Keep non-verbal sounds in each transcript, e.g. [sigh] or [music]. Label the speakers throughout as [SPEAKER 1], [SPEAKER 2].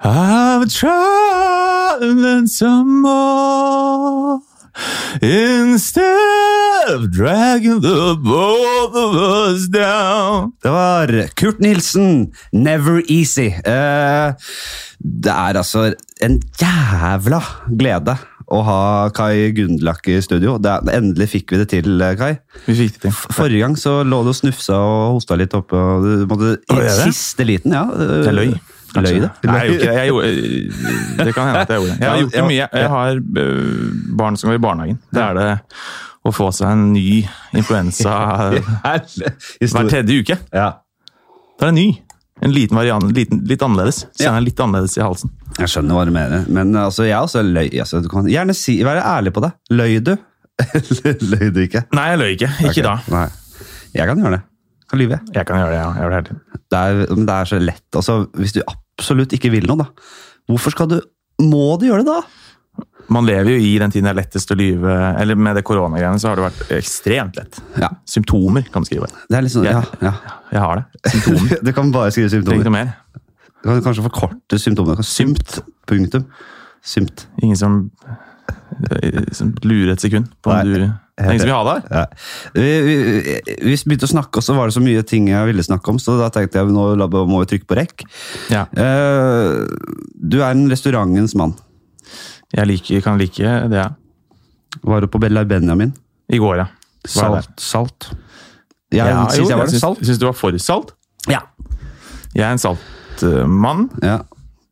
[SPEAKER 1] I'm traveling some more instead of dragging the both of us down.
[SPEAKER 2] Det var Kurt Nilsen, 'Never Easy'. Eh, det er altså en jævla glede å ha Kai Gundelak i studio. Det er, endelig fikk vi det til, eh, Kai.
[SPEAKER 1] Vi fikk det til.
[SPEAKER 2] F- Forrige gang så lå du og snufsa og hosta litt oppe. Og du måtte,
[SPEAKER 1] Å,
[SPEAKER 2] I
[SPEAKER 1] gjør jeg det?
[SPEAKER 2] siste liten, ja.
[SPEAKER 1] Jeg løy.
[SPEAKER 2] Løy,
[SPEAKER 1] kanskje.
[SPEAKER 2] det?
[SPEAKER 1] Nei, jeg gjorde
[SPEAKER 2] [laughs]
[SPEAKER 1] ikke det. Jeg gjorde, det kan hende at jeg gjorde det. Jeg har
[SPEAKER 2] Ja,
[SPEAKER 1] gjort det
[SPEAKER 2] ja.
[SPEAKER 1] mye. Jeg har øh, barn som går i barnehagen. Det er det å få seg en ny [laughs] influensa hver
[SPEAKER 2] Historie.
[SPEAKER 1] tredje uke.
[SPEAKER 2] Ja.
[SPEAKER 1] Da er det ny. En liten variant, liten, litt annerledes. Kjenner litt annerledes i halsen.
[SPEAKER 2] Jeg skjønner hva du mener, men altså, jeg også løy. Altså, du kan gjerne si, være ærlig på det. Løy du? [laughs] Eller løy du ikke?
[SPEAKER 1] Nei, jeg løy ikke. Ikke
[SPEAKER 2] Ok,
[SPEAKER 1] da.
[SPEAKER 2] Nei. Jeg kan gjøre det. Kan lyve. jeg.
[SPEAKER 1] Jeg kan gjøre det, ja. Jeg gjør det hele tiden.
[SPEAKER 2] Det er, men det er så lett. Altså, hvis du absolutt ikke vil noe, da. Hvorfor skal du Må du gjøre det, da?
[SPEAKER 1] Man lever jo i den tiden det er lettest å lyve. Eller med det koronagreiene så har det vært ekstremt lett.
[SPEAKER 2] Ja.
[SPEAKER 1] Symptomer kan du skrive.
[SPEAKER 2] Det er litt sånn, ja, ja.
[SPEAKER 1] Jeg har det. Symptomer.
[SPEAKER 2] [laughs] Du kan bare skrive
[SPEAKER 1] Trenger ikke
[SPEAKER 2] symptomer.
[SPEAKER 1] noe mer.
[SPEAKER 2] Du kan kanskje forkorte symptomene. Symt. Punktum. Symt.
[SPEAKER 1] Ingen som, som lurer et sekund på om
[SPEAKER 2] Nei.
[SPEAKER 1] du Det er Ingen som vil ha deg her.
[SPEAKER 2] Ja. Vi, vi, vi begynte å snakke, og så var det så mye ting jeg ville snakke om, så da tenkte jeg nå la- må vi trykke på rekk.
[SPEAKER 1] Ja.
[SPEAKER 2] Eh, du er en restaurantens mann.
[SPEAKER 1] Jeg liker, kan like det. ja.
[SPEAKER 2] Var du på Bella Benjamin?
[SPEAKER 1] I går, ja. Var jeg der.
[SPEAKER 2] Salt. Salt. Jeg,
[SPEAKER 1] Ja,
[SPEAKER 2] synes
[SPEAKER 1] jo,
[SPEAKER 2] jeg var
[SPEAKER 1] syns-
[SPEAKER 2] det. Salt.
[SPEAKER 1] Syns du var for salt?
[SPEAKER 2] Ja.
[SPEAKER 1] Jeg er en saltmann.
[SPEAKER 2] ja.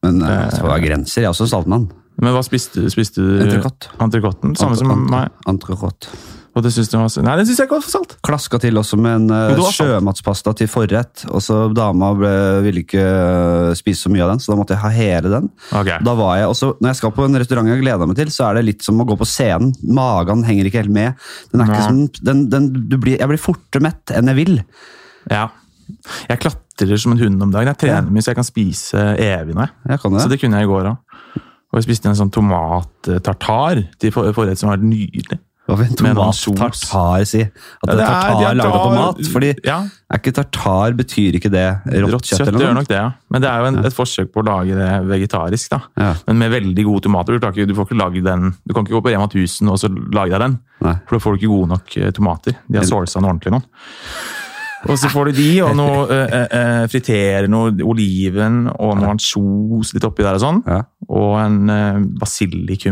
[SPEAKER 2] Men eh, det var grenser. Jeg er også saltmann.
[SPEAKER 1] Men hva spiste, spiste du?
[SPEAKER 2] Entrecôte.
[SPEAKER 1] Entrecôten. Samme som
[SPEAKER 2] Ant-
[SPEAKER 1] meg.
[SPEAKER 2] Entrecôte.
[SPEAKER 1] Og det syns du var s- Nei, det syns jeg ikke var for salt.
[SPEAKER 2] Klaska til også med en eh,
[SPEAKER 1] Jo, det var salt.
[SPEAKER 2] sjømatspasta til forrett. Og så dama ble, ville ikke eh, spise så mye av den, så da måtte jeg ha hele den.
[SPEAKER 1] Ok.
[SPEAKER 2] Da var jeg også, Når jeg skal på en restaurant jeg gleder meg til, så er det litt som å gå på scenen. Magen henger ikke helt med. Den er ikke som,
[SPEAKER 1] Nei.
[SPEAKER 2] den, den, du blir, jeg blir fortere mett enn jeg vil.
[SPEAKER 1] Ja. Jeg klatrer som en hund om dagen. Jeg trener mye, så jeg kan spise evig nå. jeg.
[SPEAKER 2] Jeg kan
[SPEAKER 1] Så
[SPEAKER 2] det.
[SPEAKER 1] det kunne jeg i går òg. Og jeg spiste en sånn tomat-tartar til for- forrett som var nydelig.
[SPEAKER 2] Hva vil en
[SPEAKER 1] Med en annen
[SPEAKER 2] tomat
[SPEAKER 1] sos.
[SPEAKER 2] tartar si? At det er
[SPEAKER 1] det er-
[SPEAKER 2] tartar
[SPEAKER 1] de er
[SPEAKER 2] laget på
[SPEAKER 1] tar-
[SPEAKER 2] mat? Fordi
[SPEAKER 1] Ja.
[SPEAKER 2] er ikke tartar betyr ikke det rått,
[SPEAKER 1] Rått
[SPEAKER 2] kjøtt
[SPEAKER 1] kjøtt
[SPEAKER 2] eller
[SPEAKER 1] gjør
[SPEAKER 2] noe?
[SPEAKER 1] nok det, ja. Men det er jo en, et forsøk på å lage det vegetarisk, da.
[SPEAKER 2] Ja.
[SPEAKER 1] Men med veldig gode tomater. Du, klarer ikke, du får ikke lage den Du kan ikke gå på Rema 1000 og så lage deg den.
[SPEAKER 2] Nei.
[SPEAKER 1] For da får du ikke gode nok eh, tomater. De har solsa den ordentlig nå. Og så får du de, og noe eh, eh, friterer noe oliven og noe ansjos litt oppi der og sånn.
[SPEAKER 2] Ja.
[SPEAKER 1] Og en eh,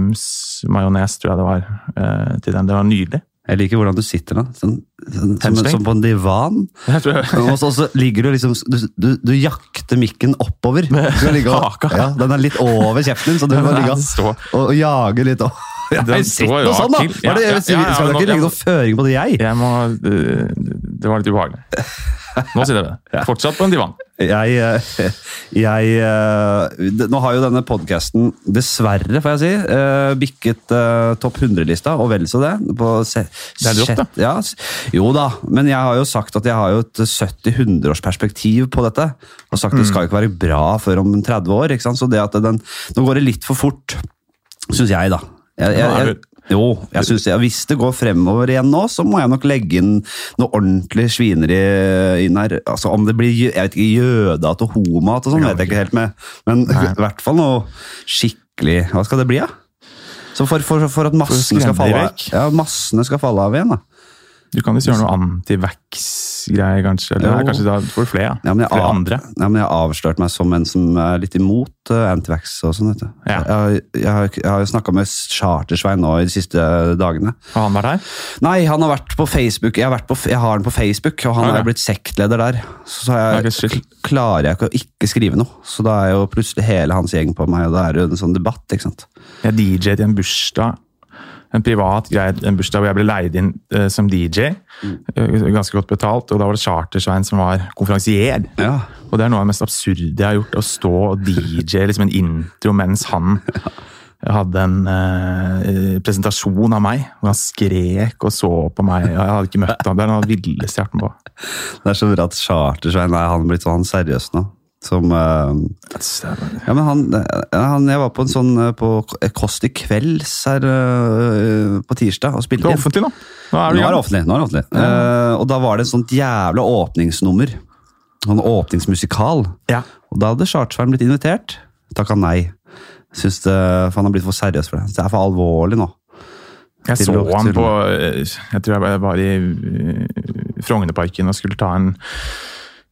[SPEAKER 1] basilikumsmajones, tror jeg det var, eh, til den. Det var nydelig.
[SPEAKER 2] Jeg liker hvordan du sitter da. Sånn, sånn, som,
[SPEAKER 1] Hemstrengt.
[SPEAKER 2] som på en divan.
[SPEAKER 1] Jeg tror jeg,
[SPEAKER 2] Og så og så ligger du liksom Du, du, du jakter mikken oppover. Du skal ligge og-
[SPEAKER 1] haka.
[SPEAKER 2] ja, den er litt over kjeften din, så du må ligge og-
[SPEAKER 1] står-
[SPEAKER 2] og, og jage litt over.
[SPEAKER 1] Den
[SPEAKER 2] Sitt
[SPEAKER 1] står
[SPEAKER 2] noe
[SPEAKER 1] rakt
[SPEAKER 2] sånn, da!
[SPEAKER 1] til.
[SPEAKER 2] Hva er det,
[SPEAKER 1] Ja, ja,
[SPEAKER 2] jeg sier?
[SPEAKER 1] ja, ja, men
[SPEAKER 2] skal
[SPEAKER 1] nå-
[SPEAKER 2] dere ikke legge noe føring på det, jeg?
[SPEAKER 1] Jeg må øh, Det var litt ubehagelig. Nå sitter jeg ved det. Fortsatt på en divan.
[SPEAKER 2] Jeg, eh, [laughs] jeg eh, d- Nå har jo denne podkasten, dessverre, får jeg si, eh, bikket eh, topp 100-lista, og vel så det. På se,
[SPEAKER 1] er rått, da.
[SPEAKER 2] sjett- Ja, s- jo da, men jeg har jo sagt at jeg har jo et 70-100-årsperspektiv på dette. Og sagt det skal jo ikke være bra før om 30 år, ikke sant? så det at den Nå går det litt for fort, syns jeg, da. Jeg, jeg,
[SPEAKER 1] Nå er
[SPEAKER 2] jeg, jo, jeg synes det. Hvis det går fremover igjen nå, så må jeg nok legge inn noe ordentlig svineri inn her. Altså, om det blir jø- jeg vet ikke, jødehat og homat og sånn, vet jeg ikke helt med. Men i hvert fall noe skikkelig Hva skal det bli, da? Så for, for, for at massene skal, falle av,
[SPEAKER 1] skremme
[SPEAKER 2] ja, massene skal falle av igjen, da.
[SPEAKER 1] Du kan jo gjøre noe antivax-greier, kanskje. Eller nei,
[SPEAKER 2] Jo.
[SPEAKER 1] kanskje da får du flere.
[SPEAKER 2] Ja, men jeg,
[SPEAKER 1] flere
[SPEAKER 2] av-
[SPEAKER 1] andre.
[SPEAKER 2] Ja, men jeg har avslørt meg som en som er litt imot eh, antivax og sånn, vet du.
[SPEAKER 1] Ja.
[SPEAKER 2] Jeg, jeg, har- jeg har snakka med Chartersvein nå i de siste eh, dagene.
[SPEAKER 1] Har han vært her?
[SPEAKER 2] Nei, han har vært på Facebook. Jeg har, vært på, jeg har den på Facebook, og han
[SPEAKER 1] Ok.
[SPEAKER 2] er jo blitt sektleder der. Så, så har
[SPEAKER 1] Ok,
[SPEAKER 2] jeg,
[SPEAKER 1] shit.
[SPEAKER 2] klarer jeg ikke å ikke skrive noe. Så da er jo plutselig hele hans gjeng på meg, og da er det jo en sånn debatt, ikke sant?
[SPEAKER 1] Jeg DJ-et i en bursdag. En privat greie, en bursdag hvor jeg ble leid inn eh, som DJ.
[SPEAKER 2] Mm.
[SPEAKER 1] Eh, ganske godt betalt. Og da var det Charter-Svein som var konferansier.
[SPEAKER 2] Ja.
[SPEAKER 1] Og det er noe av det mest absurde jeg har gjort. Å stå og DJ liksom en intro mens han hadde en eh, presentasjon av meg. Hvor han skrek og så på meg. og Jeg hadde ikke møtt ham. Det er noe av det villeste jeg har vært med på.
[SPEAKER 2] Det er så bra at Chartersveien er han er blitt sånn seriøs nå. Som eh, Ja, men han, eh, han Jeg var på en sånn eh, på K- Kåss til kvelds her eh, på tirsdag og
[SPEAKER 1] Det
[SPEAKER 2] spilte
[SPEAKER 1] er
[SPEAKER 2] inn.
[SPEAKER 1] offentlig nå. Nå er
[SPEAKER 2] Nå
[SPEAKER 1] det,
[SPEAKER 2] er det
[SPEAKER 1] gang.
[SPEAKER 2] offentlig. Nå er det offentlig. Eh, og da var det et sånt jævla åpningsnummer. Sånn åpningsmusikal.
[SPEAKER 1] Ja.
[SPEAKER 2] Og da hadde Chartersveien blitt invitert. Takk han nei. Syns det, for han har blitt for seriøs for det. Det er for alvorlig nå.
[SPEAKER 1] Jeg
[SPEAKER 2] Til
[SPEAKER 1] så
[SPEAKER 2] å-
[SPEAKER 1] han
[SPEAKER 2] til-
[SPEAKER 1] på eh, Jeg tror jeg var i eh, Frognerparken og skulle ta en,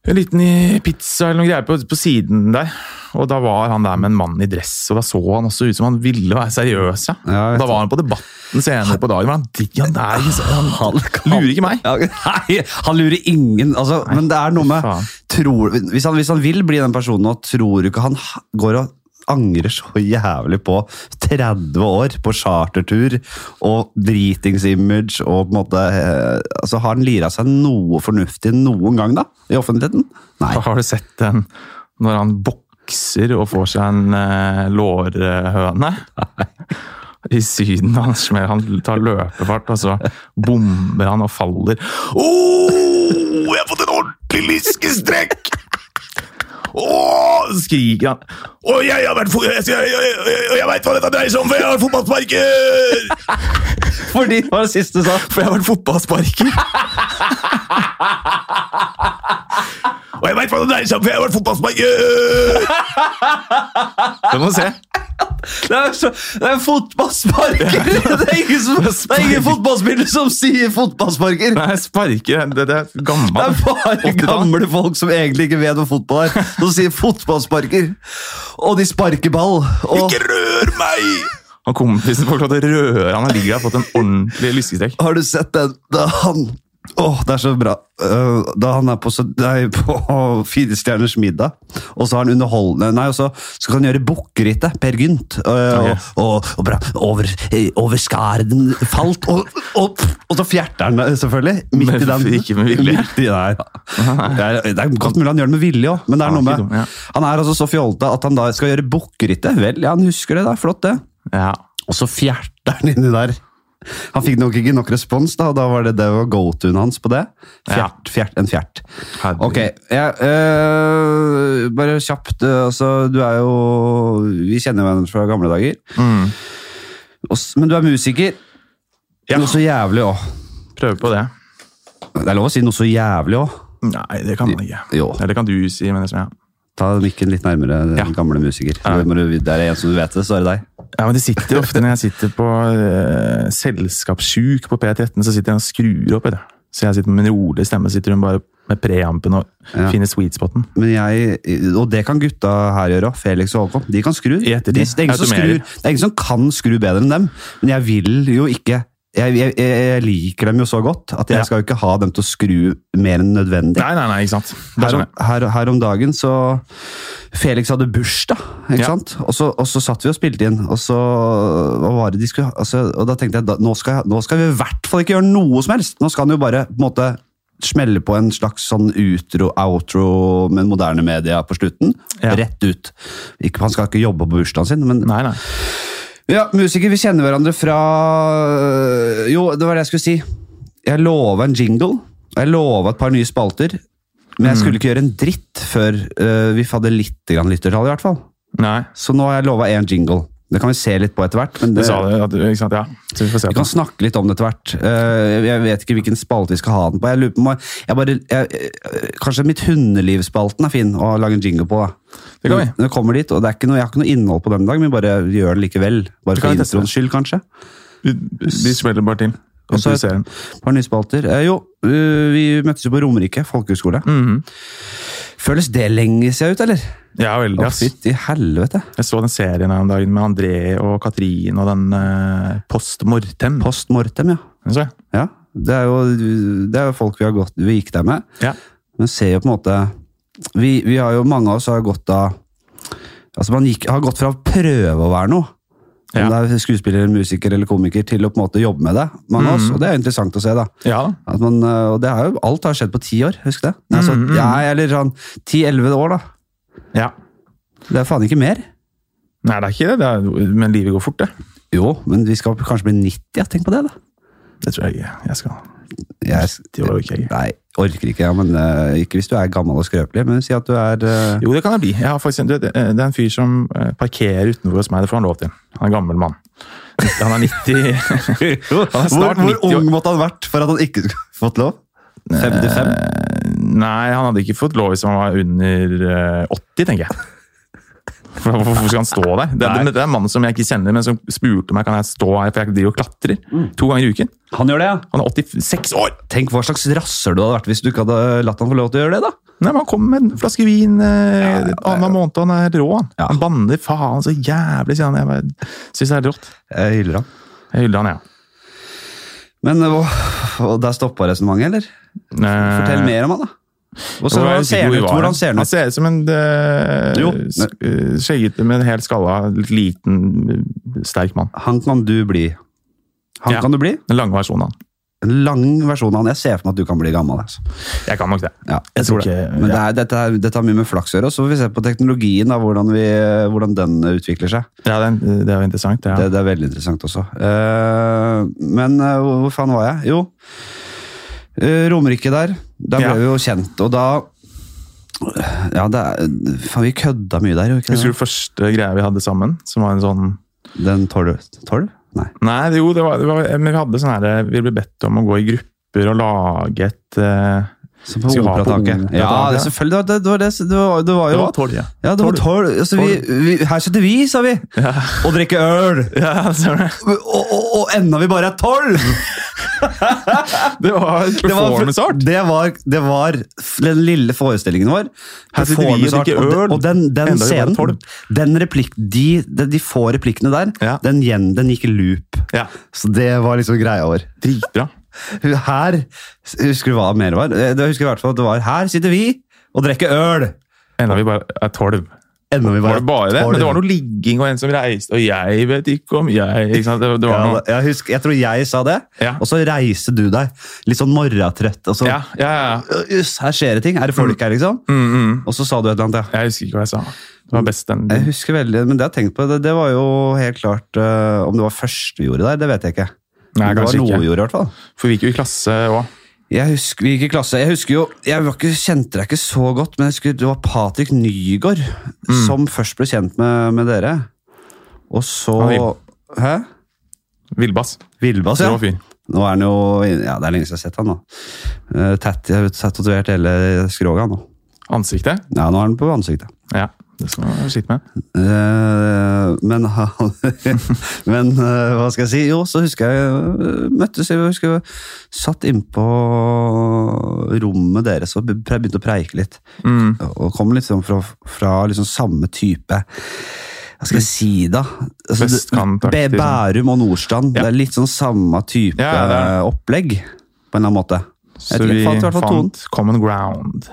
[SPEAKER 1] en liten i pizza eller noe greier på, på siden der. Og da var han der med en mann i dress, og da så han også ut som han ville være seriøs. Ja.
[SPEAKER 2] Ja, jeg vet
[SPEAKER 1] og da var han på Debatten senere på dagen. Men han, drikker- han, liksom. er, ikke så-
[SPEAKER 2] [laughs]
[SPEAKER 1] han lurer ikke meg!
[SPEAKER 2] Ja, [laughs] nei, han lurer ingen. Altså, men det er noe med
[SPEAKER 1] faen.
[SPEAKER 2] tror, hvis, han, hvis han vil bli den personen nå, tror du ikke han ha- går og angrer så jævlig på 30 år på chartertur og dritingsimage og på en måte eh, altså Har han lira seg noe fornuftig noen gang, da? I offentligheten? Nei.
[SPEAKER 1] Har du sett den når han bokser og får seg en eh, lårhøne? [laughs] I Syden. Han, smeller- han tar løpefart, og så bomber han og faller. Å, jeg har fått en ordentlig lyskestrekk! Å, så skriker han. Å, jeg har vært fo- Jeg, jeg, jeg, jeg, jeg veit hva dette dreier seg om, for jeg har vært fotballsparker!
[SPEAKER 2] [laughs] Fordi det var det siste du sa.
[SPEAKER 1] For jeg har vært fotballsparker. Og jeg veit hva det dreier seg om, for jeg har vært [laughs] fotballsparker! Du må se.
[SPEAKER 2] Det er, så, det er fotballsparker! [laughs] Det er ingen, som, det er ingen fotballspiller som sier fotballsparker!
[SPEAKER 1] Nei, sparker Det, det er
[SPEAKER 2] Det er
[SPEAKER 1] gammelt.
[SPEAKER 2] bare
[SPEAKER 1] 80-tallet.
[SPEAKER 2] gamle folk som egentlig ikke vet hva fotball er, som sier fotballsparker. Og de sparker ball. Og
[SPEAKER 1] rør meg! Og kompisen får ikke lov til å røre han. Han ligger der og har fått en ordentlig lyskestrekk.
[SPEAKER 2] har du sett den? Da han Åh, det er så bra. Eh, Da han er på, så- nei, [laughs] på Fire stjerners middag, og så har han underholdende Nei, og så skal han gjøre bukkerittet. Per Gynt. Eh, Og, og, og bra. Over, eh, over skarden falt og, og, og så fjerter han det, selvfølgelig. Midt i den.
[SPEAKER 1] Men ikke med vilje.
[SPEAKER 2] Midt i, nei,
[SPEAKER 1] [laughs]
[SPEAKER 2] det, er, det er godt mulig han gjør det med vilje òg, men det er
[SPEAKER 1] Ja,
[SPEAKER 2] noe
[SPEAKER 1] ikke dum,
[SPEAKER 2] med
[SPEAKER 1] ja.
[SPEAKER 2] Han er altså så fjolte at han da skal gjøre bukkerittet. Vel, ja, han husker det. da, Flott, det.
[SPEAKER 1] Ja.
[SPEAKER 2] Og så fjerter han inni der. Han fikk nok ikke nok respons, da, og da var det, det var go-toen hans på det.
[SPEAKER 1] Ja.
[SPEAKER 2] Fjert, fjert, en fjert.
[SPEAKER 1] Herregud.
[SPEAKER 2] Ok, jeg, øh, bare kjapt. øh, Altså, du er jo Vi kjenner hverandre fra gamle dager.
[SPEAKER 1] Mm.
[SPEAKER 2] Og s- men du er musiker. Noe så jævlig òg.
[SPEAKER 1] Prøve på det.
[SPEAKER 2] Det er lov å si noe så jævlig òg.
[SPEAKER 1] Nei, det kan man ikke.
[SPEAKER 2] Jo.
[SPEAKER 1] Eller det kan du si, men det som jeg
[SPEAKER 2] Ta mikken litt nærmere, den
[SPEAKER 1] Ja.
[SPEAKER 2] gamle musiker.
[SPEAKER 1] Ja.
[SPEAKER 2] Det må du- Der er en som du vet det, så er det deg.
[SPEAKER 1] Ja, men det sitter jo ofte når jeg sitter på uh, selskapssjuk på P13, så sitter jeg og skrur opp. vet du. Så jeg sitter med min rolige stemme, sitter hun bare med preampen og
[SPEAKER 2] Ja.
[SPEAKER 1] finner sweet spoten.
[SPEAKER 2] Men jeg, og det kan gutta her gjøre, også, Felix og Håkon. De kan skru. De,
[SPEAKER 1] I ettertid.
[SPEAKER 2] det, er ingen som skrur
[SPEAKER 1] Automerer.
[SPEAKER 2] det er ingen som kan skru bedre enn dem, men jeg vil jo ikke jeg, jeg, jeg liker dem jo så godt at jeg
[SPEAKER 1] Ja.
[SPEAKER 2] skal jo ikke ha dem til å skru mer enn nødvendig.
[SPEAKER 1] Nei, nei, nei, ikke sant. Det er
[SPEAKER 2] Her,
[SPEAKER 1] sånn,
[SPEAKER 2] om- her, her om dagen så Felix hadde bursdag, ikke
[SPEAKER 1] Ja.
[SPEAKER 2] sant? Og så, og så satt vi og spilte inn, og så hva var det de skulle altså, Og da tenkte jeg da, nå, skal, jeg- nå skal vi i hvert fall ikke gjøre noe som helst! Nå skal han jo bare på en måte smelle på en slags sånn utro-outro med moderne media på slutten.
[SPEAKER 1] Ja.
[SPEAKER 2] Rett ut. Ikke, han skal ikke jobbe på bursdagen sin, men
[SPEAKER 1] nei, nei.
[SPEAKER 2] ja, musikere, vi kjenner hverandre fra øh, Jo, det var det jeg skulle si. Jeg lova en jingle. Jeg lova et par nye spalter. Men
[SPEAKER 1] Mm.
[SPEAKER 2] jeg skulle ikke gjøre en dritt før eh, vi hadde litt grann lyttertall. i hvert fall.
[SPEAKER 1] nei.
[SPEAKER 2] Så nå har jeg lova én jingle. Det kan vi se litt på etter hvert. Men
[SPEAKER 1] Du
[SPEAKER 2] det,
[SPEAKER 1] sa det, at, du- ikke sant? Ja. Så vi får se
[SPEAKER 2] vi
[SPEAKER 1] på
[SPEAKER 2] kan snakke litt om det etter hvert. Eh, jeg vet ikke hvilken spalte vi skal ha den på. Jeg lurer på om jeg, jeg bare, jeg, eh, kanskje Mitt hundeliv-spalten er fin å lage en jingle på. da.
[SPEAKER 1] Det kan vi.
[SPEAKER 2] Når jeg kommer dit, og det er ikke noe, Jeg har ikke noe innhold på den i dag, men bare gjør det likevel. Bare
[SPEAKER 1] Det kan
[SPEAKER 2] for
[SPEAKER 1] vi teste.
[SPEAKER 2] introens skyld, kanskje.
[SPEAKER 1] Vi, vi smeller bare til.
[SPEAKER 2] Og så-
[SPEAKER 1] Improviserer.
[SPEAKER 2] Et par nye spalter. Eh, jo, eh, vi møttes jo på Romerike folkehøgskole.
[SPEAKER 1] Mhm.
[SPEAKER 2] Føles det lenge siden ut, eller?
[SPEAKER 1] Ja, veldig.
[SPEAKER 2] Å,
[SPEAKER 1] ass.
[SPEAKER 2] fytti helvete.
[SPEAKER 1] Jeg så den serien her om dagen med André og Katrin og den eh, Post Mortem.
[SPEAKER 2] Post mortem, ja.
[SPEAKER 1] Den så jeg.
[SPEAKER 2] ja. Det er jo, det er jo folk vi, har gått, vi gikk der med.
[SPEAKER 1] Ja.
[SPEAKER 2] Men ser jo på en måte vi, vi har jo, Mange av oss har gått av Altså Man gikk, har gått fra å prøve å være noe, om
[SPEAKER 1] Ja.
[SPEAKER 2] det er skuespiller, musiker eller komiker, til å på en måte jobbe med det. mange av
[SPEAKER 1] Mhm.
[SPEAKER 2] oss, Og det er jo interessant å se, da.
[SPEAKER 1] ja da.
[SPEAKER 2] At man, eh, og det er jo, alt har skjedd på ti år, husk det. Altså,
[SPEAKER 1] Mhm, mhm.
[SPEAKER 2] ja, eller sånn ti-elleve år, da.
[SPEAKER 1] Ja.
[SPEAKER 2] Det er faen ikke mer.
[SPEAKER 1] Nei, det er ikke det, det er, men livet går fort, det.
[SPEAKER 2] Jo, men vi skal kanskje bli 90, ja. Tenk på det, da.
[SPEAKER 1] Det tror jeg ikke jeg skal.
[SPEAKER 2] Jeg,
[SPEAKER 1] Det var jo ikke jeg.
[SPEAKER 2] nei, orker ikke. Ja, men eh, Ikke hvis du er gammel og skrøpelig, men si at du er [laughs] eh,
[SPEAKER 1] Jo, det kan jeg bli. Jeg har faktisk, du, vet, det er en fyr som eh, parkerer utenfor hos meg. Det får han lov til. Han er en gammel mann. Han er 90 Han
[SPEAKER 2] [laughs]
[SPEAKER 1] er snart 90 år.
[SPEAKER 2] måtte han vært for at han ikke skulle [laughs] fått lov? 55?
[SPEAKER 1] Eh, Nei, han hadde ikke fått lov hvis han var under eh, 80, tenker jeg. For Hvorfor skal han stå der? Det,
[SPEAKER 2] Nei.
[SPEAKER 1] det, det er en mann som jeg ikke kjenner, men som spurte meg kan jeg stå her, for jeg driver og klatrer
[SPEAKER 2] Mm.
[SPEAKER 1] to ganger i uken.
[SPEAKER 2] Han gjør det, ja.
[SPEAKER 1] Han er 86 år!
[SPEAKER 2] Tenk hva slags rasser du hadde vært hvis du ikke hadde latt han få lov til å gjøre det, da.
[SPEAKER 1] Nei, men Han kommer med en flaske vin eh,
[SPEAKER 2] Ja, det-
[SPEAKER 1] annenhver måned, og han er rå. Han,
[SPEAKER 2] Ja.
[SPEAKER 1] han banner faen så jævlig, sier han. Jeg bare syns det er rått.
[SPEAKER 2] Jeg hyller han.
[SPEAKER 1] Jeg hyller han, ja.
[SPEAKER 2] Men øh, og der stoppa resonnementet, eller?
[SPEAKER 1] Eh,
[SPEAKER 2] Fortell mer om han, da. Og så, hvordan ser han ut? Hvordan ser han
[SPEAKER 1] Han
[SPEAKER 2] ut?
[SPEAKER 1] ser ut som en eh,
[SPEAKER 2] Jo,
[SPEAKER 1] sk- eh, skjeggete, men helt skalla, litt liten, eh, sterk mann.
[SPEAKER 2] Han kan du bli. Han
[SPEAKER 1] Ja.
[SPEAKER 2] kan du bli.
[SPEAKER 1] Den lange versjonen av han.
[SPEAKER 2] En lang versjon av han. Jeg ser for meg at du kan bli gammel. altså.
[SPEAKER 1] Jeg kan nok det.
[SPEAKER 2] Ja, jeg
[SPEAKER 1] Jeg
[SPEAKER 2] tror
[SPEAKER 1] tror
[SPEAKER 2] det.
[SPEAKER 1] ikke-
[SPEAKER 2] Men
[SPEAKER 1] ja.
[SPEAKER 2] det er, dette, er, dette har mye med flaks å gjøre. og Så får vi se på teknologien, da, hvordan, vi, hvordan den utvikler seg.
[SPEAKER 1] Ja, Det er, det er jo interessant. det, Ja.
[SPEAKER 2] Det, det er veldig interessant også. Eh, men eh, hvor, hvor faen var jeg? Jo, eh, Romerike der. Der ble
[SPEAKER 1] Ja.
[SPEAKER 2] vi jo kjent, og da ja, det er, Faen, vi kødda mye der, gjorde vi
[SPEAKER 1] Husker
[SPEAKER 2] ikke
[SPEAKER 1] du første greia vi hadde sammen? Som var en sånn
[SPEAKER 2] det? Den tolv? tolv? Nei.
[SPEAKER 1] Nei, det- jo, det var, det var, men vi hadde sånn her Vi ble bedt om å gå i grupper og lage et eh,
[SPEAKER 2] Som på
[SPEAKER 1] Skal vi ha på
[SPEAKER 2] operataket.
[SPEAKER 1] operataket,
[SPEAKER 2] Ja, det,
[SPEAKER 1] ja.
[SPEAKER 2] selvfølgelig. Det, var- det var det, det, var, det var jo
[SPEAKER 1] tolv, ja.
[SPEAKER 2] Ja, det var tolv. Altså, vi, vi, her sitter vi, sa vi, og drikker øl!
[SPEAKER 1] Ja, ser du.
[SPEAKER 2] Og, og, og enda vi bare er
[SPEAKER 1] [laughs]
[SPEAKER 2] tolv!
[SPEAKER 1] Det var et
[SPEAKER 2] Det var-
[SPEAKER 1] performance-art!
[SPEAKER 2] Det var, det var den lille forestillingen vår.
[SPEAKER 1] Her sitter vi og
[SPEAKER 2] Performance art,
[SPEAKER 1] drikker
[SPEAKER 2] og de-
[SPEAKER 1] øl.
[SPEAKER 2] Og den, den
[SPEAKER 1] Enda vi bare
[SPEAKER 2] scenen,
[SPEAKER 1] tolv.
[SPEAKER 2] den replikk, de, de, de få replikkene der,
[SPEAKER 1] Ja.
[SPEAKER 2] den, gjen, den gikk i loop.
[SPEAKER 1] Ja,
[SPEAKER 2] Så det var liksom greia vår.
[SPEAKER 1] Dritbra.
[SPEAKER 2] Her Husker du hva mer var? Eh, Jeg husker i hvert fall at det var Her sitter vi og drikker øl!
[SPEAKER 1] Enda vi bare er tolv.
[SPEAKER 2] Enda vi
[SPEAKER 1] Var
[SPEAKER 2] bare
[SPEAKER 1] det bare det?
[SPEAKER 2] tolv.
[SPEAKER 1] Men det var noe ligging og en som reiste, og jeg vet ikke om jeg ikke sant? Det, det var
[SPEAKER 2] ja,
[SPEAKER 1] noe
[SPEAKER 2] jeg, husker, jeg tror jeg sa det,
[SPEAKER 1] Ja.
[SPEAKER 2] og så reiser du deg litt sånn morgentrøtt. Og så Øh,
[SPEAKER 1] Ja, ja, ja.
[SPEAKER 2] Jøss, her skjer det ting! Er det folk her, liksom?
[SPEAKER 1] Mm, mm.
[SPEAKER 2] Og så sa du et eller annet, ja.
[SPEAKER 1] Jeg husker ikke hva jeg sa. Det var best den
[SPEAKER 2] Jeg husker veldig, men det har jeg tenkt på. Det, det var jo helt klart øh, Om det var første vi gjorde der, det vet jeg ikke.
[SPEAKER 1] Nei,
[SPEAKER 2] det var
[SPEAKER 1] kanskje
[SPEAKER 2] noe
[SPEAKER 1] ikke.
[SPEAKER 2] vi gjorde, i hvert fall.
[SPEAKER 1] For vi gikk jo i klasse òg.
[SPEAKER 2] Jeg husker, vi gikk i klasse. Jeg husker jo, jeg var ikke, kjente deg ikke så godt, men jeg husker det var Patrick Nygaard
[SPEAKER 1] Mm.
[SPEAKER 2] som først ble kjent med, med dere. Og så
[SPEAKER 1] Han
[SPEAKER 2] Hæ?
[SPEAKER 1] Villbass.
[SPEAKER 2] Villbass, ja.
[SPEAKER 1] Rå fyr.
[SPEAKER 2] Nå er han jo Ja, det er lenge siden jeg har sett han nå. Uh, Tatty har tatovert hele skroget han nå.
[SPEAKER 1] Ansiktet?
[SPEAKER 2] Ja, nå er han på ansiktet.
[SPEAKER 1] Ja. Det skal man slite med.
[SPEAKER 2] Eh, men han [laughs] Men eh, hva skal jeg si? Jo, så husker jeg eh, møttes jeg husker jeg satt innpå rommet deres og be- begynte å preike litt.
[SPEAKER 1] Mm.
[SPEAKER 2] Og kom litt sånn fra, fra liksom samme type Hva skal jeg si, da? Altså, det-
[SPEAKER 1] Vestkantaktig, sånn.
[SPEAKER 2] Bæ- Bærum og Nordstrand.
[SPEAKER 1] Ja.
[SPEAKER 2] Det er litt sånn samme type
[SPEAKER 1] Ja, det er
[SPEAKER 2] opplegg, på en eller annen måte.
[SPEAKER 1] Så
[SPEAKER 2] vet ikke,
[SPEAKER 1] vi
[SPEAKER 2] fant i hvert fall tonen.
[SPEAKER 1] fant common ground.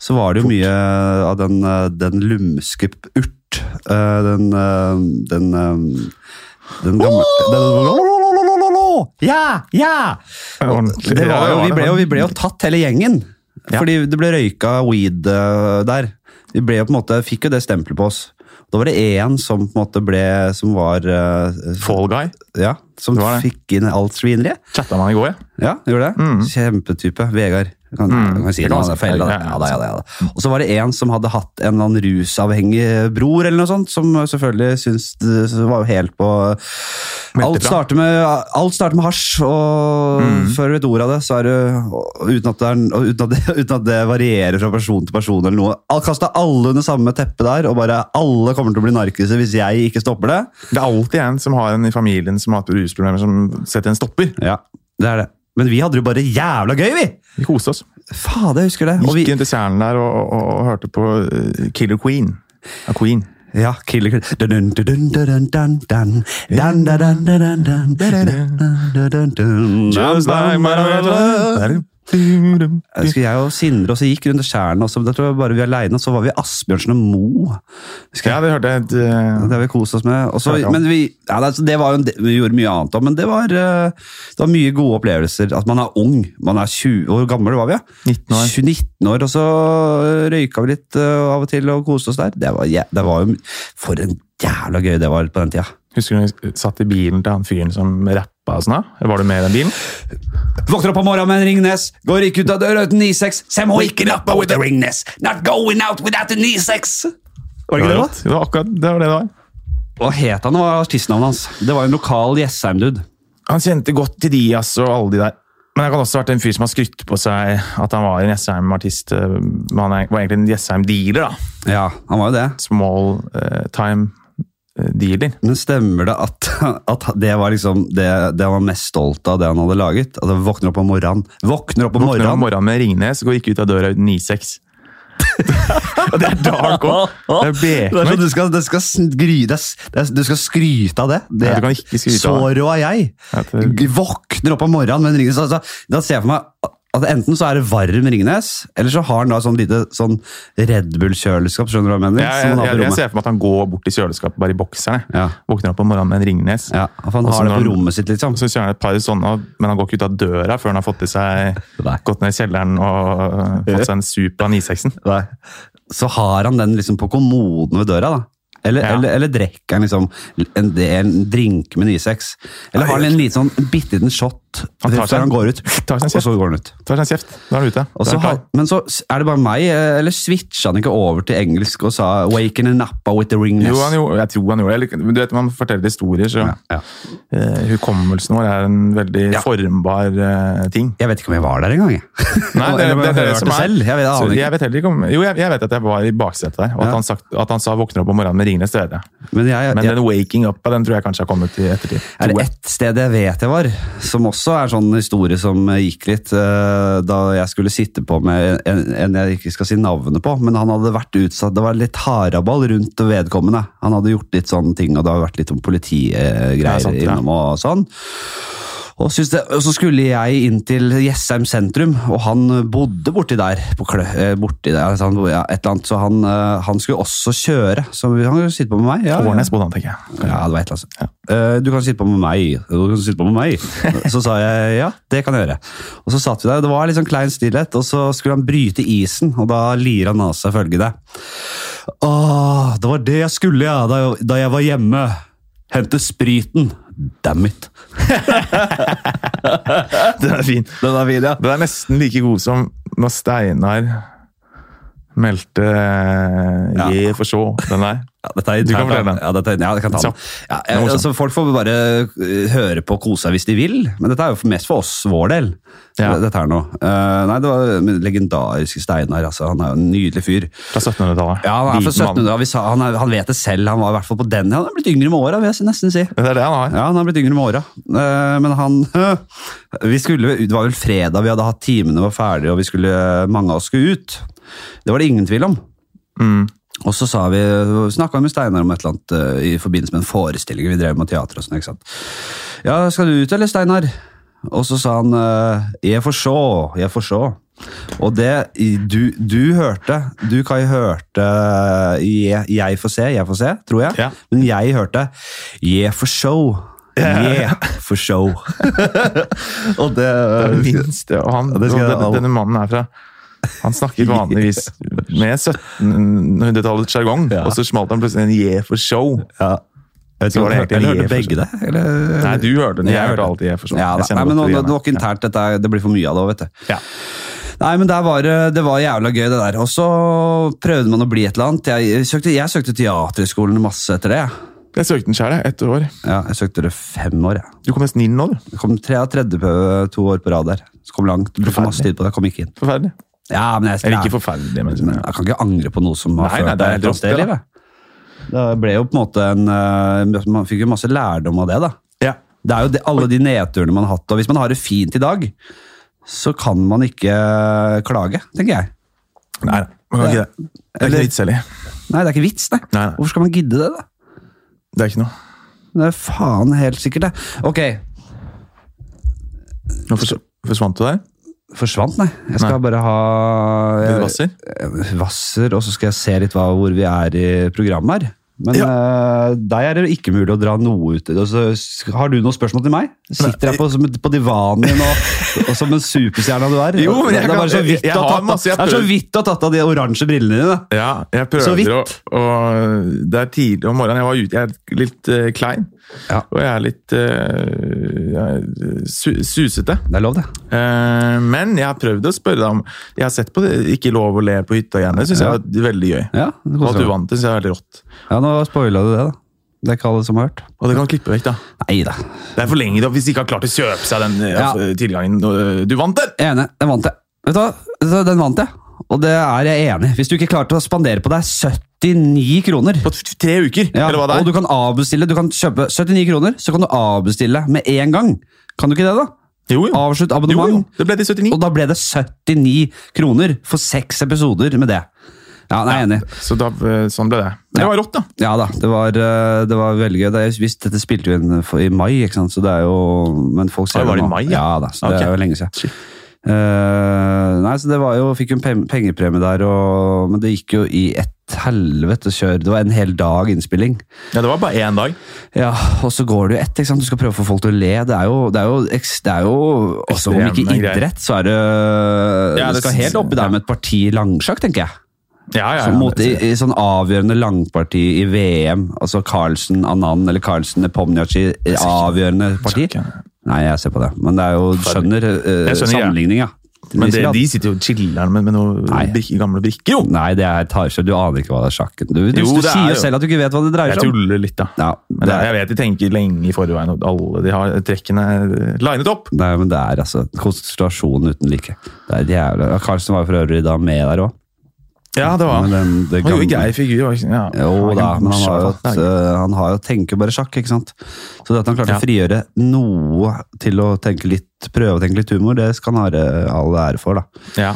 [SPEAKER 2] så var det jo mye av den, eh, den lumske urt. eh, Den eh, Den, eh, den gamle den- Ja! Ja!
[SPEAKER 1] Ordentlig.
[SPEAKER 2] Det var jo,
[SPEAKER 1] Ja,
[SPEAKER 2] vi, ble jo, vi ble jo
[SPEAKER 1] det.
[SPEAKER 2] tatt hele gjengen.
[SPEAKER 1] Ja.
[SPEAKER 2] Fordi det ble røyka weed eh, der. Vi ble jo på en måte, fikk jo det stempelet på oss. Da var det én som på en måte ble Som var eh,
[SPEAKER 1] Fall Guy.
[SPEAKER 2] Ja, som
[SPEAKER 1] Det var det.
[SPEAKER 2] fikk inn alt svineriet.
[SPEAKER 1] Chatta man i går, ja.
[SPEAKER 2] Ja, gjorde det? Kjempetype. Vegard. Kan, Mm. kan si
[SPEAKER 1] Det
[SPEAKER 2] det,
[SPEAKER 1] kan man
[SPEAKER 2] han er
[SPEAKER 1] si.
[SPEAKER 2] foreldet.
[SPEAKER 1] Ja, ja,
[SPEAKER 2] Ja, da, ja, da, ja, da. Og så var det en som hadde hatt en eller annen rusavhengig bror, eller noe sånt, som selvfølgelig syntes det var helt på Alt
[SPEAKER 1] fra.
[SPEAKER 2] starter med, alt starter med hasj, og før du vet ordet av det, så er du og Uten at det, er, og uten at det, [laughs] uten at det varierer fra person til person eller noe. Al- Kasta alle under samme teppe der, og bare alle kommer til å bli narkiser hvis jeg ikke stopper det.
[SPEAKER 1] Det er alltid en som har en i familien som har hatt rusproblemer, som setter en stopper.
[SPEAKER 2] Ja, det er det. Men vi hadde det jo bare jævla gøy, vi!
[SPEAKER 1] Vi koste oss.
[SPEAKER 2] Fader, jeg husker det. Og vi,
[SPEAKER 1] Gikk inn til kjernen der og, og, og hørte på eh, Killer Queen. Ja, Queen.
[SPEAKER 2] Ja, Killer Queen. Dun, dun, dun, dun, dun, dun. Dun, dun, dun, dun, dun, dun. Dun, dun, dun, dun. Jeg husker jeg og Sindre også gikk rundt skjærene. Også. Da tror jeg bare vi var alene, og så var vi Asbjørnsen og Mo. Husker jeg.
[SPEAKER 1] Ja, det hørte jeg. et, eh,
[SPEAKER 2] Det har vi kost oss med. Og så-
[SPEAKER 1] Ja, ja.
[SPEAKER 2] men vi, ja, det, det var jo, en del- vi gjorde mye annet òg, men det var, eh, det var mye gode opplevelser. At man er ung. Man er 20, Hvor gamle var vi? Ja?
[SPEAKER 1] 19 år.
[SPEAKER 2] 19 år, og så eh, røyka vi litt eh, av og til og koste oss der. Det var, jæ- det var jo For en jævla gøy det var på den tida.
[SPEAKER 1] Husker du når vi satt i bilen til han fyren som rappa og sånn? da? Var du med i den bilen?
[SPEAKER 2] Våkner opp om morgenen med en Ringnes, går ikke ut av døra uten Nisex. Sam waking up with a Ringnes, not going out without a Nisex. Var det ikke det godt?
[SPEAKER 1] Det var akkurat det var det det var.
[SPEAKER 2] Hva het han, og artistnavnet hans? Det var jo en lokal Jessheim-dude.
[SPEAKER 1] Han kjente godt til Dias og alle de der. Men det kan også ha vært en fyr som har skrytt på seg at han var en Jessheim-artist. eh, Men han er- var egentlig en Jessheim-dealer, da.
[SPEAKER 2] Ja, han var jo det.
[SPEAKER 1] Small eh, time eh, dealer.
[SPEAKER 2] Men stemmer det at, [laughs] at det var liksom det, det han var mest stolt av, det han hadde laget? At han våkner opp om morgenen Våkner opp om
[SPEAKER 1] Våkner om
[SPEAKER 2] morgenen!
[SPEAKER 1] morgenen med Ringnes og går ikke ut av døra uten
[SPEAKER 2] [laughs]
[SPEAKER 1] I6. Og det er dark òg! Det er
[SPEAKER 2] Det er sånn,
[SPEAKER 1] bekmørkt.
[SPEAKER 2] du, skal, det skal sn- gry, det er s- det er, du skal skryte av det. det
[SPEAKER 1] Ja, du kan ikke skryte
[SPEAKER 2] så
[SPEAKER 1] av
[SPEAKER 2] rå er jeg!
[SPEAKER 1] At det-
[SPEAKER 2] G- Våkner opp om morgenen med en Ringnes. Altså, da ser jeg for meg at enten så er det varm Ringnes, eller så har han da sånn lite sånn Red Bull-kjøleskap. Skjønner du hva jeg mener?
[SPEAKER 1] Jeg, jeg,
[SPEAKER 2] Som han har
[SPEAKER 1] jeg,
[SPEAKER 2] på
[SPEAKER 1] jeg
[SPEAKER 2] rommet.
[SPEAKER 1] ser for meg at han går bort til kjøleskapet bare i bokserne.
[SPEAKER 2] Ja.
[SPEAKER 1] Våkner opp om morgenen med en Ringnes.
[SPEAKER 2] Ja, for han
[SPEAKER 1] Og så
[SPEAKER 2] har det
[SPEAKER 1] når
[SPEAKER 2] på
[SPEAKER 1] han-
[SPEAKER 2] rommet sitt, liksom.
[SPEAKER 1] Og så kjører han et par sånne, men han går ikke ut av døra før han har fått i seg
[SPEAKER 2] Nei.
[SPEAKER 1] gått ned i kjelleren og øh, fått seg en sup av 96-en.
[SPEAKER 2] Nei. Så har han den liksom på kommoden ved døra, da. Eller,
[SPEAKER 1] Ja.
[SPEAKER 2] eller, eller drikker han liksom en, del, en drink med Nysex? Eller har han en liten sånn, en bitte liten shot
[SPEAKER 1] Han tar
[SPEAKER 2] før
[SPEAKER 1] seg en-
[SPEAKER 2] han går ut,
[SPEAKER 1] [sniffs] tar seg en
[SPEAKER 2] og så går han ut?
[SPEAKER 1] Tar seg en kjeft, da er han ute.
[SPEAKER 2] Og
[SPEAKER 1] Da
[SPEAKER 2] så
[SPEAKER 1] er han klar.
[SPEAKER 2] har, men så s- er det bare meg, eh, eller switcha han ikke over til engelsk og sa 'Waken and nappa with the ringness'?
[SPEAKER 1] Jo, han gjorde, jeg tror han gjorde det. Eller, men Du vet, man forteller historier, så
[SPEAKER 2] Ja, ja.
[SPEAKER 1] eh, hukommelsen vår er en veldig
[SPEAKER 2] Ja.
[SPEAKER 1] formbar eh, ting.
[SPEAKER 2] Jeg vet ikke om jeg var der engang. jeg.
[SPEAKER 1] Nei, det,
[SPEAKER 2] [laughs] Eller om
[SPEAKER 1] det,
[SPEAKER 2] jeg
[SPEAKER 1] det er det
[SPEAKER 2] hørte
[SPEAKER 1] som er.
[SPEAKER 2] selv. Jeg vet, jeg
[SPEAKER 1] Så
[SPEAKER 2] aner ikke.
[SPEAKER 1] jeg vet heller ikke om, jo, jeg, jeg vet at jeg var i baksetet der, og at,
[SPEAKER 2] Ja.
[SPEAKER 1] han, sagt, at han sa 'våkner opp om morgenen med Ringnes', det vet jeg.
[SPEAKER 2] Men, jeg,
[SPEAKER 1] Men
[SPEAKER 2] jeg,
[SPEAKER 1] den 'waking up' den tror jeg kanskje har kommet i ettertid. Tror
[SPEAKER 2] Er det
[SPEAKER 1] jeg.
[SPEAKER 2] ett sted jeg vet jeg var, som også er sånn historie som eh, gikk litt eh, da jeg skulle sitte på med en, en jeg ikke skal si navnet på, men han hadde vært utsatt, det var litt haraball rundt vedkommende. Han hadde gjort litt sånne ting, og det har vært litt om
[SPEAKER 1] Ja,
[SPEAKER 2] politigreier
[SPEAKER 1] sant, ja.
[SPEAKER 2] innom og sånn. Og, synes det, og så skulle jeg inn til Jessheim sentrum, og han bodde borti der. På klø, eh, borti der altså han, bo- ja, et eller annet, Så han, eh, han skulle også kjøre, så han skulle sitte på med meg. Ja, ja.
[SPEAKER 1] Årnes bodde han, tenker
[SPEAKER 2] [laughs]
[SPEAKER 1] jeg.
[SPEAKER 2] Ja, det var et eller annet. Eh, du kan sitte på med meg. Du kan sitte på med meg. Så sa jeg ja, det kan jeg gjøre. Og så satt vi der, og det var litt sånn klein stillhet, og så skulle han bryte isen, og da lirer han av seg følgende. Åh, det var det jeg skulle, ja, da, da jeg var hjemme. Hente spriten. Damn it.
[SPEAKER 1] Den er fin.
[SPEAKER 2] Den er fin, ja.
[SPEAKER 1] Den er nesten like god som når Steinar meldte eh,
[SPEAKER 2] Ja.
[SPEAKER 1] Je for så. Den der.
[SPEAKER 2] Ja, dette er
[SPEAKER 1] Du kan
[SPEAKER 2] internt,
[SPEAKER 1] fortelle den.
[SPEAKER 2] Ja, dette, er- ja, jeg kan ta den.
[SPEAKER 1] Så.
[SPEAKER 2] Ja,
[SPEAKER 1] Den er
[SPEAKER 2] jeg,
[SPEAKER 1] morsom.
[SPEAKER 2] altså, folk får bare eh, høre på og kose seg hvis de vil, men dette er jo for- mest for oss, vår del.
[SPEAKER 1] Ja.
[SPEAKER 2] Dette her nå. Eh, nei, det var men legendariske Steinar, altså. Han er jo en nydelig fyr.
[SPEAKER 1] Fra 1700-tallet.
[SPEAKER 2] Ja, han er fra
[SPEAKER 1] Liten mann.
[SPEAKER 2] 1700, og vi sa- han, er, han vet det selv, han var i hvert fall på den. Han har blitt yngre med åra, vil jeg si- nesten si.
[SPEAKER 1] Det er det han har.
[SPEAKER 2] Ja, han har blitt yngre med åra. Eh, Men han [laughs] vi skulle, Det var vel fredag vi hadde hatt timene var ferdige, og vi skulle, eh, mange av oss skulle ut. Det var det ingen tvil om. Og så sa vi, snakka med Steinar om et eller annet eh, i forbindelse med en forestilling. Vi drev med teater og sånn. ikke sant? Ja, skal du ut, eller, Steinar? Og så sa han eh, 'jeg får sjå, jeg får sjå'. Og det i- du, du hørte Du, Kai, hørte jeg, 'jeg får se, jeg får se', tror jeg.
[SPEAKER 1] Ja.
[SPEAKER 2] Men jeg hørte 'yeah for show'. Yeah for show. [laughs] og det,
[SPEAKER 1] Det er minst, ja, og han,
[SPEAKER 2] det skal
[SPEAKER 1] og
[SPEAKER 2] jeg
[SPEAKER 1] denne,
[SPEAKER 2] alle-
[SPEAKER 1] denne mannen er fra Han snakker vanligvis
[SPEAKER 2] [laughs]
[SPEAKER 1] med 1700-tallets sjargong,
[SPEAKER 2] Ja.
[SPEAKER 1] og så smalt han plutselig en je for show.
[SPEAKER 2] ja. Jeg vet ikke
[SPEAKER 1] Så
[SPEAKER 2] om
[SPEAKER 1] var det
[SPEAKER 2] du hørte,
[SPEAKER 1] egentlig
[SPEAKER 2] eller
[SPEAKER 1] «je»
[SPEAKER 2] hørte
[SPEAKER 1] for
[SPEAKER 2] begge det? Eller?
[SPEAKER 1] Nei, du hørte den. Jeg,
[SPEAKER 2] Jeg
[SPEAKER 1] hørte
[SPEAKER 2] hørte.
[SPEAKER 1] alltid je for show.
[SPEAKER 2] Ja, da.
[SPEAKER 1] Jeg kjenner
[SPEAKER 2] Nei, men nå,
[SPEAKER 1] godt til de
[SPEAKER 2] nå, det var ikke
[SPEAKER 1] greiene.
[SPEAKER 2] internt, dette, er- det blir for mye av det òg, vet du.
[SPEAKER 1] Ja.
[SPEAKER 2] Nei, men der var, det- det var jævla gøy, det der. Og så prøvde man å bli et eller annet. Jeg søkte, jeg søkte teaterskolen masse etter det. jeg.
[SPEAKER 1] Jeg søkte den sjæl, jeg. Ett år.
[SPEAKER 2] Ja, jeg søkte det fem år, jeg.
[SPEAKER 1] Du kom nesten inn nå, du.
[SPEAKER 2] Jeg kom tre av tredje på to år på rad der. Så kom langt, brukte masse tid på det, jeg kom ikke inn.
[SPEAKER 1] Forferdelig.
[SPEAKER 2] Ja, men jeg,
[SPEAKER 1] Eller
[SPEAKER 2] jeg,
[SPEAKER 1] ikke forferdelig, men sånn,
[SPEAKER 2] men jeg kan ikke angre på noe som har
[SPEAKER 1] Nei, nei,
[SPEAKER 2] ført
[SPEAKER 1] det er
[SPEAKER 2] deg et eller annet sted i
[SPEAKER 1] helt
[SPEAKER 2] livet. Det ble jo på en måte en eh, Man fikk jo masse lærdom av det, da.
[SPEAKER 1] ja.
[SPEAKER 2] Det er jo det, alle de nedturene man har hatt, og hvis man har det fint i dag, så kan man ikke eh, klage, tenker jeg.
[SPEAKER 1] Nei, nei. Man kan ikke det. Det er ikke
[SPEAKER 2] Eller-
[SPEAKER 1] noe vits heller.
[SPEAKER 2] Nei, det er ikke vits, nei.
[SPEAKER 1] Nei, nei.
[SPEAKER 2] Hvorfor skal man gidde det, da?
[SPEAKER 1] Det er ikke noe.
[SPEAKER 2] Det er faen helt sikkert, det. Ok,
[SPEAKER 1] Nå forsv- forsvant du der.
[SPEAKER 2] forsvant, nei. Jeg skal
[SPEAKER 1] Nei.
[SPEAKER 2] bare ha
[SPEAKER 1] Litt vasser.
[SPEAKER 2] Eh, Vasser, og så skal jeg se litt hva, hvor vi er i programmet her. Men eh, der er det ikke mulig å dra noe ut. Altså, s- har du noen spørsmål til meg? Sitter jeg på, som, på divanen min og, og som en superstjerne du er?
[SPEAKER 1] Jo, men jeg
[SPEAKER 2] det er
[SPEAKER 1] kan-
[SPEAKER 2] bare så
[SPEAKER 1] jeg-
[SPEAKER 2] vidt
[SPEAKER 1] jeg
[SPEAKER 2] du har
[SPEAKER 1] har
[SPEAKER 2] tatt av-
[SPEAKER 1] masse, jeg
[SPEAKER 2] det er så
[SPEAKER 1] prøver.
[SPEAKER 2] vidt du har tatt av de oransje brillene dine.
[SPEAKER 1] Ja, jeg
[SPEAKER 2] Så
[SPEAKER 1] prøver
[SPEAKER 2] vidt.
[SPEAKER 1] å og Det er tidlig om morgenen. Jeg var ute, jeg er litt eh, klein.
[SPEAKER 2] Ja.
[SPEAKER 1] Og jeg er litt eh, jeg er su susete.
[SPEAKER 2] Det er lov, det.
[SPEAKER 1] Eh, men jeg har prøvd å spørre deg om Jeg har sett på det, Ikke lov å le på hytta igjen. Det syns jeg var veldig gøy.
[SPEAKER 2] Ja, det
[SPEAKER 1] Og at du
[SPEAKER 2] koser meg.
[SPEAKER 1] vant det, syns jeg er veldig rått.
[SPEAKER 2] ja Nå spoila du det, da. Det er ikke alle som har hørt.
[SPEAKER 1] Og det kan man klippe vekk, da.
[SPEAKER 2] Nei da.
[SPEAKER 1] Det er for lenge da, hvis de ikke har klart å kjøpe seg den eh,
[SPEAKER 2] Ja.
[SPEAKER 1] altså, tilgangen. Og, eh, Du vant den!
[SPEAKER 2] Jeg er enig. Den vant jeg. Vet du hva? Vet du hva? Den vant jeg. Og det er jeg enig i. Hvis du ikke klarte å spandere på deg 79 kroner
[SPEAKER 1] På t- tre uker,
[SPEAKER 2] ja,
[SPEAKER 1] eller hva det
[SPEAKER 2] Og
[SPEAKER 1] er.
[SPEAKER 2] du kan avbestille. Du kan kjøpe 79 kroner, så kan du avbestille med en gang. Kan du ikke det, da?
[SPEAKER 1] jo, jo.
[SPEAKER 2] Avslutt
[SPEAKER 1] jo,
[SPEAKER 2] abonnement.
[SPEAKER 1] jo. Det ble de 79.
[SPEAKER 2] Og da ble det 79 kroner for seks episoder med det. Ja, nei, jeg er enig.
[SPEAKER 1] Så da, eh, sånn ble det. Men det var rått, da.
[SPEAKER 2] Ja da, det var, eh, det var veldig gøy. Det er, visst, dette spilte vi inn for, i mai, ikke sant? så det er jo Men folk ser
[SPEAKER 1] Ah, var det
[SPEAKER 2] nå.
[SPEAKER 1] i mai,
[SPEAKER 2] ja?
[SPEAKER 1] ja?
[SPEAKER 2] da, så det
[SPEAKER 1] Ok.
[SPEAKER 2] er jo lenge siden.
[SPEAKER 1] Shit.
[SPEAKER 2] Eh, nei, så det var jo Fikk jo en pem- pengepremie der, og, men det gikk jo i et helvete kjør. Det var en hel dag innspilling.
[SPEAKER 1] Ja, det var bare én dag.
[SPEAKER 2] Ja, og så går det jo ett, ikke sant? Du skal prøve å få folk til å le. Det er jo, det er jo, eks- det er jo også om
[SPEAKER 1] Ekstreme
[SPEAKER 2] ikke
[SPEAKER 1] greier.
[SPEAKER 2] idrett, så er det
[SPEAKER 1] Ja,
[SPEAKER 2] Det
[SPEAKER 1] det
[SPEAKER 2] skal
[SPEAKER 1] syns-
[SPEAKER 2] helt oppi der
[SPEAKER 1] ja.
[SPEAKER 2] med et parti langsjakk, tenker jeg.
[SPEAKER 1] Ja, ja,
[SPEAKER 2] Så
[SPEAKER 1] ja.
[SPEAKER 2] mot, i, i sånn avgjørende langparti i VM, altså Carlsen Anand eller Carlsen Nepomniachtchi, i avgjørende parti.
[SPEAKER 1] Sjakk, ja.
[SPEAKER 2] Nei, jeg ser på det, men det er jo skjønner, eh,
[SPEAKER 1] Jeg skjønner, ja.
[SPEAKER 2] sammenligninga.
[SPEAKER 1] Men det, de sitter jo og chiller'n med, med noen
[SPEAKER 2] Nei.
[SPEAKER 1] brikker, gamle brikker, jo!
[SPEAKER 2] Nei, det er tarsjø. Du aner ikke hva det er sjakken. Du, du,
[SPEAKER 1] Jo,
[SPEAKER 2] du
[SPEAKER 1] det er
[SPEAKER 2] sier jo
[SPEAKER 1] jo-
[SPEAKER 2] selv at du ikke vet hva det dreier
[SPEAKER 1] Jeg
[SPEAKER 2] seg om.
[SPEAKER 1] tuller litt, da.
[SPEAKER 2] Ja,
[SPEAKER 1] Men
[SPEAKER 2] det er,
[SPEAKER 1] jeg vet de tenker lenge i forveien at alle de har trekkene eh, linet opp.
[SPEAKER 2] nei, men det er altså konsentrasjon uten like. Det er jævla ja, Carlsen var jo for øvrig da med der òg.
[SPEAKER 1] Ja, det var
[SPEAKER 2] Men den- det
[SPEAKER 1] Han gjorde en
[SPEAKER 2] gamle-
[SPEAKER 1] grei figur. var ikke- Ja.
[SPEAKER 2] Jo da, men han har jo,
[SPEAKER 1] Nei.
[SPEAKER 2] et, øh, han har jo tenker bare sjakk, ikke sant? Så det at han klarte
[SPEAKER 1] Ja.
[SPEAKER 2] å frigjøre noe til å tenke litt, prøve å tenke litt humor, det skal han ha øh, all ære for, da.
[SPEAKER 1] ja.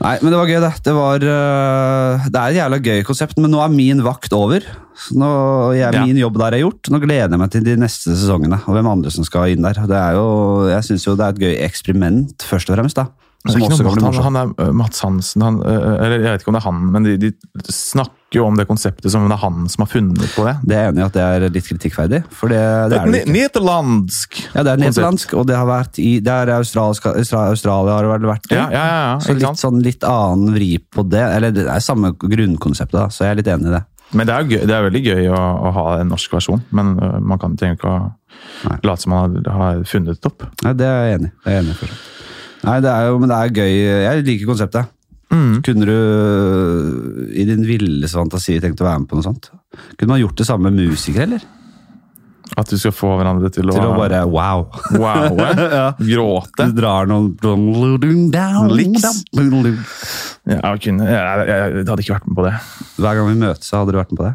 [SPEAKER 2] Nei, men det var gøy, det. Det, var, øh, det er et jævla gøy konsept, men nå er min vakt over. Så nå jeg,
[SPEAKER 1] Ja.
[SPEAKER 2] Min jobb der er gjort. Nå gleder jeg meg til de neste sesongene, og hvem andre som skal inn der. Det er jo, jeg syns jo det er et gøy eksperiment, først og fremst, da.
[SPEAKER 1] Men det
[SPEAKER 2] Som
[SPEAKER 1] er Altså, ikke
[SPEAKER 2] også
[SPEAKER 1] noe
[SPEAKER 2] kan bli
[SPEAKER 1] med at
[SPEAKER 2] morsomt.
[SPEAKER 1] han, han er øh, Mats Hansen han, øh, Eller jeg vet ikke om det er han, men de, de snakker jo om det konseptet som om det er han som har funnet på det.
[SPEAKER 2] Det er jeg enig i at det er litt kritikkverdig, for det, det er det
[SPEAKER 1] Ne- Nederlandsk!
[SPEAKER 2] Ja, det er
[SPEAKER 1] konsept.
[SPEAKER 2] nederlandsk, og det har vært i det er australsk, Austra, Australia har det vel vært i.
[SPEAKER 1] Ja, ja, ja. ja
[SPEAKER 2] så
[SPEAKER 1] ikke
[SPEAKER 2] litt,
[SPEAKER 1] sant?
[SPEAKER 2] sånn, litt annen vri på det. Eller det er samme grunnkonseptet, da, så jeg er litt enig i det.
[SPEAKER 1] Men det er, jo gøy, det er veldig gøy å, å ha en norsk versjon, men øh, man kan trenger ikke å
[SPEAKER 2] Nei.
[SPEAKER 1] late som man har, har funnet det opp.
[SPEAKER 2] Nei, det er jeg enig i. Det er jeg enig i, for så vidt. Nei, det er jo, men det er gøy. Jeg liker konseptet. Kunne du i din villeste fantasi tenkt å være med på noe sånt? Kunne man gjort det samme med musikere, eller?
[SPEAKER 1] At du skal få hverandre til å,
[SPEAKER 2] Til å bare wow. [laughs]
[SPEAKER 1] wowe, gråte.
[SPEAKER 2] Du drar noen Licks.
[SPEAKER 1] Licks. Ja, jeg, kunne, jeg, jeg, jeg hadde ikke vært med på det.
[SPEAKER 2] Hver gang vi møtes, hadde du vært med på det?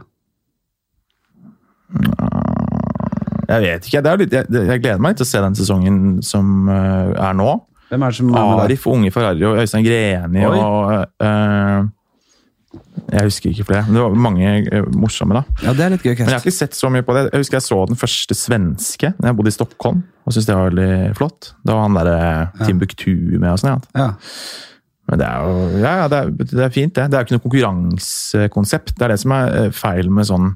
[SPEAKER 1] Jeg vet ikke. Det er jo litt, jeg, jeg gleder meg litt til å se den sesongen som øh, er nå.
[SPEAKER 2] Hvem er det som er med der?
[SPEAKER 1] Arif og Unge Ferrari og Øystein Greni
[SPEAKER 2] Oi.
[SPEAKER 1] og eh, Jeg husker ikke flere, men det var mange eh, morsomme, da.
[SPEAKER 2] Ja, det er litt gøy.
[SPEAKER 1] Men jeg
[SPEAKER 2] Kast.
[SPEAKER 1] har ikke sett så mye på det. Jeg husker jeg så den første svenske da jeg bodde i Stockholm. og syntes det var veldig flott. Det var han derre Timbuktu med og sånn. Ja.
[SPEAKER 2] Ja.
[SPEAKER 1] Men det er jo ja, ja, det, er, det er fint, det. Det er jo ikke noe konkurransekonsept. Det er det som er eh, feil med sånn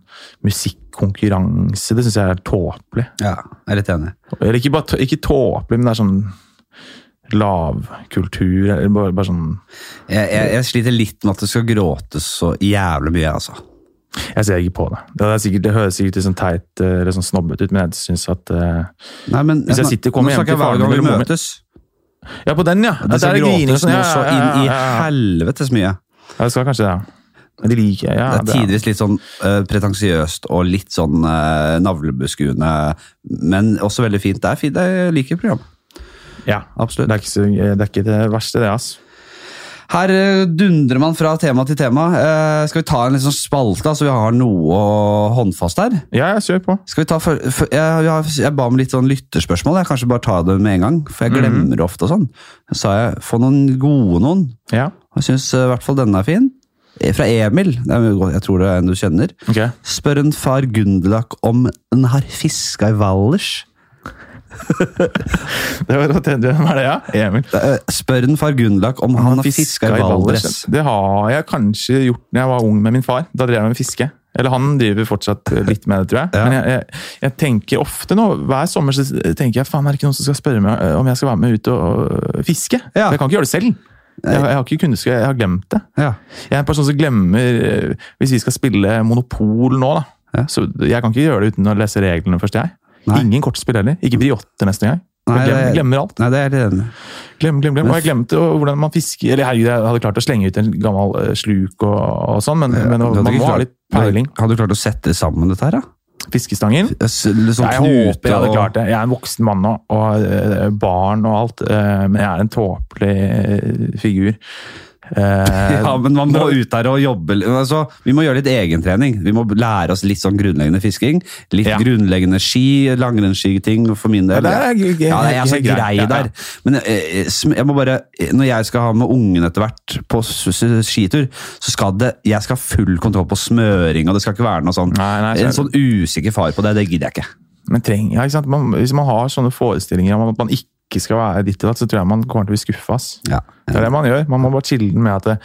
[SPEAKER 1] musikkonkurranse. Det syns jeg er tåpelig.
[SPEAKER 2] Ja, jeg er litt enig.
[SPEAKER 1] Eller ikke, bare, tå- ikke tåpelig, men det er sånn lavkultur. eller Bare, bare sånn
[SPEAKER 2] Jeg, jeg, jeg sliter litt med at det skal gråtes så jævlig mye, altså.
[SPEAKER 1] Jeg ser ikke på det. Det, er sikkert, det høres sikkert litt sånn teit eh, eller sånn snobbete ut, men jeg syns at eh,
[SPEAKER 2] Nei, men,
[SPEAKER 1] Hvis jeg
[SPEAKER 2] snak-
[SPEAKER 1] sitter- kommer
[SPEAKER 2] nå
[SPEAKER 1] hjem
[SPEAKER 2] snakker jeg
[SPEAKER 1] til faren
[SPEAKER 2] hver gang
[SPEAKER 1] min
[SPEAKER 2] vi
[SPEAKER 1] eller moren
[SPEAKER 2] møtes.
[SPEAKER 1] Ja, på den, ja!
[SPEAKER 2] At
[SPEAKER 1] Ja,
[SPEAKER 2] det
[SPEAKER 1] der
[SPEAKER 2] skal
[SPEAKER 1] er grining og
[SPEAKER 2] gråtes
[SPEAKER 1] sånn.
[SPEAKER 2] noe
[SPEAKER 1] Ja,
[SPEAKER 2] så
[SPEAKER 1] ja,
[SPEAKER 2] inn i
[SPEAKER 1] ja, ja, ja.
[SPEAKER 2] helvetes mye.
[SPEAKER 1] Ja, det skal kanskje det, ja. Men de liker jeg. Ja,
[SPEAKER 2] Det er
[SPEAKER 1] det,
[SPEAKER 2] tidvis litt sånn eh, pretensiøst og litt sånn eh, navlebeskuende, men også veldig fint. Det er fint, jeg liker programmet.
[SPEAKER 1] ja.
[SPEAKER 2] Absolutt.
[SPEAKER 1] Det, er ikke, så- det er ikke det verste, det, ass.
[SPEAKER 2] Her eh, dundrer man fra tema til tema. Eh, skal vi ta en litt sånn spalte, da, så vi har noe håndfast her?
[SPEAKER 1] Ja, jeg kjør på.
[SPEAKER 2] Skal vi ta for, for, jeg, jeg, jeg ba om litt sånn lytterspørsmål. Jeg kanskje bare ta det med en gang, for
[SPEAKER 1] Mhm.
[SPEAKER 2] jeg glemmer det ofte. og sånn. Så sa jeg få noen gode noen.
[SPEAKER 1] Ja,
[SPEAKER 2] Og Jeg syns i hvert fall denne er fin. Eh, Fra Emil. Det er, jo godt- jeg tror det er en du kjenner.
[SPEAKER 1] ok. [laughs]
[SPEAKER 2] Spør en far Gundelak om en har fiska i Valdres.
[SPEAKER 1] Det var Hvem er det, ja? Emil.
[SPEAKER 2] Eh, Spør en far Gundelak om han, har fiska i Valdres.
[SPEAKER 1] Det har jeg kanskje gjort når jeg var ung med min far. Da drev jeg med fiske. Eller han driver fortsatt eh, litt med det, tror jeg.
[SPEAKER 2] Ja.
[SPEAKER 1] Men jeg, jeg, jeg tenker ofte nå, hver sommer så tenker jeg faen, er det ikke noen som skal spørre meg eh, om jeg skal være med ut og og fiske?
[SPEAKER 2] Ja.
[SPEAKER 1] For Jeg kan ikke gjøre det selv. Jeg, jeg har ikke kunnskap, jeg har glemt det.
[SPEAKER 2] Ja.
[SPEAKER 1] Jeg er en person som glemmer eh, Hvis vi skal spille Monopol nå, da.
[SPEAKER 2] Ja.
[SPEAKER 1] Så jeg kan ikke gjøre det uten å lese reglene først, jeg.
[SPEAKER 2] Nei.
[SPEAKER 1] Ingen kortspill heller. Ikke Briotte neste gang.
[SPEAKER 2] Nei,
[SPEAKER 1] Jeg glemmer,
[SPEAKER 2] det-
[SPEAKER 1] glemmer alt.
[SPEAKER 2] Nei, det er jeg litt enig med.
[SPEAKER 1] Glem, glem, glem. Og jeg glemte jo hvordan man fisker Eller herregud, jeg hadde klart å slenge ut en gammel eh, sluk og, og sånn, men, men
[SPEAKER 2] Du hadde
[SPEAKER 1] man
[SPEAKER 2] ikke
[SPEAKER 1] må ha
[SPEAKER 2] klart-
[SPEAKER 1] litt peiling.
[SPEAKER 2] Hadde du klart å sette sammen dette her, da?
[SPEAKER 1] fiskestangen.
[SPEAKER 2] Jeg s- litt sånn
[SPEAKER 1] Jeg håper jeg hadde
[SPEAKER 2] og-
[SPEAKER 1] klart det. Jeg er en voksen mann nå, og eh, barn og alt, eh, men jeg er en tåpelig eh, figur. Eh,
[SPEAKER 2] [laughs] Ja, men man må ut der og jobbe. li- Altså, vi må gjøre litt egentrening. Vi må lære oss litt sånn grunnleggende fisking. Litt
[SPEAKER 1] Ja.
[SPEAKER 2] grunnleggende ski, langrennsskiting for min del.
[SPEAKER 1] Ja, det er g- g-
[SPEAKER 2] Ja, jeg er så
[SPEAKER 1] helt greit,
[SPEAKER 2] grei
[SPEAKER 1] ja, ja.
[SPEAKER 2] der. Men eh, sm- jeg må bare, når jeg skal ha med ungen etter hvert på s- s- skitur, så skal det, jeg skal ha full kontroll på smøring, og det skal ikke være noe sånn,
[SPEAKER 1] Nei, nei, så-
[SPEAKER 2] en sånn usikker far på det, det gidder jeg ikke.
[SPEAKER 1] Men treng, ja, ikke sant? Man, hvis man har sånne forestillinger om at man ikke skal være ditt og datt, så tror jeg man kommer til å bli skuffa. ass.
[SPEAKER 2] Ja.
[SPEAKER 1] Det er det man gjør. Man må bare chille med at det,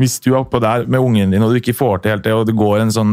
[SPEAKER 1] hvis du er oppå der med ungen din, og du ikke får til helt det, og det går en sånn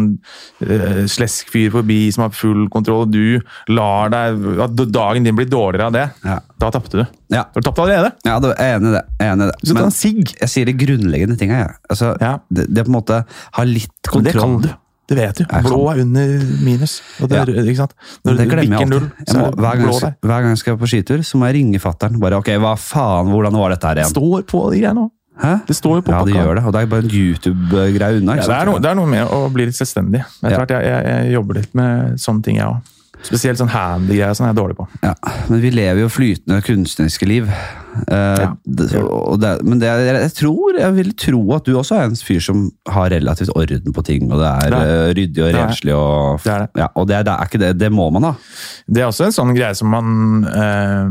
[SPEAKER 1] eh, slesk fyr forbi som har full kontroll, og du lar deg At dagen din blir dårligere av det,
[SPEAKER 2] Ja.
[SPEAKER 1] da tapte du.
[SPEAKER 2] Ja.
[SPEAKER 1] Du har tapt allerede!
[SPEAKER 2] Ja, det, jeg er enig i det. Jeg er enig i det.
[SPEAKER 1] Du skal
[SPEAKER 2] Men-
[SPEAKER 1] ta en sigg!
[SPEAKER 2] jeg sier de grunnleggende tinga, jeg. Altså,
[SPEAKER 1] Ja.
[SPEAKER 2] det, det på en måte har litt
[SPEAKER 1] Men Det
[SPEAKER 2] kontroll.
[SPEAKER 1] kan du. Det vet du.
[SPEAKER 2] Jeg kan.
[SPEAKER 1] Blå er under minus. Og det,
[SPEAKER 2] Ja.
[SPEAKER 1] er- ikke sant? Når
[SPEAKER 2] Det
[SPEAKER 1] du
[SPEAKER 2] glemmer jeg
[SPEAKER 1] bikker null,
[SPEAKER 2] alltid. Jeg
[SPEAKER 1] så
[SPEAKER 2] må,
[SPEAKER 1] er det
[SPEAKER 2] hver, gang,
[SPEAKER 1] blå
[SPEAKER 2] jeg
[SPEAKER 1] der.
[SPEAKER 2] skal- hver gang jeg skal på skitur, så må jeg ringe fattern. Bare ok, hva faen, hvordan var dette her
[SPEAKER 1] Det
[SPEAKER 2] igjen?
[SPEAKER 1] står på de greiene òg.
[SPEAKER 2] Hæ?
[SPEAKER 1] Det står jo på
[SPEAKER 2] Ja, det
[SPEAKER 1] pakka.
[SPEAKER 2] gjør det. Og det er bare en YouTube-greie unna.
[SPEAKER 1] Ja,
[SPEAKER 2] ikke
[SPEAKER 1] det, er
[SPEAKER 2] sant?
[SPEAKER 1] noe, det er noe med å bli litt selvstendig. Etter
[SPEAKER 2] Ja.
[SPEAKER 1] hvert, jeg, jeg, jeg jobber litt med sånne ting, jeg òg. Spesielt sånn handy-greier sånn er jeg dårlig på.
[SPEAKER 2] Ja, men vi lever jo flytende kunstneriske liv. Eh,
[SPEAKER 1] Ja.
[SPEAKER 2] det, og det, men det, er- jeg tror, jeg vil tro at du også er en fyr som har relativt orden på ting, og det er
[SPEAKER 1] Det er-
[SPEAKER 2] eh, ryddig og
[SPEAKER 1] det er-
[SPEAKER 2] renslig. Og,
[SPEAKER 1] det er det.
[SPEAKER 2] Ja, og det, er- det er ikke det, det må man da.
[SPEAKER 1] Det er også en sånn greie som man eh,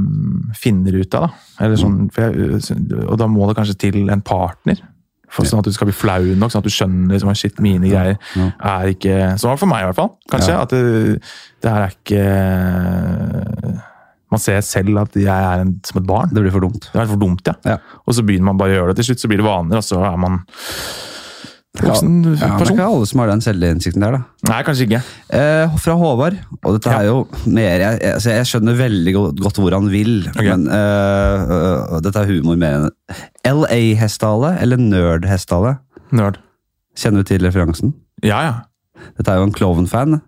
[SPEAKER 1] finner ut av, da. Eller sånn,
[SPEAKER 2] Mm.
[SPEAKER 1] for jeg, og da må det kanskje til en partner. For sånn at du skal bli flau nok, sånn at du skjønner liksom, at shit, mine greier er ikke Sånn var det for meg, i hvert fall. Kanskje. At det, det her er ikke Man ser selv at jeg er en, som et barn.
[SPEAKER 2] Det blir for dumt.
[SPEAKER 1] Det er for dumt, ja.
[SPEAKER 2] Ja.
[SPEAKER 1] Og så begynner man bare å gjøre det. Til slutt så blir det vaner, og så er man voksen
[SPEAKER 2] Ja, men det er
[SPEAKER 1] person.
[SPEAKER 2] ikke alle som har den selvinnsikten der, da.
[SPEAKER 1] Nei, kanskje ikke.
[SPEAKER 2] Eh, fra Håvard, og dette er jo mer jeg, jeg, altså, jeg skjønner veldig go- godt hvor han vil,
[SPEAKER 1] Ok.
[SPEAKER 2] men eh, eh, dette er humor mer enn LA-hestehale eller nerd-hestehale?
[SPEAKER 1] Nerd.
[SPEAKER 2] Kjenner du til referansen?
[SPEAKER 1] Ja, ja.
[SPEAKER 2] Dette er jo en klovn-fan.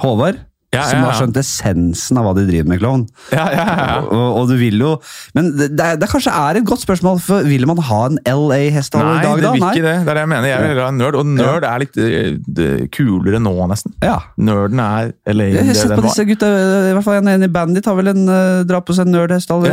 [SPEAKER 2] Håvard,
[SPEAKER 1] Ja,
[SPEAKER 2] som
[SPEAKER 1] ja,
[SPEAKER 2] har
[SPEAKER 1] ja.
[SPEAKER 2] skjønt essensen av hva de driver med klovn.
[SPEAKER 1] ja, ja, ja, ja.
[SPEAKER 2] Og, og du vil jo Men det, det, er- det kanskje er et godt spørsmål, for vil man ha en
[SPEAKER 1] Nei,
[SPEAKER 2] LA-hestehale i dag,
[SPEAKER 1] det
[SPEAKER 2] da?
[SPEAKER 1] vil ikke det. Det er det jeg mener. Jeg vil heller ha en nerd, og nerd er litt eh, det- kulere nå, nesten.
[SPEAKER 2] Ja.
[SPEAKER 1] Nerden er eller
[SPEAKER 2] Jeg har
[SPEAKER 1] det
[SPEAKER 2] sett
[SPEAKER 1] den
[SPEAKER 2] på
[SPEAKER 1] var.
[SPEAKER 2] disse gutta, i hvert fall en enig bandit har vel en eh, dra på seg en nerdhestehale.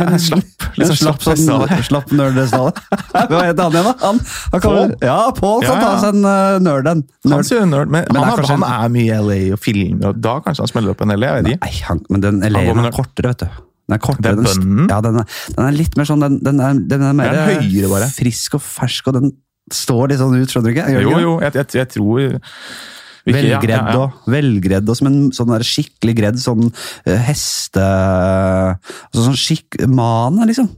[SPEAKER 1] Ja,
[SPEAKER 2] eller en-
[SPEAKER 1] en
[SPEAKER 2] [laughs]
[SPEAKER 1] slapp- litt sånn slapp
[SPEAKER 2] sånn-
[SPEAKER 1] hestehale.
[SPEAKER 2] slapp nerdhestehale. [laughs] Hva het han igjen, da? Han, han kan,
[SPEAKER 1] Paul?
[SPEAKER 2] Ja, Pål kan
[SPEAKER 1] Ja,
[SPEAKER 2] ta
[SPEAKER 1] ja.
[SPEAKER 2] seg en eh, nerd
[SPEAKER 1] Han
[SPEAKER 2] en. Nerd.
[SPEAKER 1] sier nerd, men,
[SPEAKER 2] Men det
[SPEAKER 1] han,
[SPEAKER 2] er
[SPEAKER 1] er,
[SPEAKER 2] kanskje-
[SPEAKER 1] han er mye i LA og filmer, og da kanskje han smeller opp en LA. Jeg vet ikke.
[SPEAKER 2] Nei, han, men den
[SPEAKER 1] går
[SPEAKER 2] eleven
[SPEAKER 1] med
[SPEAKER 2] er
[SPEAKER 1] nerd.
[SPEAKER 2] kortere, vet du. Den er kortere.
[SPEAKER 1] Det er
[SPEAKER 2] den st-
[SPEAKER 1] bønnen.
[SPEAKER 2] Ja, den er, den er litt mer sånn, den, den er, den er mer eh,
[SPEAKER 1] Den er høyere bare.
[SPEAKER 2] frisk og fersk, og den står litt sånn ut, skjønner du ikke? Gjør den
[SPEAKER 1] Jo,
[SPEAKER 2] ikke det?
[SPEAKER 1] jo, jeg, jeg, jeg tror ikke- ja,
[SPEAKER 2] Velgredd
[SPEAKER 1] ja, ja.
[SPEAKER 2] og velgredd og som en sånn der skikkelig gredd sånn eh, heste... Altså sånn skikk... Maner, liksom.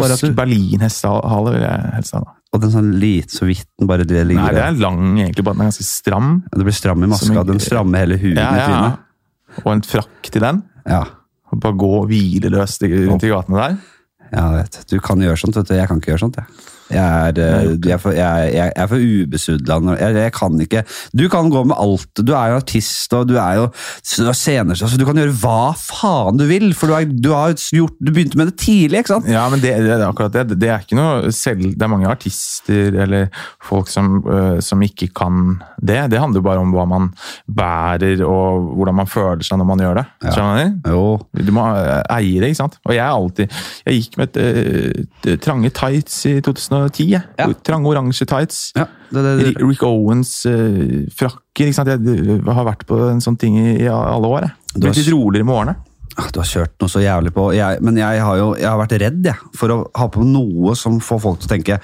[SPEAKER 2] Bare at
[SPEAKER 1] Tysk
[SPEAKER 2] du-
[SPEAKER 1] Berlin-hestehale vil jeg helst ha. da.
[SPEAKER 2] Og den sånn lite så vidt den bare ligger
[SPEAKER 1] Nei, det
[SPEAKER 2] der.
[SPEAKER 1] er lang, egentlig, bare den er ganske stram.
[SPEAKER 2] Det blir stram i
[SPEAKER 1] Som
[SPEAKER 2] maska,
[SPEAKER 1] en-
[SPEAKER 2] den strammer hele huden
[SPEAKER 1] Ja,
[SPEAKER 2] i
[SPEAKER 1] ja, ja.
[SPEAKER 2] trynet.
[SPEAKER 1] Og en frakk til den.
[SPEAKER 2] Ja.
[SPEAKER 1] Og bare gå hvileløst i- rundt i gatene der.
[SPEAKER 2] ja, vet du. Du kan gjøre sånt, vet du. Jeg kan ikke gjøre sånt, jeg. Jeg er, eh, jeg er for, jeg, er- jeg er for ubesudla. når- Jeg, jeg kan ikke Du kan gå med alt. Du er jo artist, og du er jo du er scenesjef, så du kan gjøre hva faen du vil. For du, er, du har gjort Du begynte med det tidlig, ikke sant?
[SPEAKER 1] Ja, men det, det er akkurat det. Det er ikke noe selv... Det er mange artister eller folk som, øh, som ikke kan det. Det handler jo bare om hva man bærer og hvordan man føler seg når man gjør det. Skjønner du?
[SPEAKER 2] Jo.
[SPEAKER 1] Du må øh, eie det, ikke sant? Og jeg er alltid Jeg gikk med et, øh, t- trange tights i 2010. Jeg.
[SPEAKER 2] Ja.
[SPEAKER 1] Trange oransje tights.
[SPEAKER 2] Ja, det, det, det.
[SPEAKER 1] Ri- Rick Owens øh, frakker. ikke sant? Jeg øh, har vært på en sånn ting i, i alle år. Jeg.
[SPEAKER 2] Du har
[SPEAKER 1] Blitt litt roligere med årene.
[SPEAKER 2] Ah, Du har kjørt noe så jævlig på. Jeg, men jeg har jo jeg har vært redd jeg, for å ha på noe som får folk til å tenke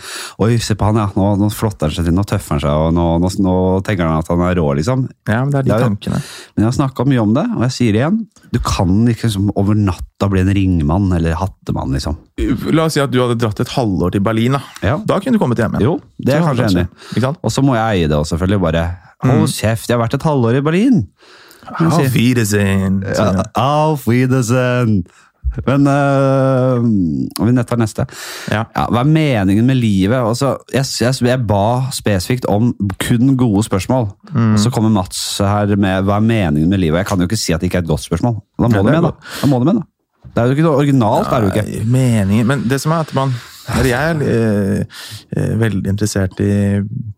[SPEAKER 2] Oi, se på han, ja. Nå, nå flotter han seg til, nå tøffer han seg, og nå, nå, nå tenker han at han er rå, liksom.
[SPEAKER 1] Ja, men det er de
[SPEAKER 2] Ja, ja.
[SPEAKER 1] tankene.
[SPEAKER 2] Men jeg har snakka mye om det, og jeg sier det igjen. Du kan ikke liksom, over natta bli en ringmann eller hattemann, liksom.
[SPEAKER 1] La oss si at du hadde dratt et halvår til Berlin. Da
[SPEAKER 2] Ja.
[SPEAKER 1] Da kunne du kommet hjem igjen.
[SPEAKER 2] Jo, det er jeg kanskje enig i.
[SPEAKER 1] Ikke sant?
[SPEAKER 2] Og så må jeg eie det også, selvfølgelig. Bare hold kjeft, jeg har vært et halvår i Berlin. Men sier-
[SPEAKER 1] Mm. Auf Wiedersehen. sier
[SPEAKER 2] Ja,
[SPEAKER 1] jeg.
[SPEAKER 2] auf Wiedersehen! Men øh, vi nettar neste.
[SPEAKER 1] Ja.
[SPEAKER 2] hva er meningen med livet? Altså, jeg, jeg, jeg ba spesifikt om kun gode spørsmål.
[SPEAKER 1] Mm.
[SPEAKER 2] Og så kommer Mats her med hva er meningen med livet. Jeg kan jo ikke si at det ikke er et godt spørsmål. Da må
[SPEAKER 1] Nei,
[SPEAKER 2] du
[SPEAKER 1] det er
[SPEAKER 2] med, da.
[SPEAKER 1] godt.
[SPEAKER 2] da må du med, da. Det er jo ikke noe originalt. er det jo ikke.
[SPEAKER 1] Nei, Meningen Men det som er at man eller Jeg er eh, eh, veldig interessert i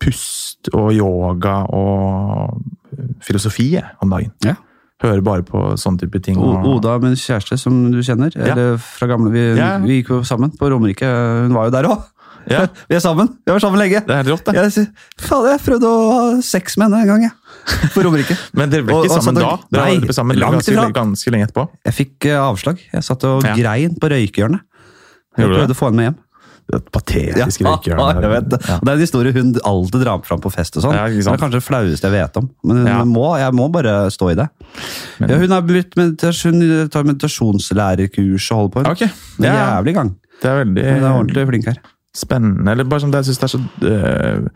[SPEAKER 1] pust og yoga og eh, filosofi jeg, om dagen.
[SPEAKER 2] Ja.
[SPEAKER 1] Hører bare på sånne type ting.
[SPEAKER 2] O-
[SPEAKER 1] og-
[SPEAKER 2] Oda, min kjæreste, som du kjenner.
[SPEAKER 1] Ah. Ja.
[SPEAKER 2] Eller fra gamle, vi,
[SPEAKER 1] Ja.
[SPEAKER 2] vi gikk jo sammen på Romerike. Hun var jo der òg!
[SPEAKER 1] Ja.
[SPEAKER 2] Vi er sammen! Vi har vært sammen lenge!
[SPEAKER 1] Det er helt rått, det.
[SPEAKER 2] Jeg, sier, faen, jeg prøvde å ha sex med henne en gang, jeg. På Romerike.
[SPEAKER 1] [laughs] Men dere ble
[SPEAKER 2] Og-
[SPEAKER 1] ikke
[SPEAKER 2] og
[SPEAKER 1] sammen
[SPEAKER 2] sånn-
[SPEAKER 1] da? Dere
[SPEAKER 2] Nei,
[SPEAKER 1] har vært sammen
[SPEAKER 2] langt
[SPEAKER 1] ganske,
[SPEAKER 2] ifra.
[SPEAKER 1] ganske lenge etterpå?
[SPEAKER 2] Jeg fikk eh, avslag. Jeg satt og
[SPEAKER 1] Ja.
[SPEAKER 2] grein på røykehjørnet. Jeg
[SPEAKER 1] Gjorde du
[SPEAKER 2] prøvde å få henne med hjem.
[SPEAKER 1] Det patetiske [laughs]
[SPEAKER 2] Ja, [laughs] jeg vet
[SPEAKER 1] røykehjørnet.
[SPEAKER 2] det. Og det er en historie hun alltid drar fram på fest. og sånn.
[SPEAKER 1] Ja, ikke
[SPEAKER 2] det
[SPEAKER 1] sant.
[SPEAKER 2] er kanskje det flaueste jeg vet om. Men hun
[SPEAKER 1] Ja.
[SPEAKER 2] må, jeg må bare stå i det.
[SPEAKER 1] Men-
[SPEAKER 2] ja, hun, har blitt meditas hun tar meditasjonslærerkurs og holder på. Hun.
[SPEAKER 1] Ok,
[SPEAKER 2] Det er
[SPEAKER 1] ja,
[SPEAKER 2] jævlig i gang.
[SPEAKER 1] det er veldig
[SPEAKER 2] Hun er ordentlig flink her.
[SPEAKER 1] spennende. Eller bare som det, jeg syns det er så øh,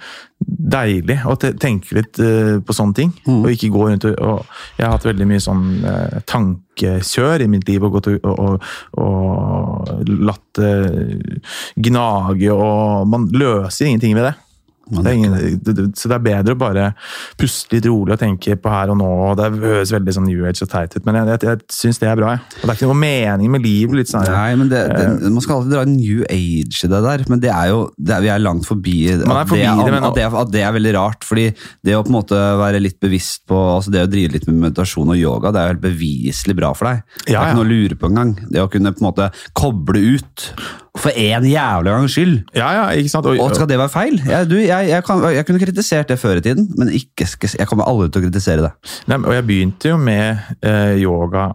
[SPEAKER 1] deilig å te tenke litt øh, på sånne ting.
[SPEAKER 2] Mm.
[SPEAKER 1] Og ikke gå rundt og, og Jeg har hatt veldig mye sånn øh, tankekjør i mitt liv og gått og, og, og latt det gnage og Man løser ingenting ved det.
[SPEAKER 2] Man
[SPEAKER 1] Det er ingen, det, det, så det er bedre å bare puste litt rolig og tenke på her og nå. og Det høres veldig sånn new age og teit ut, men jeg, jeg, jeg syns det er bra. Jeg. Og det er ikke noe mening med livet. litt sånn.
[SPEAKER 2] Nei, men det, det, Man skal alltid dra en new age i det der, men det er jo, det er, vi er langt forbi,
[SPEAKER 1] Man er
[SPEAKER 2] at,
[SPEAKER 1] forbi
[SPEAKER 2] det,
[SPEAKER 1] det, men-
[SPEAKER 2] at, det, at det er veldig rart. fordi det å på en måte være litt bevisst på altså det å drive litt med meditasjon og yoga, det er jo helt beviselig bra for deg. det
[SPEAKER 1] Ja,
[SPEAKER 2] er
[SPEAKER 1] ja.
[SPEAKER 2] ikke noe å lure på engang. Det å kunne på en måte koble ut for én jævla gangs skyld.
[SPEAKER 1] Ja, ja, ikke sant? Og,
[SPEAKER 2] Og skal det være feil? Jeg, du, jeg, jeg, kan, jeg kunne kritisert det før i tiden, men ikke, skal- jeg kommer aldri til å kritisere det.
[SPEAKER 1] Nei, men- og jeg begynte jo med eh, yoga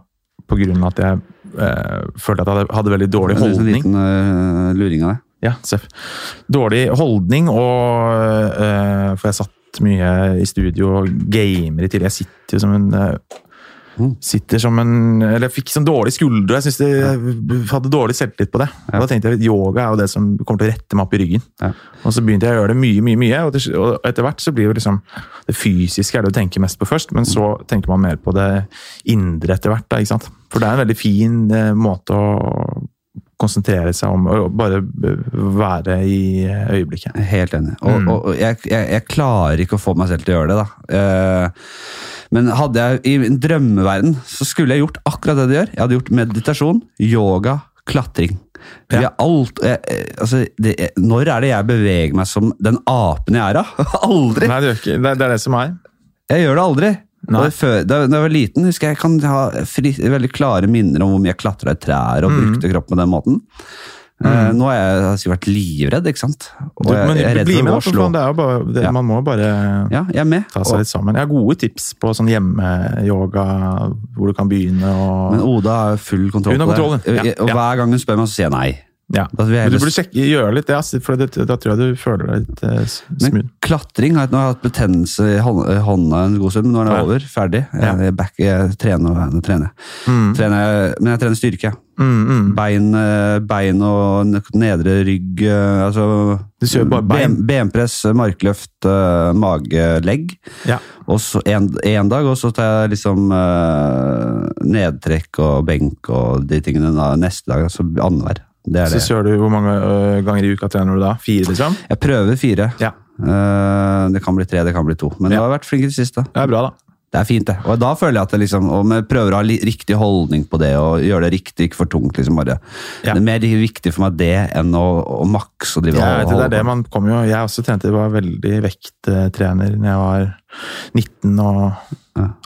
[SPEAKER 1] på grunn av at jeg eh, følte at jeg hadde, hadde veldig dårlig
[SPEAKER 2] Det er en
[SPEAKER 1] holdning.
[SPEAKER 2] liten øh, luring av deg.
[SPEAKER 1] Ja, Seff. Dårlig holdning, og eh, For jeg satt mye i studio og gamer i tillegg. Jeg sitter jo som en eh,
[SPEAKER 2] Mm.
[SPEAKER 1] Sitter som en Eller jeg fikk sånn dårlig skulder. og Jeg, synes det, jeg hadde dårlig selvtillit på det. Og da tenkte jeg at yoga er jo det som kommer til å rette meg opp i ryggen.
[SPEAKER 2] Ja.
[SPEAKER 1] Og så begynte jeg å gjøre det mye, mye, mye. Og, til, sl- og etter hvert så blir jo liksom Det fysiske er det du tenker mest på først, men så tenker man mer på det indre etter hvert. da, ikke sant? For det er en veldig fin eh, måte å konsentrere seg om og bare b- være i eh, øyeblikket.
[SPEAKER 2] Helt enig. Og,
[SPEAKER 1] Mm.
[SPEAKER 2] og, og jeg, jeg, jeg klarer ikke å få meg selv til å gjøre det, da. Eh, men hadde jeg i en drømmeverden, så skulle jeg gjort akkurat det du gjør. Jeg hadde gjort meditasjon, yoga, klatring. Fordi
[SPEAKER 1] Ja.
[SPEAKER 2] jeg alt, jeg, jeg- altså, det, jeg- når er det jeg beveger meg som den apen jeg er, da? [laughs] aldri!
[SPEAKER 1] Nei, det, gjør ikke, det, er- det er det som er.
[SPEAKER 2] Jeg gjør det aldri.
[SPEAKER 1] Nei.
[SPEAKER 2] Og det før, da, da jeg var liten, husker jeg jeg kan ha fri, veldig klare minner om hvor mye jeg klatra i trær
[SPEAKER 1] Mm.
[SPEAKER 2] og brukte kroppen på den måten. Eh, nå har jeg har sikkert vært livredd, ikke sant? Og
[SPEAKER 1] Du,
[SPEAKER 2] jeg-
[SPEAKER 1] men
[SPEAKER 2] jeg er redd
[SPEAKER 1] bli
[SPEAKER 2] for å
[SPEAKER 1] med,
[SPEAKER 2] gå
[SPEAKER 1] da,
[SPEAKER 2] og
[SPEAKER 1] for
[SPEAKER 2] slå.
[SPEAKER 1] faen, det er jo bare, det,
[SPEAKER 2] Ja.
[SPEAKER 1] man må bare
[SPEAKER 2] Ja, jeg er med.
[SPEAKER 1] ta
[SPEAKER 2] Og-
[SPEAKER 1] seg litt sammen. Jeg har gode tips på sånn hjemmeyoga, hvor du kan begynne og
[SPEAKER 2] Men Oda har full kontroll
[SPEAKER 1] Hun har
[SPEAKER 2] på det.
[SPEAKER 1] kontroll, ja.
[SPEAKER 2] Jeg- Og
[SPEAKER 1] Ja.
[SPEAKER 2] hver gang hun spør meg, så sier jeg nei.
[SPEAKER 1] ja.
[SPEAKER 2] Da vil jeg
[SPEAKER 1] Men du
[SPEAKER 2] heller-
[SPEAKER 1] burde sjekke, gjøre litt det, ass, for det, da tror jeg du føler deg litt eh, s-
[SPEAKER 2] Men
[SPEAKER 1] smooth.
[SPEAKER 2] klatring har jeg, nå har jeg hatt betennelse i hånd- i hånda en god stund, men nå er det
[SPEAKER 1] Ja.
[SPEAKER 2] over. Ferdig.
[SPEAKER 1] Ja.
[SPEAKER 2] Jeg, er back, jeg trener og nå trener. jeg. trener. jeg- Men jeg trener styrke.
[SPEAKER 1] Mm, mm.
[SPEAKER 2] Bein, eh, bein og n- nedre rygg. eh, Altså,
[SPEAKER 1] Du kjører bare bein.
[SPEAKER 2] ben- benpress, markløft, eh, magelegg.
[SPEAKER 1] Ja.
[SPEAKER 2] Og så en, en dag, og så tar jeg liksom eh, nedtrekk og benk og de tingene da, neste dag. Altså annenhver. Det er
[SPEAKER 1] Så
[SPEAKER 2] det.
[SPEAKER 1] kjører du hvor mange ø, ganger i uka trener du da? Fire, liksom?
[SPEAKER 2] Jeg prøver fire.
[SPEAKER 1] Ja.
[SPEAKER 2] Eh, det kan bli tre, det kan bli to. Men jeg har vært flink i det siste.
[SPEAKER 1] Det er bra, da.
[SPEAKER 2] Det er fint, det. Og da føler jeg at det liksom, og jeg prøver å ha li- riktig holdning på det, og gjøre det riktig, ikke for tungt. liksom bare.
[SPEAKER 1] Ja.
[SPEAKER 2] Det er mer viktig for meg det enn å, å makse og drive
[SPEAKER 1] Jeg, vet,
[SPEAKER 2] og
[SPEAKER 1] det er det man kommer jo Jeg også trente, var veldig vekttrener når jeg var 19 og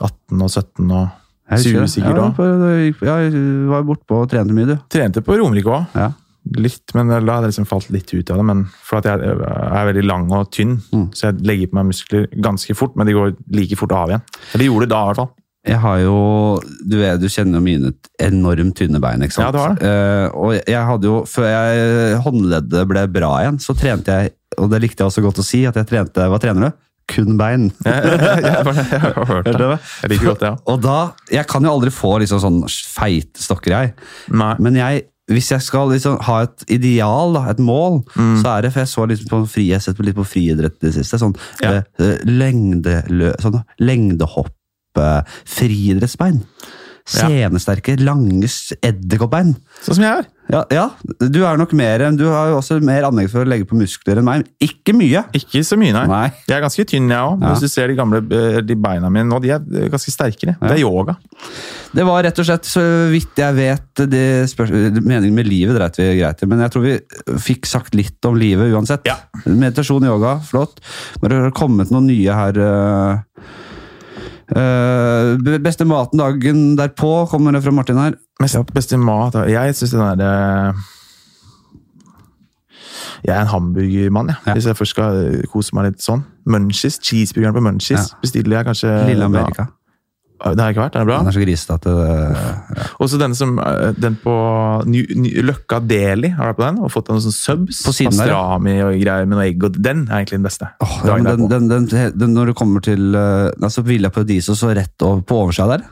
[SPEAKER 1] 18 og 17 og 20 sikkert òg.
[SPEAKER 2] òg. Jeg var bortpå og trente mye, du.
[SPEAKER 1] Trente på Romerike òg.
[SPEAKER 2] Ja.
[SPEAKER 1] Litt, men da hadde jeg liksom falt litt ut av det. Men for at jeg er veldig lang og tynn, så jeg legger på meg muskler ganske fort, men de går like fort av igjen. Eller gjorde det da, i hvert fall.
[SPEAKER 2] Jeg har jo Du, vet, du kjenner jo mine t- enormt tynne bein, ikke sant?
[SPEAKER 1] Ja, du har det.
[SPEAKER 2] Eh, og jeg hadde jo Før jeg håndleddet ble bra igjen, så trente jeg, og det likte jeg også godt å si, at jeg trente Hva trener du? Kun bein.
[SPEAKER 1] Jeg, jeg, jeg har hørt det. Jeg liker godt det, ja.
[SPEAKER 2] Og da Jeg kan jo aldri få liksom sånn feite stokker, jeg.
[SPEAKER 1] Nei.
[SPEAKER 2] Men jeg hvis jeg skal liksom ha et ideal, da, et mål,
[SPEAKER 1] Mm.
[SPEAKER 2] så er det For jeg så liksom på fri, jeg har sett litt på friidrett i det siste. Sånn
[SPEAKER 1] Ja.
[SPEAKER 2] eh, lengdelø, sånn lengdehopp, eh, friidrettsbein.
[SPEAKER 1] Ja.
[SPEAKER 2] Senesterke, lange s- edderkoppbein.
[SPEAKER 1] Sånn som jeg er.
[SPEAKER 2] Ja, ja, du er nok mer enn Du har jo også mer anlegg for å legge på muskler enn meg. men Ikke mye!
[SPEAKER 1] Ikke så mye, nei.
[SPEAKER 2] Nei.
[SPEAKER 1] Jeg er ganske tynn, jeg òg.
[SPEAKER 2] Ja.
[SPEAKER 1] Hvis du ser de gamle eh, de beina mine nå, de er eh, ganske sterkere. Det er yoga.
[SPEAKER 2] Det var rett og slett, så vidt jeg vet, det spørs- meningen med livet dreit vi greit i. Men jeg tror vi fikk sagt litt om livet uansett.
[SPEAKER 1] Ja.
[SPEAKER 2] Meditasjon, yoga, flott. Men det har kommet noen nye her eh, Eh, b- beste maten dagen derpå kommer det fra Martin her.
[SPEAKER 1] Mest, Beste mat da. Jeg syns den derre Jeg er en hamburgermann, jeg. Hvis jeg først skal eh, kose meg litt sånn. Munchies, Cheeseburgeren på Munchies bestiller jeg kanskje
[SPEAKER 2] Lille Amerika.
[SPEAKER 1] Eh, Ja, Det har jeg ikke vært. Den er bra.
[SPEAKER 2] Den er så grisete at det
[SPEAKER 1] Og så denne som eh, Den på Ny- Ny- Løkka Deli, har du vært på den? Og fått noen sånne subs.
[SPEAKER 2] På siden der, ja.
[SPEAKER 1] pastrami og greier med noe egg. Og den er egentlig den beste.
[SPEAKER 2] Åh, ja, men den, den, den, den, når du kommer til uh, altså Villa Paradiso, så rett over, på oversida der.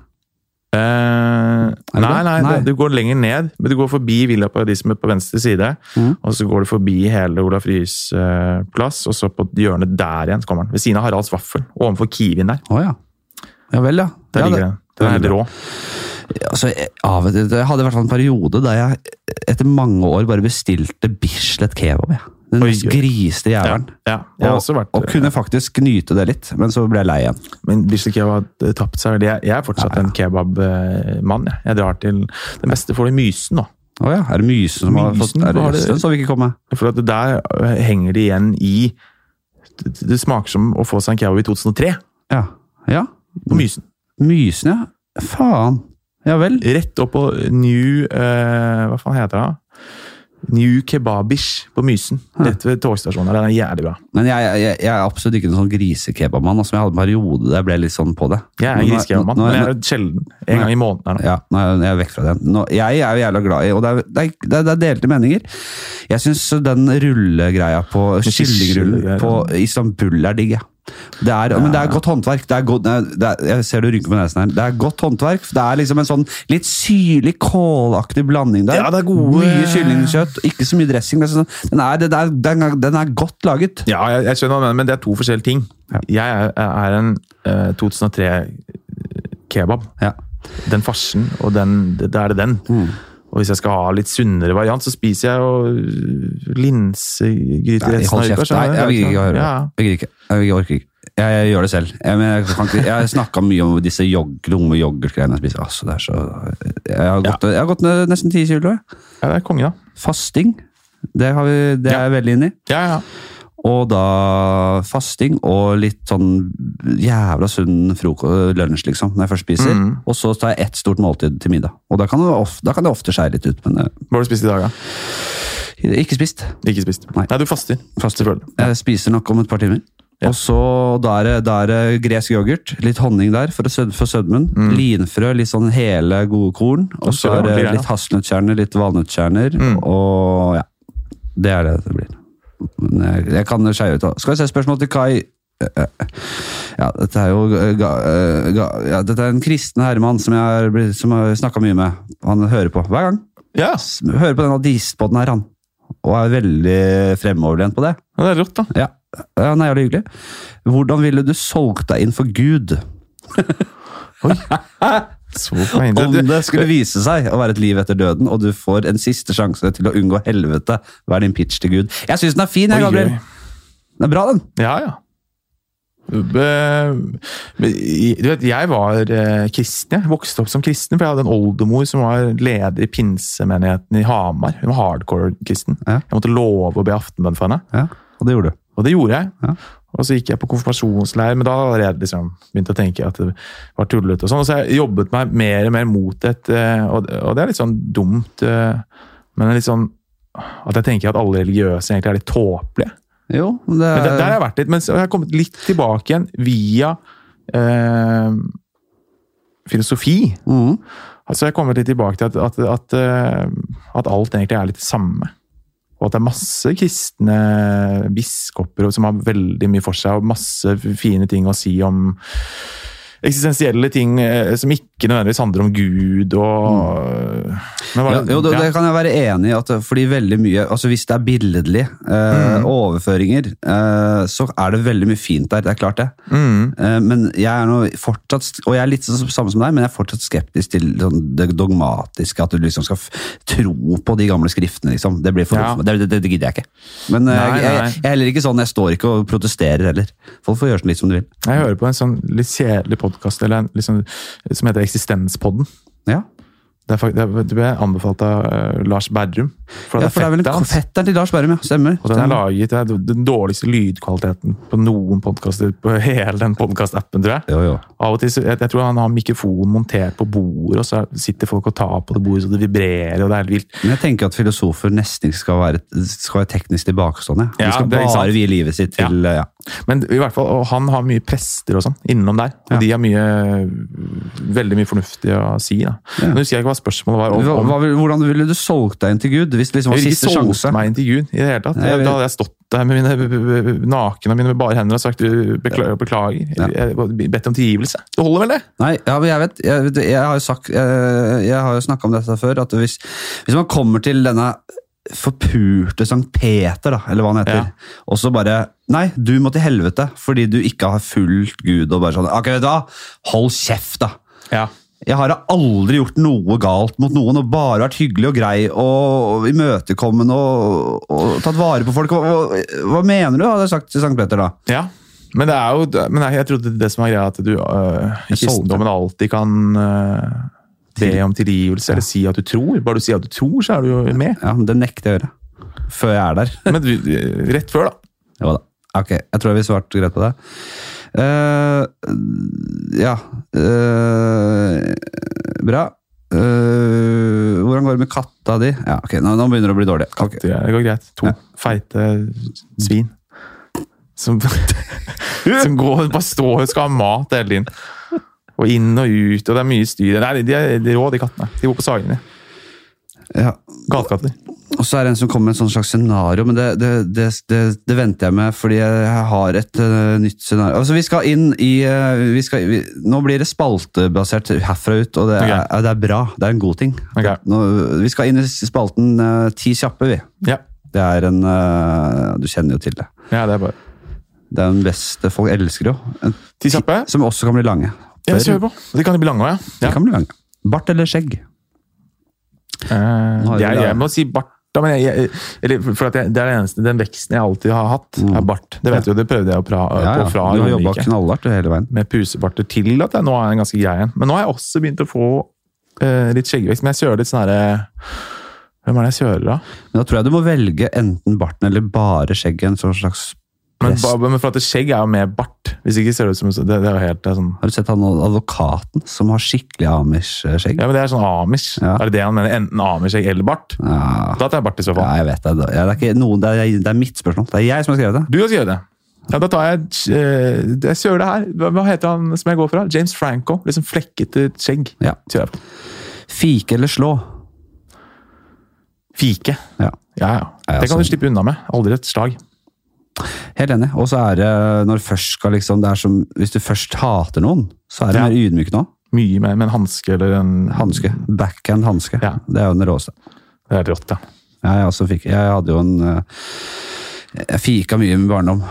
[SPEAKER 1] Eh,
[SPEAKER 2] det
[SPEAKER 1] nei,
[SPEAKER 2] det?
[SPEAKER 1] nei,
[SPEAKER 2] Nei.
[SPEAKER 1] Du går lenger ned, men du går forbi Villa Paradis med på venstre side.
[SPEAKER 2] Mhm.
[SPEAKER 1] Og så går du forbi hele Olaf Ryes eh, plass, og så på hjørnet der igjen så kommer den. Ved siden av Haralds Vaffel, og overfor Kiwien der.
[SPEAKER 2] Å ja. Ja vel, ja.
[SPEAKER 1] Der
[SPEAKER 2] ja,
[SPEAKER 1] ligger
[SPEAKER 2] det-
[SPEAKER 1] den. Den er
[SPEAKER 2] det
[SPEAKER 1] helt rå.
[SPEAKER 2] Altså, jeg, av og til, jeg hadde i hvert fall en periode der jeg etter mange år bare bestilte Bislett kebab. Ja. Den
[SPEAKER 1] Oi,
[SPEAKER 2] mest
[SPEAKER 1] oi.
[SPEAKER 2] griste
[SPEAKER 1] Ja,
[SPEAKER 2] jævelen.
[SPEAKER 1] ja, jeg har
[SPEAKER 2] Og,
[SPEAKER 1] også vært
[SPEAKER 2] og kunne faktisk nyte det litt, men så ble jeg lei igjen.
[SPEAKER 1] Men Bislett Kebab har tapt seg veldig. Jeg, jeg er fortsatt en kebabmann. Jeg. jeg drar til Den beste får du i Mysen nå.
[SPEAKER 2] Å ja, er det Mysen som har
[SPEAKER 1] Mysen,
[SPEAKER 2] fått Er det
[SPEAKER 1] hva har det-
[SPEAKER 2] Jøssen som ikke kom med?
[SPEAKER 1] For at det der eh, henger det igjen i det, det smaker som å få seg en kebab i 2003
[SPEAKER 2] Ja. ja.
[SPEAKER 1] på Mysen.
[SPEAKER 2] Mysen, ja. Faen. Ja vel.
[SPEAKER 1] Rett opp på New eh, Hva faen heter det? New Kebabish på Mysen. Rett ved togstasjonen. der. Den er jævlig bra.
[SPEAKER 2] Men jeg, jeg, jeg er absolutt ikke noen sånn grisekebabmann. Altså, jeg hadde en periode der jeg ble litt sånn på det.
[SPEAKER 1] Jeg er
[SPEAKER 2] Men nå-
[SPEAKER 1] griskebabmann,
[SPEAKER 2] nå- nå-
[SPEAKER 1] men jeg er sjelden. En gang i måneden. er det.
[SPEAKER 2] Ja, nå er jeg- jeg er vekk fra den. Nå, jeg er jo jævla glad i, og det er, det er, det er, det er delte meninger. Jeg syns den rullegreia på kyllingrullen
[SPEAKER 1] kyllingrullegreia.
[SPEAKER 2] på Istanbul er digg, ja. Det er, Men det er godt håndverk. Det er godt, det er, jeg ser du rynker på nesen her. Det er godt håndverk. Det er liksom en sånn litt syrlig, kålaktig blanding der.
[SPEAKER 1] Ja, det er gode-
[SPEAKER 2] Mye kyllingkjøtt, ikke så mye dressing. Det er sånn, den, er, den, er, den, er, den er godt laget.
[SPEAKER 1] Ja, jeg, jeg skjønner hva du mener, men det er to forskjellige ting. Jeg er, er en eh, 2003-kebab.
[SPEAKER 2] Ja.
[SPEAKER 1] den farsen, og den, det- da er det den.
[SPEAKER 2] Mm.
[SPEAKER 1] Og hvis jeg skal ha litt sunnere variant, så spiser jeg jo øh, linsegryte
[SPEAKER 2] Nei,
[SPEAKER 1] resten av
[SPEAKER 2] hold
[SPEAKER 1] uka.
[SPEAKER 2] kjeft. Nei,
[SPEAKER 1] skjønner du?
[SPEAKER 2] jeg vil ikke høre på.
[SPEAKER 1] Ja.
[SPEAKER 2] Jeg gidder ikke. Jeg gidder- orker ikke. Jeg, jeg gjør det selv. Jeg, men jeg, kan ikke, jeg snakka mye om disse jog, dumme yoghurtgreiene jeg spiser. Altså, det er så, jeg, har gått, jeg har gått ned nesten ti kilo. jeg.
[SPEAKER 1] ja, det er konge, da.
[SPEAKER 2] Fasting, det, har vi, det er jeg veldig inne i.
[SPEAKER 1] Ja, ja.
[SPEAKER 2] Og da fasting og litt sånn jævla sunn froko- lunsj, liksom, når jeg først spiser. Og så tar jeg ett stort måltid til middag. Og da kan det ofte, da kan det ofte skjære litt ut, men
[SPEAKER 1] Hva har du spist i dag, da?
[SPEAKER 2] eh, ikke spist.
[SPEAKER 1] Ikke spist.
[SPEAKER 2] Nei.
[SPEAKER 1] Nei, du faster.
[SPEAKER 2] Faster.
[SPEAKER 1] Selvfølgelig.
[SPEAKER 2] Jeg spiser nok om et par timer. Og så da er, det, da er det gresk yoghurt, litt honning der for, å sød, for sødmen. Linfrø, litt sånn hele gode korn. Og så
[SPEAKER 1] Ok,
[SPEAKER 2] er
[SPEAKER 1] det
[SPEAKER 2] det
[SPEAKER 1] var ordentlig,
[SPEAKER 2] litt hasselnøttkjerner, litt valnøttkjerner. Og ja. Det er det det blir. Men Jeg, jeg kan skeie ut. da. Skal vi se spørsmål til Kai. Eh, eh, Ja, dette er jo eh, ga, eh, ga, ja, Dette er en kristen herremann som jeg har blitt- som jeg har snakka mye med. Han hører på hver gang.
[SPEAKER 1] Ja,
[SPEAKER 2] Hører på denne dispoden her, han. Og er veldig fremoverlent på det.
[SPEAKER 1] ja, det er rått, da.
[SPEAKER 2] Ja, ja han er jævlig hyggelig. Hvordan ville du solgt deg inn for Gud
[SPEAKER 1] Så poeng.
[SPEAKER 2] om
[SPEAKER 1] Du-
[SPEAKER 2] det skulle vise seg å være et liv etter døden, og du får en siste sjanse til å unngå helvete? Hva er din pitch til Gud? Jeg syns den er fin, jeg,
[SPEAKER 1] Oi,
[SPEAKER 2] Gabriel.
[SPEAKER 1] oi.
[SPEAKER 2] Den er bra, den.
[SPEAKER 1] Ja, ja. Eh, men i- Du vet, jeg var eh, kristen. Jeg vokste opp som kristen, for jeg hadde en oldemor som var leder i pinsemenigheten i Hamar. Hun var hardcore kristen.
[SPEAKER 2] Ja.
[SPEAKER 1] Jeg måtte love å be aftenbønn for henne.
[SPEAKER 2] Ja, og det gjorde du.
[SPEAKER 1] Og det gjorde jeg.
[SPEAKER 2] Ja.
[SPEAKER 1] Og så gikk jeg på konfirmasjonsleir, men da hadde jeg allerede liksom begynt å tenke at det var tullete. og sånn. Og så har jeg jobbet meg mer og mer mot et eh, Og og det er litt sånn dumt, eh, men det er litt sånn at jeg tenker at alle religiøse egentlig er litt tåpelige.
[SPEAKER 2] Jo, men det
[SPEAKER 1] Men der, der har
[SPEAKER 2] er
[SPEAKER 1] jeg vært litt, men så har jeg kommet litt tilbake igjen via eh, filosofi.
[SPEAKER 2] Mhm.
[SPEAKER 1] Altså jeg har kommet litt tilbake til at, at, at, eh, at alt egentlig er litt det samme. Og at det er masse kristne biskoper som har veldig mye for seg, og masse fine ting å si om eksistensielle ting eh, som ikke nødvendigvis handler om Gud og Men hva
[SPEAKER 2] Mm. ja,
[SPEAKER 1] er det-
[SPEAKER 2] jo, det,
[SPEAKER 1] ja.
[SPEAKER 2] det kan jeg være enig i. At, eh, fordi veldig mye, altså Hvis det er billedlig, eh,
[SPEAKER 1] Mm.
[SPEAKER 2] overføringer, eh, så er det veldig mye fint der. Det er klart, det.
[SPEAKER 1] Mm.
[SPEAKER 2] Eh, Men jeg er nå fortsatt, og jeg er litt sånn samme som deg, men jeg er fortsatt skeptisk til sånn det dogmatiske, at du liksom skal f tro på de gamle skriftene, liksom. Det, blir for,
[SPEAKER 1] Ja.
[SPEAKER 2] det, det, det gidder jeg ikke. Men eh,
[SPEAKER 1] Nei,
[SPEAKER 2] jeg, jeg,
[SPEAKER 1] nei.
[SPEAKER 2] jeg er heller ikke sånn, jeg står ikke og protesterer heller. Folk får gjøre sånn litt som de vil.
[SPEAKER 1] Jeg hører på en sånn litt kjedelig podkast liksom, som heter Eksistenspodden.
[SPEAKER 2] Ja.
[SPEAKER 1] Det, er, fak- det, er- det ble anbefalt av eh, Lars Berrum. For det
[SPEAKER 2] ja,
[SPEAKER 1] er
[SPEAKER 2] for det er vel
[SPEAKER 1] fettet hans.
[SPEAKER 2] fetteren til Lars Berrum, ja. Stemmer.
[SPEAKER 1] Og den er
[SPEAKER 2] Stemmer.
[SPEAKER 1] laget det er den dårligste lydkvaliteten på noen podkaster på [laughs] hele den podkastappen, tror jeg.
[SPEAKER 2] Jo, jo.
[SPEAKER 1] Av og til, så- jeg, jeg tror han har mikrofon montert på bordet, og så sitter folk og tar på det bordet så det vibrerer, og det er helt vilt.
[SPEAKER 2] Men jeg tenker at filosofer nesten ikke skal være, skal være teknisk tilbakestående. De
[SPEAKER 1] Ja,
[SPEAKER 2] skal
[SPEAKER 1] det er sant.
[SPEAKER 2] bare vie livet sitt til ja.
[SPEAKER 1] Men i hvert fall, og han har mye prester og sånn innom der, og
[SPEAKER 2] Ja.
[SPEAKER 1] de har mye, veldig mye fornuftig å si. da. Men jeg husker jeg ikke hva spørsmålet var om.
[SPEAKER 2] Hva,
[SPEAKER 1] om
[SPEAKER 2] hva, vil- hvordan ville du solgt deg inn til Gud hvis det liksom var
[SPEAKER 1] jeg ville
[SPEAKER 2] siste
[SPEAKER 1] ikke solgt
[SPEAKER 2] sjanse?
[SPEAKER 1] meg intervjuen i det hele tatt.
[SPEAKER 2] Nei, jeg vet-
[SPEAKER 1] Da hadde jeg stått der med mine nakne og mine med bare hender og sagt «Du, beklager, beklager. Jeg- bedt om tilgivelse. Det holder vel, det?
[SPEAKER 2] Nei, ja, men jeg vet, jeg, vet- jeg har jo sagt, jeg, jeg har jo snakket om dette før, at hvis, hvis man kommer til denne forpurte Sankt Peter, da, eller hva han heter,
[SPEAKER 1] Ja.
[SPEAKER 2] og så bare, nei, du må til helvete, fordi du ikke har fulgt Gud, og bare sånn, ok, vet du hva, hold kjeft da.
[SPEAKER 1] Ja.
[SPEAKER 2] Jeg har aldri gjort noe galt mot noen, og bare vært hyggelig og grei, og imøtekommende, og, og tatt vare på folk. Hva, hva, hva mener du, hadde jeg sagt til Sankt Peter da?
[SPEAKER 1] Men det er jo, men jeg, jeg trodde det som var greia, at du øh, i
[SPEAKER 2] Jeg solgte.
[SPEAKER 1] kristendommen alltid kan øh, be om tilgivelse, eller si at du tror. Bare du sier at du tror, så er du jo med.
[SPEAKER 2] Ja, men det nekter jeg å gjøre, før jeg er der.
[SPEAKER 1] Men du, øh, rett før, da.
[SPEAKER 2] Jo da. Ok, jeg tror vi svarte greit på det. Eh, ja eh, Bra. Eh, hvordan går det med katta di? Ja, ok, Nå, nå begynner det å bli dårlig. Ok.
[SPEAKER 1] Det det går greit. To
[SPEAKER 2] Ja.
[SPEAKER 1] feite svin. Som, [laughs] som går bare står og skal ha mat hele tiden. Og inn og ut, og det er mye styr. Nei, de er, de er rå, de kattene. De går på sagene.
[SPEAKER 2] Ja.
[SPEAKER 1] Gatekatter.
[SPEAKER 2] Og så er det en som kommer med et sånt slags scenario, men det, det, det, det, det venter jeg med fordi jeg har et eh, nytt scenario. Altså, Vi skal inn i eh, vi skal, vi, Nå blir det spaltebasert herfra ut, og det er,
[SPEAKER 1] Ok.
[SPEAKER 2] ja, det er bra. Det er en god ting.
[SPEAKER 1] Ok.
[SPEAKER 2] Nå, vi skal inn i spalten eh, Ti kjappe, vi.
[SPEAKER 1] Ja.
[SPEAKER 2] Det er en eh, Du kjenner jo til det.
[SPEAKER 1] ja, det er bare
[SPEAKER 2] Det er den beste folk elsker jo. En-
[SPEAKER 1] Ti kjappe?
[SPEAKER 2] Som også kan bli lange.
[SPEAKER 1] Ja, vi kjører på. De kan jo bli lange òg,
[SPEAKER 2] De
[SPEAKER 1] ja. ja.
[SPEAKER 2] kan bli lange. Bart eller skjegg?
[SPEAKER 1] Eh,
[SPEAKER 2] Nå har vi
[SPEAKER 1] jeg,
[SPEAKER 2] det.
[SPEAKER 1] jeg må si bart. Da, men jeg, jeg, eller, for at jeg, det er det eneste, Den veksten jeg alltid har hatt,
[SPEAKER 2] Mm.
[SPEAKER 1] er bart. Det vet du, det prøvde jeg å pra, på fra
[SPEAKER 2] Du har jobba
[SPEAKER 1] Romerike.
[SPEAKER 2] knallhardt hele veien.
[SPEAKER 1] med pusebarter til at jeg nå er en ganske grei en. Men nå har jeg også begynt å få eh, litt skjeggevekst. Men jeg kjører litt sånn herre Hvem er det jeg kjører, da?
[SPEAKER 2] Men da tror jeg du må velge enten barten eller bare skjegget. En sånn slags
[SPEAKER 1] Men,
[SPEAKER 2] prest.
[SPEAKER 1] ba- men for at det skjegg er jo med bart. Hvis ikke ser det ut som Det, det er jo helt det er sånn
[SPEAKER 2] Har du sett han advokaten som har skikkelig amish-skjegg?
[SPEAKER 1] Ja, men det er sånn amish.
[SPEAKER 2] Ja.
[SPEAKER 1] Er det det han mener? Enten amish-skjegg eller bart?
[SPEAKER 2] Ja.
[SPEAKER 1] Da tar jeg bart, i så
[SPEAKER 2] ja,
[SPEAKER 1] fall.
[SPEAKER 2] jeg vet det. Det er, ikke noen, det, er, det er mitt spørsmål. Det er jeg som har skrevet det.
[SPEAKER 1] Du kan gjøre det. Ja, da tar jeg eh, Jeg kjører det her. Hva- Hva heter han som jeg går fra? James Franco. Liksom flekkete skjegg.
[SPEAKER 2] Ja.
[SPEAKER 1] Kjører jeg på.
[SPEAKER 2] Fike eller slå?
[SPEAKER 1] Fike.
[SPEAKER 2] Ja,
[SPEAKER 1] Ja, ja.
[SPEAKER 2] Ja, ja,
[SPEAKER 1] Det kan du
[SPEAKER 2] sånn.
[SPEAKER 1] slippe unna med. Aldri et slag.
[SPEAKER 2] Helt enig. Og så er det når først skal liksom, det er som, Hvis du først hater noen, så er det
[SPEAKER 1] Ja.
[SPEAKER 2] mer ydmyk nå.
[SPEAKER 1] Mye med, med en hanske eller en
[SPEAKER 2] Hanske. Backhand hanske.
[SPEAKER 1] Ja.
[SPEAKER 2] Det er jo den råeste.
[SPEAKER 1] Det er helt rått, ja.
[SPEAKER 2] Ja, jeg, også fikk, jeg hadde jo en eh, Jeg fika mye med barndom.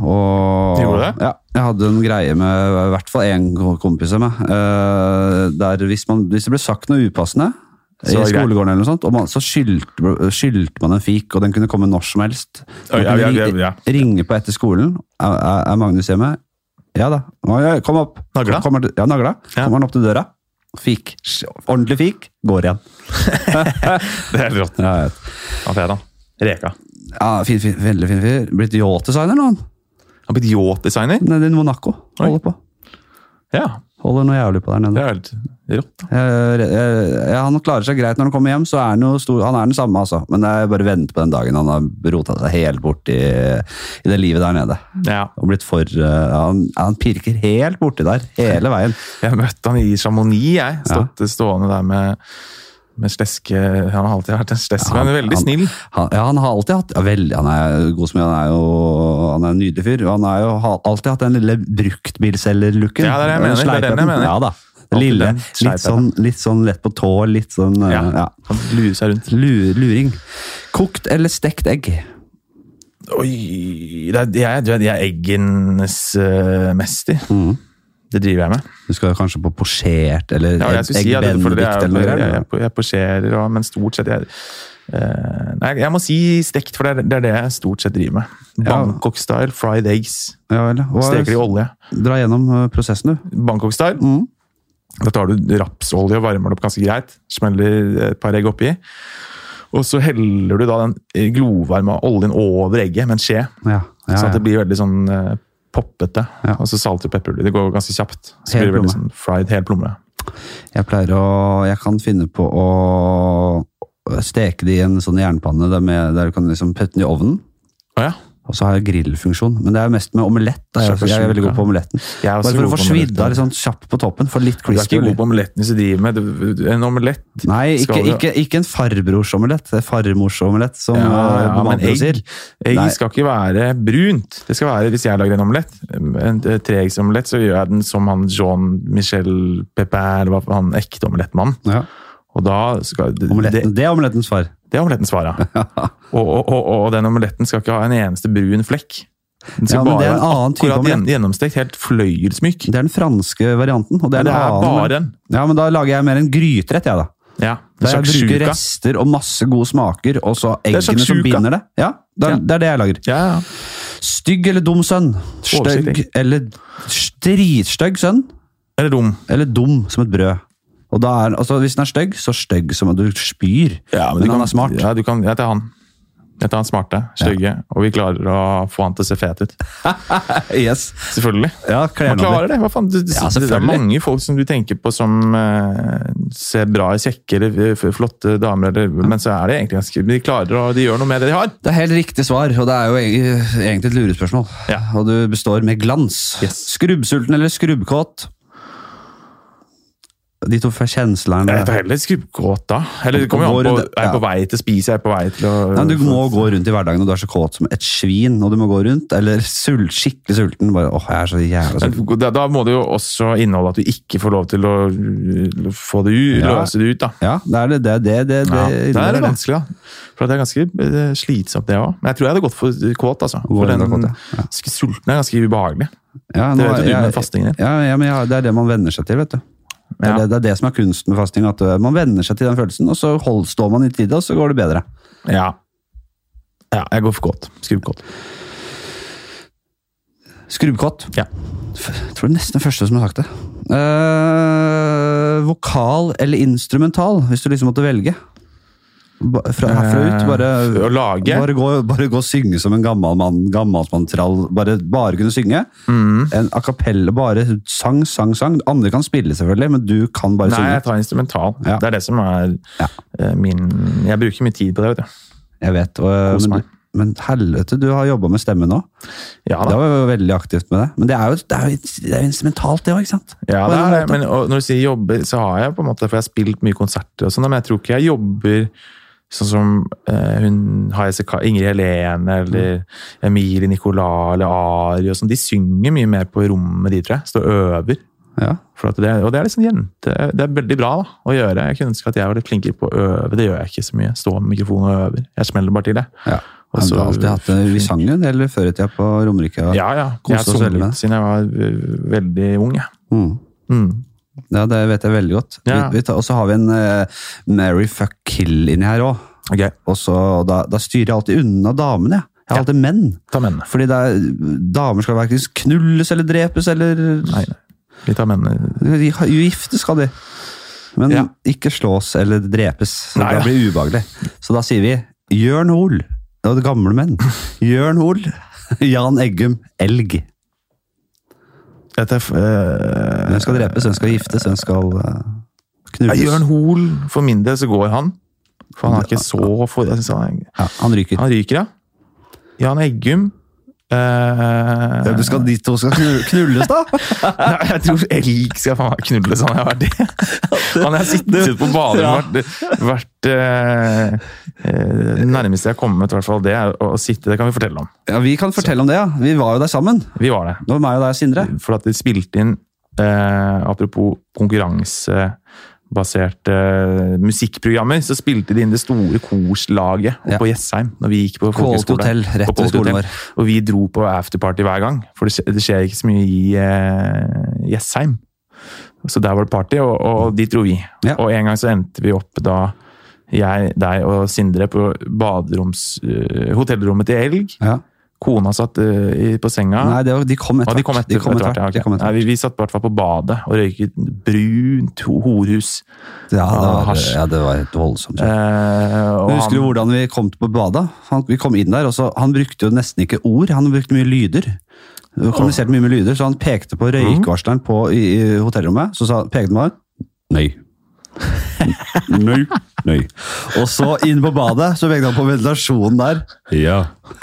[SPEAKER 2] Og,
[SPEAKER 1] Gjorde du det?
[SPEAKER 2] Ja, jeg hadde en greie med i hvert fall én ko- kompis av meg. eh, der hvis, man, hvis det ble sagt noe upassende
[SPEAKER 1] Så
[SPEAKER 2] i
[SPEAKER 1] var det greit.
[SPEAKER 2] skolegården, eller noe sånt, og man, så skyldte, skyldte man en fik, og den kunne komme når som helst.
[SPEAKER 1] Oi,
[SPEAKER 2] Man
[SPEAKER 1] ja,
[SPEAKER 2] kunne
[SPEAKER 1] ja,
[SPEAKER 2] ri-
[SPEAKER 1] ja, ja.
[SPEAKER 2] Ringe på etter skolen. Er, er er Magnus hjemme? Ja da. «Ja, ja, Kom opp.
[SPEAKER 1] Nagla?
[SPEAKER 2] Kom, kommer til- ja, nagla.
[SPEAKER 1] Ja.
[SPEAKER 2] Kommer han opp til døra? Fik. Ordentlig fik. Går igjen.
[SPEAKER 1] Det er helt rått.
[SPEAKER 2] Ja, jeg vet.
[SPEAKER 1] Han heter han? Reka.
[SPEAKER 2] Ja, fin, fin, veldig fin fyr. Blitt yacht-designer nå, han.
[SPEAKER 1] Han har blitt yacht-designer.
[SPEAKER 2] Nede i Monaco.
[SPEAKER 1] Oi.
[SPEAKER 2] Holder på.
[SPEAKER 1] Ja,
[SPEAKER 2] Holder noe jævlig på der
[SPEAKER 1] det
[SPEAKER 2] nede.
[SPEAKER 1] er helt rått. da.
[SPEAKER 2] Eh, eh, ja, han klarer seg greit når han kommer hjem, så er han jo stor, han er den samme, altså. Men jeg bare venter på den dagen han har rota seg helt bort i, i det livet der nede.
[SPEAKER 1] Ja.
[SPEAKER 2] Og blitt for eh, han, han pirker helt borti der, hele veien.
[SPEAKER 1] Jeg møtte han i Chamonix, jeg. Stått eh, stående der med, med sleske Han har alltid vært en slesk,
[SPEAKER 2] Ja, han-
[SPEAKER 1] men veldig
[SPEAKER 2] han-
[SPEAKER 1] snill.
[SPEAKER 2] Han, ja, han har alltid hatt ja, veldig, Han er god som han er jo Han er en nydelig fyr. og Han har jo ha- alltid hatt den lille bruktbilselger-looken.
[SPEAKER 1] Ja, det er det jeg mener, det er den jeg
[SPEAKER 2] Sleipheten.
[SPEAKER 1] mener.
[SPEAKER 2] Ja da.
[SPEAKER 1] Alltid
[SPEAKER 2] Lille,
[SPEAKER 1] den
[SPEAKER 2] litt sånn, litt sånn lett på tå, litt sånn eh,
[SPEAKER 1] Ja.
[SPEAKER 2] ja.
[SPEAKER 1] Han lurer seg rundt.
[SPEAKER 2] Lu- Luring. Kokt eller stekt egg?
[SPEAKER 1] Oi det er, Jeg, jeg, jeg er eggenes eh, mester.
[SPEAKER 2] Mm.
[SPEAKER 1] Det driver jeg med.
[SPEAKER 2] Du skal jo kanskje på posjert eller
[SPEAKER 1] Ja, og jeg
[SPEAKER 2] egg
[SPEAKER 1] skulle si, ja, det, for det er,
[SPEAKER 2] benedikt
[SPEAKER 1] jo-
[SPEAKER 2] eller noe
[SPEAKER 1] jeg, jeg,
[SPEAKER 2] greier.
[SPEAKER 1] jeg, jeg posjerer, og, men stort sett jeg, eh, Nei, jeg må si stekt, for det er det, er det jeg stort sett driver med.
[SPEAKER 2] Ja.
[SPEAKER 1] Bangkok-style, fried eggs.
[SPEAKER 2] Ja, eller?
[SPEAKER 1] Steker i
[SPEAKER 2] Hva,
[SPEAKER 1] olje.
[SPEAKER 2] dra gjennom eh, prosessen, du. Mm.
[SPEAKER 1] Bangkok-style. Da tar du rapsolje og varmer det opp ganske greit. Smeller et par egg oppi. Og så heller du da den eh, glovarme oljen over egget med en skje.
[SPEAKER 2] Ja, ja,
[SPEAKER 1] Så at
[SPEAKER 2] ja.
[SPEAKER 1] det blir veldig sånn eh, poppete.
[SPEAKER 2] Ja.
[SPEAKER 1] Og så salt og pepperolje. Det går ganske kjapt. Så blir
[SPEAKER 2] Hel
[SPEAKER 1] det veldig
[SPEAKER 2] plomme.
[SPEAKER 1] sånn fried hel plomme.
[SPEAKER 2] Jeg pleier å Jeg kan finne på å steke det i en sånn jernpanne der, med, der du kan liksom putte den i ovnen.
[SPEAKER 1] Å ja.
[SPEAKER 2] Og så har jeg grillfunksjon, men det er mest med omelett. Da. Jeg,
[SPEAKER 1] Sjakasjuka.
[SPEAKER 2] jeg er veldig god på omeletten.
[SPEAKER 1] Jeg er også
[SPEAKER 2] Bare
[SPEAKER 1] god
[SPEAKER 2] for å få
[SPEAKER 1] på omeletten.
[SPEAKER 2] svidd av litt sånn kjapt på toppen, få litt
[SPEAKER 1] Du er
[SPEAKER 2] crispy.
[SPEAKER 1] ikke god på omeletten hvis du driver med det. En omelett
[SPEAKER 2] Nei, ikke,
[SPEAKER 1] skal du-
[SPEAKER 2] ikke, ikke en farbrorsomelett. Det er farmorsomelett, som ja,
[SPEAKER 1] Ja, ja, men
[SPEAKER 2] mamma
[SPEAKER 1] egg-
[SPEAKER 2] sier.
[SPEAKER 1] Egg
[SPEAKER 2] Nei.
[SPEAKER 1] skal ikke være brunt. Det skal være, Hvis jeg lager en omelett, en eh, treeggsomelett, så gjør jeg den som han Jean-Michel Pepin, eller hva for- han ekte omelettmannen.
[SPEAKER 2] Ja,
[SPEAKER 1] Og da skal det,
[SPEAKER 2] omeletten. Det er omelettens far.
[SPEAKER 1] det er omelettens svar,
[SPEAKER 2] [laughs]
[SPEAKER 1] ja. Og, og, og, og den omeletten skal ikke ha en eneste brun flekk. Den skal
[SPEAKER 2] Ja, men det er en
[SPEAKER 1] bare være
[SPEAKER 2] annen type
[SPEAKER 1] akkurat
[SPEAKER 2] omelett.
[SPEAKER 1] gjenn- gjennomstekt, helt fløyelsmyk.
[SPEAKER 2] Det er den franske varianten. Og det er,
[SPEAKER 1] Det er
[SPEAKER 2] en annen,
[SPEAKER 1] bare en.
[SPEAKER 2] Ja, men da lager jeg mer en gryterett, jeg, da.
[SPEAKER 1] Ja, en
[SPEAKER 2] Der jeg bruker
[SPEAKER 1] sjaksjuka.
[SPEAKER 2] rester og masse gode smaker, og så
[SPEAKER 1] er
[SPEAKER 2] eggene som
[SPEAKER 1] shakshuka.
[SPEAKER 2] binder det. Ja, det er,
[SPEAKER 1] Ja.
[SPEAKER 2] det er det jeg lager.
[SPEAKER 1] Ja, ja.
[SPEAKER 2] Stygg eller dum sønn. Stygg
[SPEAKER 1] Oversiktlig.
[SPEAKER 2] eller dritstygg sønn.
[SPEAKER 1] Eller dum.
[SPEAKER 2] Eller dum som et brød. Og da er, altså Hvis den er stygg, så stygg som at du spyr. men
[SPEAKER 1] du
[SPEAKER 2] han
[SPEAKER 1] kan-
[SPEAKER 2] er smart.
[SPEAKER 1] Ja, du kan, jeg tar han. Jeg tar han smarte, stygge, og vi klarer å få han til å se fet ut.
[SPEAKER 2] Yes.
[SPEAKER 1] Selvfølgelig.
[SPEAKER 2] Ja, kler
[SPEAKER 1] Man
[SPEAKER 2] han av det.
[SPEAKER 1] klarer det. Hva faen? Du,
[SPEAKER 2] Ja,
[SPEAKER 1] det er
[SPEAKER 2] selvfølgelig.
[SPEAKER 1] mange folk som du tenker på som eh, ser bra i kjekke eller f- flotte damer, eller, men så er det egentlig ganske men De klarer å de gjør noe med det de har.
[SPEAKER 2] Det er helt riktig svar, og det er jo eg- egentlig et lurespørsmål.
[SPEAKER 1] Ja.
[SPEAKER 2] Og du består med glans.
[SPEAKER 1] Yes.
[SPEAKER 2] Skrubbsulten eller skrubbkåt? De to kjenslene
[SPEAKER 1] Jeg tar heller skrubbkåt da. Eller det kommer jo an på
[SPEAKER 2] Går-
[SPEAKER 1] er jeg på vei til å spise, er jeg på vei til å
[SPEAKER 2] Nei, men du må gå rundt i hverdagen og du er så kåt som et svin, og du må gå rundt, eller sul, skikkelig sulten. Bare, åh, jeg er så jævla sulten.
[SPEAKER 1] Men da, da må det jo også inneholde at du ikke får lov til å uh, få det ut,
[SPEAKER 2] Ja.
[SPEAKER 1] løse det ut, da.
[SPEAKER 2] Ja, det er det. det, er det, det, det,
[SPEAKER 1] Ja, det er
[SPEAKER 2] innebærer
[SPEAKER 1] litt vanskelig, da. For det er ganske eh, slitsomt, det òg. Men jeg tror jeg hadde gått for kåt, altså. For
[SPEAKER 2] Går
[SPEAKER 1] den
[SPEAKER 2] under kåt, ja. Ja.
[SPEAKER 1] sk- sulten er ganske ubehagelig.
[SPEAKER 2] Ja,
[SPEAKER 1] Det
[SPEAKER 2] nå
[SPEAKER 1] vet
[SPEAKER 2] er-
[SPEAKER 1] jo du
[SPEAKER 2] jeg-
[SPEAKER 1] med fastingen din.
[SPEAKER 2] Ja, ja, men ja, det er det man venner seg til, vet du. Det er,
[SPEAKER 1] Ja.
[SPEAKER 2] det, det er det som er kunsten med fasting, at øh, man venner seg til den følelsen, og så hold, står man i tide, og så går det bedre.
[SPEAKER 1] Ja. ja jeg går for kåt. Skrubbkåt.
[SPEAKER 2] Skrubbkått.
[SPEAKER 1] Ja.
[SPEAKER 2] F- Jeg tror det er nesten den første som har sagt det. Eh, vokal eller instrumental, hvis du liksom måtte velge. Ba, fra herfra ut, bare
[SPEAKER 1] Eh, Å lage
[SPEAKER 2] Bare gå, bare gå og synge som en gammel mann, gammelsmanntrall. Bare, bare kunne synge.
[SPEAKER 1] Mhm.
[SPEAKER 2] En a cappella, bare sang, sang, sang. Andre kan spille, selvfølgelig, men du kan bare
[SPEAKER 1] Nei,
[SPEAKER 2] synge.
[SPEAKER 1] jeg tar instrumental.
[SPEAKER 2] Ja.
[SPEAKER 1] Det er det som er
[SPEAKER 2] Ja.
[SPEAKER 1] eh, min Jeg bruker mye tid på det, vet du.
[SPEAKER 2] Jeg vet, og,
[SPEAKER 1] Kos
[SPEAKER 2] men,
[SPEAKER 1] meg.
[SPEAKER 2] men helvete, du har jobba med stemme nå.
[SPEAKER 1] Ja
[SPEAKER 2] Det
[SPEAKER 1] da.
[SPEAKER 2] var jo veldig aktivt med det. Men det er jo, det er jo, det er jo instrumentalt, det òg, ikke sant? sånn
[SPEAKER 1] Ja,
[SPEAKER 2] På
[SPEAKER 1] det
[SPEAKER 2] en
[SPEAKER 1] er det.
[SPEAKER 2] måte.
[SPEAKER 1] Men og når du sier jobber, så har jeg på en måte For jeg har spilt mye konserter og sånn, men jeg tror ikke jeg jobber sånn som eh, hun Haya Seka- Ingrid Helene eller
[SPEAKER 2] Mm.
[SPEAKER 1] Emilie Nicolas eller Ari og sånn. De synger mye mer på rommet, de, tror jeg. Står og øver.
[SPEAKER 2] Ja.
[SPEAKER 1] For at det, og det er liksom jente Det er veldig bra da, å gjøre. Jeg kunne ønske at jeg var litt flinkere på å øve. Det gjør jeg ikke så mye. Stå med mikrofonen og øver. Jeg smeller bare til, jeg.
[SPEAKER 2] ja.
[SPEAKER 1] Og
[SPEAKER 2] Men
[SPEAKER 1] så-
[SPEAKER 2] du har alltid hatt det vi sang jo en del før i tida på Romerike. og-
[SPEAKER 1] Ja, ja. Jeg har
[SPEAKER 2] Koser oss veldig med det.
[SPEAKER 1] sunget siden jeg var øh, veldig ung, jeg.
[SPEAKER 2] Mm.
[SPEAKER 1] Mm.
[SPEAKER 2] Ja, det vet jeg veldig godt.
[SPEAKER 1] Ja.
[SPEAKER 2] Vi, vi tar, og så har vi en eh, Mary fuck kill inni her òg.
[SPEAKER 1] Ok,
[SPEAKER 2] Og så, da, da styrer jeg alltid unna damene. jeg. Jeg har
[SPEAKER 1] Ja.
[SPEAKER 2] alltid menn.
[SPEAKER 1] ta mennene.
[SPEAKER 2] Fordi det er, damer skal hverken knulles eller drepes eller
[SPEAKER 1] Nei, nei. Vi tar mennene.
[SPEAKER 2] De har- Jo, gifte skal de. Men
[SPEAKER 1] Ja.
[SPEAKER 2] ikke slås eller drepes. Så
[SPEAKER 1] Nei,
[SPEAKER 2] det
[SPEAKER 1] ja.
[SPEAKER 2] blir det ubehagelig. Så da sier vi Jørn Hoel. Det var det
[SPEAKER 1] [laughs]
[SPEAKER 2] gamle menn. Jørn Hoel, Jan Eggum, elg.
[SPEAKER 1] Jeg tar, øh,
[SPEAKER 2] Hvem skal drepes, hvem skal giftes, hvem skal
[SPEAKER 1] ja,
[SPEAKER 2] eh, knulles?
[SPEAKER 1] Jørn Hoel, for min del så går han. For han er ikke så for, jeg synes han, er-
[SPEAKER 2] Ja, han ryker.
[SPEAKER 1] han ryker, ja. Jan Eggum Eh, øh,
[SPEAKER 2] Ja, du skal, de to skal knu- knulles, da?
[SPEAKER 1] [laughs] Nei, jeg tror elg skal faen meg knulles. Han har vært det. Han har sittet på badet
[SPEAKER 2] Ja.
[SPEAKER 1] vært, vært eh, eh, Nærmeste jeg har kommet, i hvert fall det, er å, å sitte. Det kan vi fortelle om.
[SPEAKER 2] Ja, Vi kan fortelle om det, ja. Vi var jo der sammen.
[SPEAKER 1] Vi var det.
[SPEAKER 2] Det var meg og deg, Sindre.
[SPEAKER 1] For at de spilte inn eh, Apropos konkurransebaserte musikkprogrammer, så spilte de inn det store korslaget oppe
[SPEAKER 2] Ja.
[SPEAKER 1] på Jessheim. når vi gikk på
[SPEAKER 2] Kålt
[SPEAKER 1] folkehøyskole.
[SPEAKER 2] hotell, rett
[SPEAKER 1] På
[SPEAKER 2] ved
[SPEAKER 1] Kålt
[SPEAKER 2] skolen
[SPEAKER 1] Hotel.
[SPEAKER 2] vår.
[SPEAKER 1] Og vi dro på afterparty hver gang, for det skjer, det skjer ikke så mye i eh, Jessheim. Så der var det party, og, og dit dro vi.
[SPEAKER 2] Ja.
[SPEAKER 1] Og en gang så endte vi opp da jeg, deg og Sindre på baderoms, eh, hotellrommet til Elg.
[SPEAKER 2] Ja.
[SPEAKER 1] Kona satt eh, i- på senga.
[SPEAKER 2] Nei, det var, de kom
[SPEAKER 1] Og
[SPEAKER 2] etter
[SPEAKER 1] de kom etter, etter hvert. Ja, ok.
[SPEAKER 2] De kom etter
[SPEAKER 1] Nei, vi, vi satt i hvert fall på badet og røyket brunt ho- horhus.
[SPEAKER 2] hvert. Ja, det
[SPEAKER 1] Ah,
[SPEAKER 2] var,
[SPEAKER 1] hasj.
[SPEAKER 2] ja, det var helt voldsomt.
[SPEAKER 1] Eh, og
[SPEAKER 2] Men husker du hvordan vi kom på badet? Han, vi kom inn der, og så, han brukte jo nesten ikke ord, han brukte mye lyder. Han Kommuniserte mye med lyder, så han pekte på
[SPEAKER 1] Mhm.
[SPEAKER 2] røykvarsleren på, i, i hotellrommet, så sa, pekte han bare,
[SPEAKER 1] [laughs]
[SPEAKER 2] nei. Nei, nei. Og så inn på badet, så pekte han på ventilasjonen der. Ja.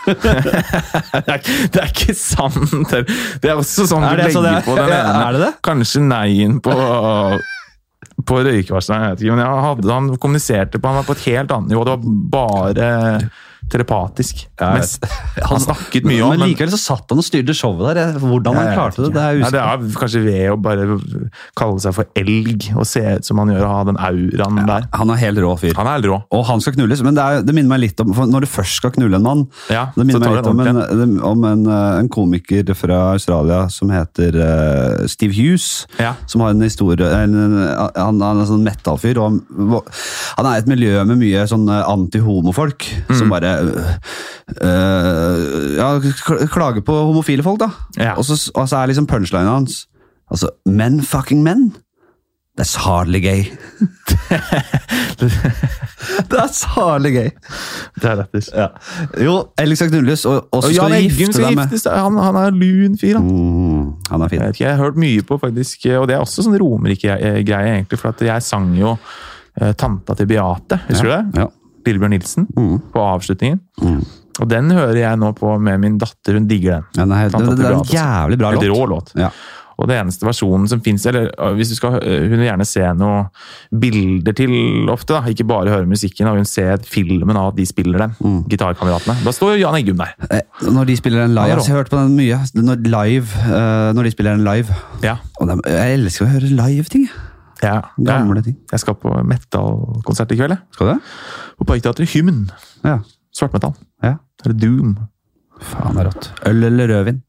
[SPEAKER 1] han, [laughs] det, er, ikke- det er ikke sant! Det er- det er også sånn
[SPEAKER 2] Er
[SPEAKER 1] du
[SPEAKER 2] det
[SPEAKER 1] legger
[SPEAKER 2] så det er?
[SPEAKER 1] på den
[SPEAKER 2] Ja,
[SPEAKER 1] ene.
[SPEAKER 2] er det det?
[SPEAKER 1] Kanskje neien på på røykevarsleren, jeg vet ikke, men jeg hadde, han kommuniserte på, han var på et helt annet nivå, det var bare telepatisk.
[SPEAKER 2] Jeg
[SPEAKER 1] Mens, han snakket mye om,
[SPEAKER 2] Men likevel så satt han og styrte showet der. jeg- Hvordan han
[SPEAKER 1] Jeg vet
[SPEAKER 2] klarte det,
[SPEAKER 1] ikke.
[SPEAKER 2] det er
[SPEAKER 1] Nei,
[SPEAKER 2] usikkert.
[SPEAKER 1] det er kanskje ved å bare kalle seg for elg og se ut som han gjør, og ha den auraen der.
[SPEAKER 2] Han er helt rå fyr.
[SPEAKER 1] Han er rå.
[SPEAKER 2] Og han skal knulles, men det, er, det minner meg litt om for Når du først skal knulle en mann
[SPEAKER 1] Ja,
[SPEAKER 2] Det
[SPEAKER 1] så tar
[SPEAKER 2] minner
[SPEAKER 1] du
[SPEAKER 2] meg litt om,
[SPEAKER 1] en
[SPEAKER 2] en, om en, eh, en komiker fra Australia som heter eh, Steve Hughes.
[SPEAKER 1] Ja.
[SPEAKER 2] Som har en historie en, en, Han han er en sånn metal-fyr. og Han, han er i et miljø med mye sånn eh, anti-homofolk. Som bare eh, eh, ja, kl- klager på homofile folk, da.
[SPEAKER 1] Ja.
[SPEAKER 2] Og, så, og så er liksom punchlinen hans Altså, men fucking men. That's hardly gay. That's hardly gay.
[SPEAKER 1] Det er lættis.
[SPEAKER 2] Ja. Jo, Elg skal knulles, og, og så
[SPEAKER 1] Og
[SPEAKER 2] skal
[SPEAKER 1] Jan
[SPEAKER 2] du
[SPEAKER 1] Eggen
[SPEAKER 2] gifte
[SPEAKER 1] skal
[SPEAKER 2] deg med
[SPEAKER 1] giftes, han, han er lun fyr, han.
[SPEAKER 2] mm, Han er fin.
[SPEAKER 1] Jeg vet ikke, jeg har hørt mye på, faktisk, og det er også sånn romerike-greie, egentlig, for at jeg sang jo eh, Tanta til Beate, husker du det?
[SPEAKER 2] Ja.
[SPEAKER 1] Lillebjørn Nilsen, på avslutningen.
[SPEAKER 2] Mm.
[SPEAKER 1] Og den hører jeg nå på med min datter, hun digger den.
[SPEAKER 2] Den er helt,
[SPEAKER 1] Tanta
[SPEAKER 2] det, det
[SPEAKER 1] til
[SPEAKER 2] er en
[SPEAKER 1] Beate, altså.
[SPEAKER 2] jævlig bra
[SPEAKER 1] Veldig
[SPEAKER 2] låt.
[SPEAKER 1] rå låt.
[SPEAKER 2] Ja.
[SPEAKER 1] Og det eneste versjonen som fins Eller øh, hvis du skal, øh, hun vil gjerne se noen bilder til ofte, da. ikke bare høre musikken. Og hun ser filmen av at de spiller den,
[SPEAKER 2] Mm.
[SPEAKER 1] gitarkameratene. Da står jo Jan Eggum der.
[SPEAKER 2] Eh, Når de spiller den live
[SPEAKER 1] Ja,
[SPEAKER 2] Jeg
[SPEAKER 1] da.
[SPEAKER 2] har hørt på den mye. Når, live, eh, når de spiller den live
[SPEAKER 1] Ja.
[SPEAKER 2] og dem- Jeg elsker å høre live-ting. jeg.
[SPEAKER 1] ja.
[SPEAKER 2] Gamle
[SPEAKER 1] Jeg,
[SPEAKER 2] ting.
[SPEAKER 1] jeg skal på metal-konsert i kveld. jeg.
[SPEAKER 2] Skal du det?
[SPEAKER 1] På Parkteatret Hymn.
[SPEAKER 2] Ja.
[SPEAKER 1] Svartmetall.
[SPEAKER 2] ja.
[SPEAKER 1] Eller Doom.
[SPEAKER 2] Faen, det er rått. Øl eller rødvin?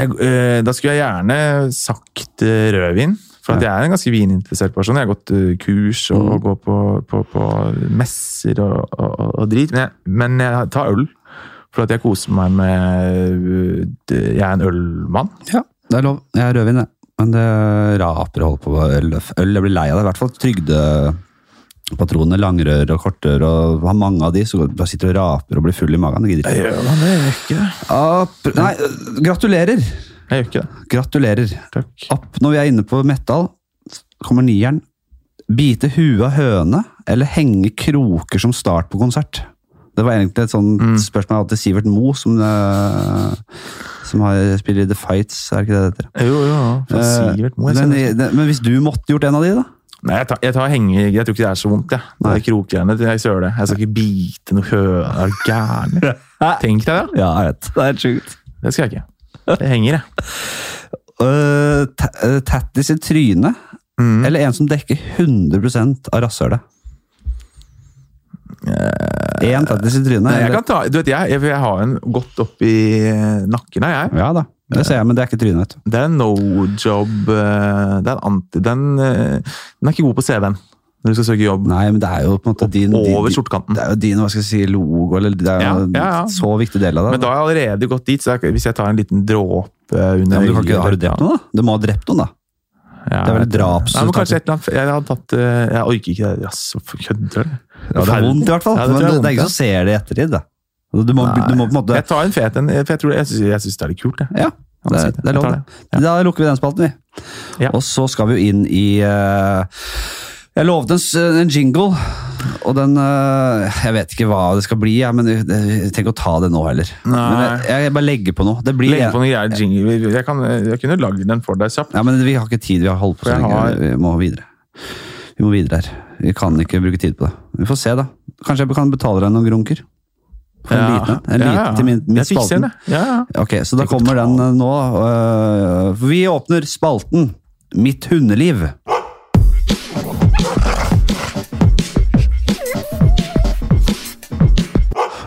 [SPEAKER 1] Jeg, øh, da skulle jeg gjerne sagt øh, rødvin. For at jeg er en ganske vininteressert person. Jeg har gått øh, kurs og, og går på, på, på messer og, og, og- og drit. Men jeg, men jeg tar øl. For at jeg koser meg med øh, det- Jeg er en ølmann.
[SPEAKER 2] Ja, det er lov. Jeg er rødvin, jeg. Men det raper å holde på med øl. Øl, jeg blir lei av det. I hvert fall trygdepatroner, langrør og kortrør. og Har mange av de, så går- bare sitter og raper og blir full i magen. Det gidder ikke.
[SPEAKER 1] gjør man det? Jeg gjør ikke det.
[SPEAKER 2] App- Nei, øh, gratulerer!
[SPEAKER 1] Jeg gjør ikke det.
[SPEAKER 2] Gratulerer.
[SPEAKER 1] Takk.
[SPEAKER 2] Opp når vi er inne på metal, kommer nieren. Bite huet av høne, eller henge kroker som start på konsert? Det var egentlig et sånt spørsmål jeg hadde til Sivert Moe, som, øh, som har spiller i The Fights, er det ikke det det heter?
[SPEAKER 1] Jo, jo, jo. Fra Sivert Moe.
[SPEAKER 2] Eh,
[SPEAKER 1] jeg
[SPEAKER 2] den,
[SPEAKER 1] ser det.
[SPEAKER 2] den, men hvis du måtte gjort en av de, da?
[SPEAKER 1] Nei, jeg tar, jeg tar henge... Jeg tror ikke det er så vondt, jeg. Det
[SPEAKER 2] Nei.
[SPEAKER 1] er krokgreiene. Jeg søler. Jeg skal ikke bite noe høne. Er du
[SPEAKER 2] [laughs]
[SPEAKER 1] gæren? Tenk deg det.
[SPEAKER 2] Ja, jeg vet. Det er helt sjukt.
[SPEAKER 1] Det skal jeg ikke. Det henger, jeg.
[SPEAKER 2] Eh, tattis i trynet,
[SPEAKER 1] Mm.
[SPEAKER 2] eller en som dekker 100 av rasshølet? Én tattis i trynet?
[SPEAKER 1] Nei, jeg
[SPEAKER 2] eller-
[SPEAKER 1] kan ta, du vet, jeg, jeg, jeg har en godt oppi nakken her, jeg.
[SPEAKER 2] Ja da, det ser jeg, men det er ikke trynet. vet du.
[SPEAKER 1] Det er en no job eh, Det er en anti... Den, eh, den er ikke god på CV-en når du skal søke jobb.
[SPEAKER 2] Nei, men det er jo på en måte din, din
[SPEAKER 1] Over skjortekanten.
[SPEAKER 2] Det er jo din hva skal jeg si, logo, eller det er jo
[SPEAKER 1] Ja, ja, ja.
[SPEAKER 2] en så viktig del av det.
[SPEAKER 1] Men da har jeg allerede gått dit, så jeg, hvis jeg tar en liten dråpe under
[SPEAKER 2] ja, men du kan ikke, har du drept noen, da? Du må ha drept noen, da.
[SPEAKER 1] Ja,
[SPEAKER 2] Det er vel
[SPEAKER 1] jeg tror-
[SPEAKER 2] draps-
[SPEAKER 1] Nei, men kanskje et eller annet Jeg hadde tatt eh, Jeg orker ikke det. Jaså, kødder du?
[SPEAKER 2] Ja, det er vondt, i hvert
[SPEAKER 1] Ja, det tror jeg
[SPEAKER 2] fall. det, men
[SPEAKER 1] er
[SPEAKER 2] det, det er
[SPEAKER 1] vondt,
[SPEAKER 2] ingen som ser det i ettertid. Da. Altså, Du, må, du må på en måte
[SPEAKER 1] Jeg tar en fet en, for jeg, tror- jeg, synes- jeg syns det er litt kult, jeg.
[SPEAKER 2] Ja,
[SPEAKER 1] Han
[SPEAKER 2] det,
[SPEAKER 1] sier
[SPEAKER 2] det er
[SPEAKER 1] Jeg
[SPEAKER 2] lov,
[SPEAKER 1] tar
[SPEAKER 2] det. Da lukker vi den spalten, vi.
[SPEAKER 1] Ja.
[SPEAKER 2] Og så skal vi jo inn i eh, Jeg lovte en, s- en jingle, og den eh, Jeg vet ikke hva det skal bli, jeg, men jeg, jeg tenker å ta det nå heller.
[SPEAKER 1] Nei.
[SPEAKER 2] Men jeg, jeg bare legger på noe. Det blir
[SPEAKER 1] Legg på noen greier. jingle. Jeg, kan, jeg kunne lagd den for deg kjapt.
[SPEAKER 2] Ja, men vi har ikke tid. Vi har holdt på så
[SPEAKER 1] Jeg
[SPEAKER 2] lenge.
[SPEAKER 1] har-
[SPEAKER 2] Vi må videre. Vi må videre her. Vi kan ikke bruke tid på det. Vi får se, da. Kanskje jeg kan betale deg noen grunker? For en liten en. En
[SPEAKER 1] Ja,
[SPEAKER 2] liten
[SPEAKER 1] ja.
[SPEAKER 2] til min, min
[SPEAKER 1] Jeg fikser
[SPEAKER 2] spalten.
[SPEAKER 1] den, jeg. Ja, ja.
[SPEAKER 2] Ok, så da
[SPEAKER 1] Tenk å
[SPEAKER 2] kommer
[SPEAKER 1] ta
[SPEAKER 2] den eh, nå. eh, for vi åpner spalten Mitt hundeliv.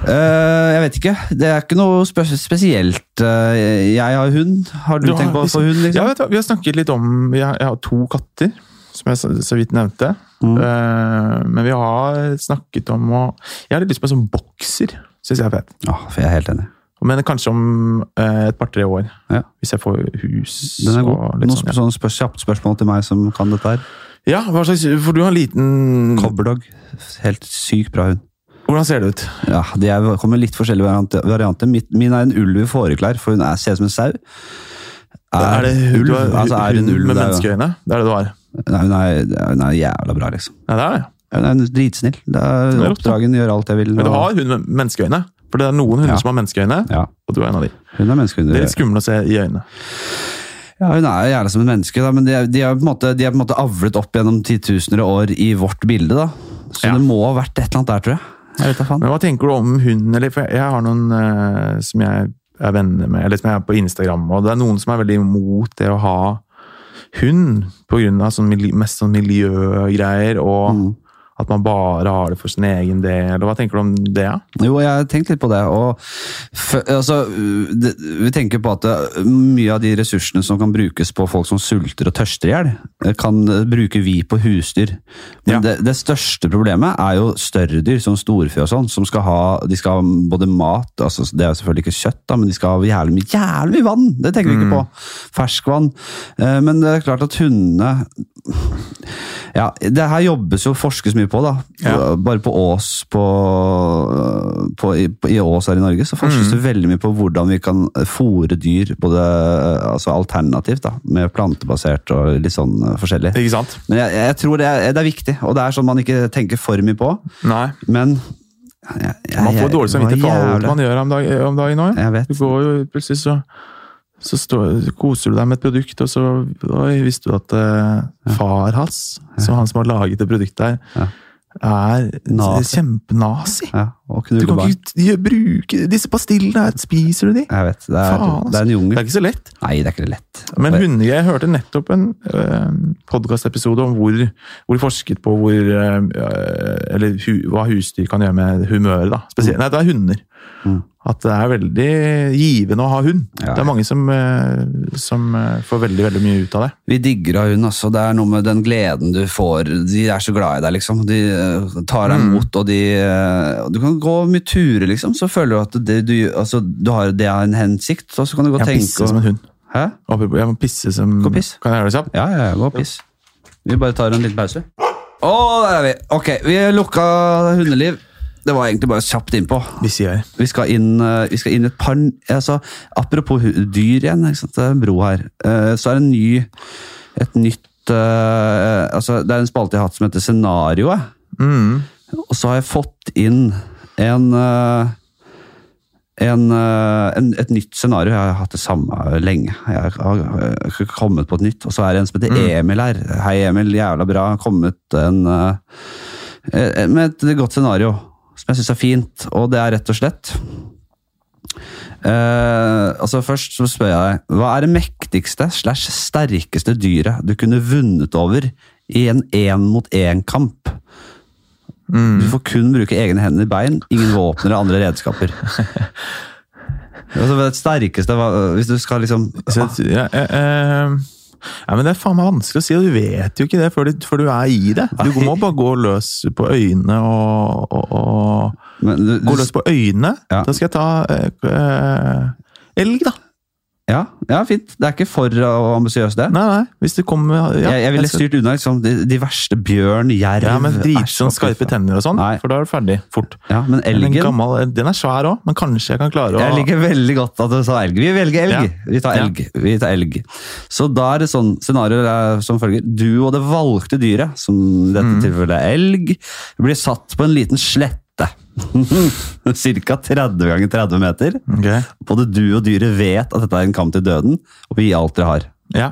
[SPEAKER 2] Eh, jeg vet ikke. Det er ikke noe spe spesielt. Eh, jeg har hund. Har du,
[SPEAKER 1] har-
[SPEAKER 2] tenkt på å få hund?
[SPEAKER 1] Ja,
[SPEAKER 2] Liksom?
[SPEAKER 1] vet du, hva, vi har snakket litt om vi har, Jeg har to katter, som jeg så, så vidt nevnte.
[SPEAKER 2] Mm.
[SPEAKER 1] Eh, men vi har snakket om å Jeg har litt lyst på en sånn bokser. Syns jeg er fett.
[SPEAKER 2] Ja, Ah, for jeg er helt enig.
[SPEAKER 1] Men kanskje om eh, et par-tre år.
[SPEAKER 2] Ja.
[SPEAKER 1] Hvis jeg får hus
[SPEAKER 2] Den er god.
[SPEAKER 1] og litt
[SPEAKER 2] Noe
[SPEAKER 1] sånn.
[SPEAKER 2] sp- sånn spør, kjapt spørsmål til meg som kan dette her.
[SPEAKER 1] Ja. ja, hva slags For du har en liten
[SPEAKER 2] Cobberdog. Helt sykt bra hund.
[SPEAKER 1] Hvordan ser det ut?
[SPEAKER 2] Ja, De er, kommer litt forskjellige variante- varianter. Mitt- Min er en ulv i fåreklær, for hun er, ser ut som en sau.
[SPEAKER 1] Er det ulv,
[SPEAKER 2] altså, er hun
[SPEAKER 1] hund
[SPEAKER 2] ulv
[SPEAKER 1] med
[SPEAKER 2] det er jo-
[SPEAKER 1] menneskeøyne? Det er det du har?
[SPEAKER 2] Nei, hun er, hun er jævla bra, liksom.
[SPEAKER 1] Ja, det er det.
[SPEAKER 2] Hun er dritsnill. Det er
[SPEAKER 1] Det er
[SPEAKER 2] oppdragen gjør alt jeg vil.
[SPEAKER 1] Men du
[SPEAKER 2] og-
[SPEAKER 1] har hund med menneskeøyne? For det er noen hunder
[SPEAKER 2] Ja.
[SPEAKER 1] som har menneskeøyne,
[SPEAKER 2] Ja,
[SPEAKER 1] og du er en av de.
[SPEAKER 2] hun er menneskehund.
[SPEAKER 1] Det er litt skummelt å se i øynene.
[SPEAKER 2] Ja, hun er gjerne som et menneske, da, men de er, de, er på en måte, de er på en måte avlet opp gjennom titusener av år i vårt bilde. da. Så
[SPEAKER 1] Ja.
[SPEAKER 2] det må ha vært et eller annet der, tror jeg. Jeg vet da faen.
[SPEAKER 1] Men hva tenker du om hund, eller For jeg, jeg har noen eh, som jeg er venner med, eller som jeg er på Instagram, og det er noen som er veldig imot det å ha hund, på grunn av sånn, mili- mest sånn miljøgreier, og
[SPEAKER 2] Mm.
[SPEAKER 1] at man bare har det for sin egen del. Og hva tenker du om det? ja?
[SPEAKER 2] Jo, jeg har tenkt litt på det. og f- altså, det, Vi tenker på at det, mye av de ressursene som kan brukes på folk som sulter og tørster i hjel, kan eh, bruke vi på husdyr. Men
[SPEAKER 1] Ja.
[SPEAKER 2] det, det største problemet er jo større dyr, som storfe og sånn, som skal ha, de skal ha både mat altså Det er jo selvfølgelig ikke kjøtt, da, men de skal ha jævlig mye, jævlig mye vann! Det tenker vi
[SPEAKER 1] Mm.
[SPEAKER 2] ikke på. Ferskvann. Eh, Men det er klart at hundene ja, det her jobbes jo forskes mye på, da.
[SPEAKER 1] Ja.
[SPEAKER 2] Bare på Ås på, på, i, på, I Ås her i Norge så forskes
[SPEAKER 1] Mm.
[SPEAKER 2] det veldig mye på hvordan vi kan fòre dyr både altså alternativt, da, med plantebasert og litt sånn eh, forskjellig.
[SPEAKER 1] Ikke sant?
[SPEAKER 2] Men jeg, jeg tror det er, det er viktig, og det er sånn man ikke tenker for mye på.
[SPEAKER 1] Nei.
[SPEAKER 2] Men jeg, jeg,
[SPEAKER 1] Man får dårlig samvittighet for alt man gjør om dag- om dagen òg.
[SPEAKER 2] Jeg vet.
[SPEAKER 1] Du går jo plutselig så så står, koser du deg med et produkt, og så oi, visste du at eh, far hans, som han som har laget det produktet her,
[SPEAKER 2] Ja.
[SPEAKER 1] er
[SPEAKER 2] Nazi.
[SPEAKER 1] kjempenazi.
[SPEAKER 2] Ja, og
[SPEAKER 1] Du
[SPEAKER 2] knulle
[SPEAKER 1] kan
[SPEAKER 2] barn.
[SPEAKER 1] ikke gjø- bruke Disse pastillene her, spiser du de?
[SPEAKER 2] Jeg vet, det er,
[SPEAKER 1] Faen,
[SPEAKER 2] det er en
[SPEAKER 1] Det
[SPEAKER 2] jungel.
[SPEAKER 1] er ikke så lett.
[SPEAKER 2] Nei, det er ikke lett.
[SPEAKER 1] Men hunder, jeg hørte nettopp en øh, podkastepisode om hvor, hvor de forsket på hvor, øh, eller hu, hva husdyr kan gjøre med humøret. da. Spesielt, Nei, det er hunder.
[SPEAKER 2] Mm.
[SPEAKER 1] At det er veldig givende å ha hund.
[SPEAKER 2] Ja.
[SPEAKER 1] Det er mange som, øh, som øh, får veldig veldig mye ut av det.
[SPEAKER 2] Vi digger av hun, altså. Det er noe med den gleden du får. De er så glad i deg, liksom. De eh, tar deg imot, og de eh, Du kan gå mye turer, liksom. Så føler du at det du, gjør- altså, du har, det har en hensikt, og så kan du gå og
[SPEAKER 1] Jeg må
[SPEAKER 2] tenke
[SPEAKER 1] pisse som en hund.
[SPEAKER 2] Hæ?
[SPEAKER 1] Apropos, Jeg må pisse som
[SPEAKER 2] Gå og piss.
[SPEAKER 1] Kan jeg gjøre det kjapt?
[SPEAKER 2] Ja, ja, ja, gå og piss. Vi bare tar en liten pause. Å, der er vi! Ok, vi lukka hundeliv. Det var egentlig bare kjapt innpå.
[SPEAKER 1] Hvis jeg
[SPEAKER 2] Vi skal inn, eh, vi skal inn et par altså, Apropos hu- dyr igjen, ikke sant? det er en bro her. Eh, Så er det en ny, et nytt eh, altså, Det er en spalte jeg har hatt som heter Scenarioet.
[SPEAKER 1] mm.
[SPEAKER 2] Og så har jeg fått inn en, eh, en, eh, en Et nytt scenario. Jeg har hatt det samme lenge. Jeg har eh, ikke kommet på et nytt. Og så er det en som heter Emil her. Hei, Emil. Jævla bra. Kommet en eh, eh, Med et godt scenario som jeg syns er fint, og det er rett og slett Eh, altså Først så spør jeg deg Hva er det mektigste slash sterkeste dyret du kunne vunnet over i en én-mot-én-kamp? Du får kun bruke egne hender, bein, ingen våpen eller andre redskaper. altså, det sterkeste hva- Hvis du skal liksom
[SPEAKER 1] Så, jeg- ja, eh, eh, ja, men Det er faen meg vanskelig å si, og du vet jo ikke det før du, før du er i det. Du må bare gå løs på øynene og, og, og
[SPEAKER 2] men, du,
[SPEAKER 1] Gå
[SPEAKER 2] du,
[SPEAKER 1] løs på øynene.
[SPEAKER 2] Ja.
[SPEAKER 1] Da skal jeg ta eh, eh, elg, da.
[SPEAKER 2] ja, ja, fint. Det er ikke for uh, ambisiøst, det.
[SPEAKER 1] Nei, nei. Hvis det kommer ja,
[SPEAKER 2] jeg, jeg ville
[SPEAKER 1] skal-
[SPEAKER 2] styrt unna liksom, de, de verste bjørn, jerv
[SPEAKER 1] ja, men drit
[SPEAKER 2] æsj,
[SPEAKER 1] sånn
[SPEAKER 2] hva faen.
[SPEAKER 1] skarpe tenner og sånn,
[SPEAKER 2] Nei.
[SPEAKER 1] for da er du ferdig fort.
[SPEAKER 2] Ja, men
[SPEAKER 1] Men En
[SPEAKER 2] elgen
[SPEAKER 1] gammel, eh, den er svær òg, men kanskje jeg kan klare å
[SPEAKER 2] Jeg liker veldig godt at du sa elg. Vi velger elg. Vi tar
[SPEAKER 1] Ja.
[SPEAKER 2] elg. Vi tar elg. Så da er det sånn scenario er som følger. Du og det valgte dyret, som i dette
[SPEAKER 1] Mm.
[SPEAKER 2] tilfellet er elg, blir satt på en liten slette. [laughs] Cirka 30 ganger 30 meter.
[SPEAKER 1] Ok.
[SPEAKER 2] Både du og dyret vet at dette er en kamp til døden, og vi gir alt dere har.
[SPEAKER 1] Ja.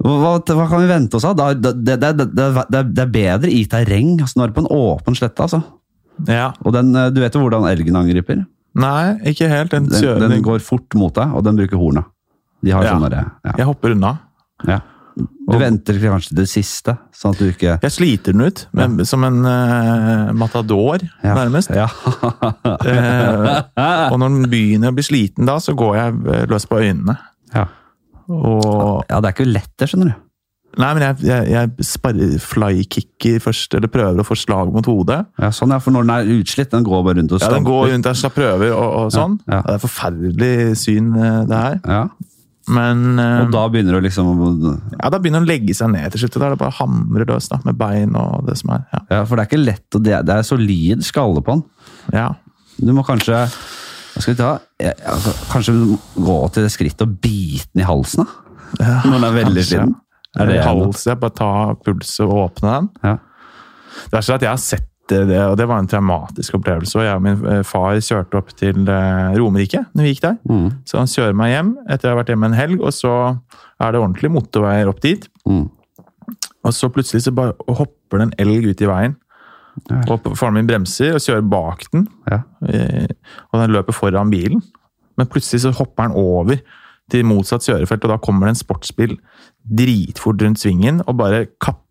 [SPEAKER 2] Hva, hva kan vi vente oss av? Da- da- Det, det, det, det, det er bedre i terreng. Altså, nå er det på en åpen slette, altså.
[SPEAKER 1] ja.
[SPEAKER 2] Og den, eh, du vet jo hvordan elgen angriper?
[SPEAKER 1] Nei, ikke helt. Den,
[SPEAKER 2] Den,
[SPEAKER 1] kjører-
[SPEAKER 2] den går fort mot deg, og den bruker horna. De har
[SPEAKER 1] Ja.
[SPEAKER 2] sånne der, ja.
[SPEAKER 1] Jeg hopper unna.
[SPEAKER 2] Ja. Du
[SPEAKER 1] Og-
[SPEAKER 2] venter til kanskje det siste, sånn at du ikke
[SPEAKER 1] Jeg sliter den ut, men, som en eh, matador,
[SPEAKER 2] Ja. [laughs]
[SPEAKER 1] nærmest.
[SPEAKER 2] Ja.
[SPEAKER 1] Eh, og når den begynner å bli sliten da, så går jeg eh, løs på øynene.
[SPEAKER 2] ja.
[SPEAKER 1] Og
[SPEAKER 2] det er ikke lett, det, skjønner du.
[SPEAKER 1] Nei, men jeg, jeg, jeg spar- flykicker først, eller prøver å få slag mot hodet.
[SPEAKER 2] Ja, sånn ja, for når den er utslitt, den går bare rundt og
[SPEAKER 1] Ja, den går
[SPEAKER 2] stamper.
[SPEAKER 1] rundt der, så prøver og, og sånn.
[SPEAKER 2] Ja, ja.
[SPEAKER 1] Det er forferdelig syn, eh, det her.
[SPEAKER 2] Ja,
[SPEAKER 1] Men eh,
[SPEAKER 2] og da begynner du liksom å-
[SPEAKER 1] ja, da begynner den å legge seg ned til slutt. og Da er det bare å hamre løs da, med bein og det som er. Ja.
[SPEAKER 2] Ja, for det er ikke lett, og det er, det er solid skalle på den.
[SPEAKER 1] ja.
[SPEAKER 2] Du må kanskje hva skal vi ta? Ja, altså, kanskje du må gå til det skrittet og bite den i halsen? da? Når den er veldig
[SPEAKER 1] kanskje.
[SPEAKER 2] sliten? Er det
[SPEAKER 1] Hals, jeg bare ta pulsen og åpne den.
[SPEAKER 2] Ja.
[SPEAKER 1] Det er sånn at jeg har sett det, det, og det var en traumatisk opplevelse. og Jeg og min eh, far kjørte opp til eh, Romerike når vi gikk der.
[SPEAKER 2] Mm.
[SPEAKER 1] Så han kjører meg hjem etter jeg har vært hjemme en helg, og så er det ordentlig motorveier opp dit.
[SPEAKER 2] Mm.
[SPEAKER 1] Og så plutselig så bare hopper det en elg ut i veien.
[SPEAKER 2] Ja.
[SPEAKER 1] Og faren min bremser og kjører bak den,
[SPEAKER 2] Ja.
[SPEAKER 1] eh, og den løper foran bilen. Men plutselig så hopper den over til motsatt kjørefelt, og da kommer det en sportsbil dritfort rundt svingen og bare kapper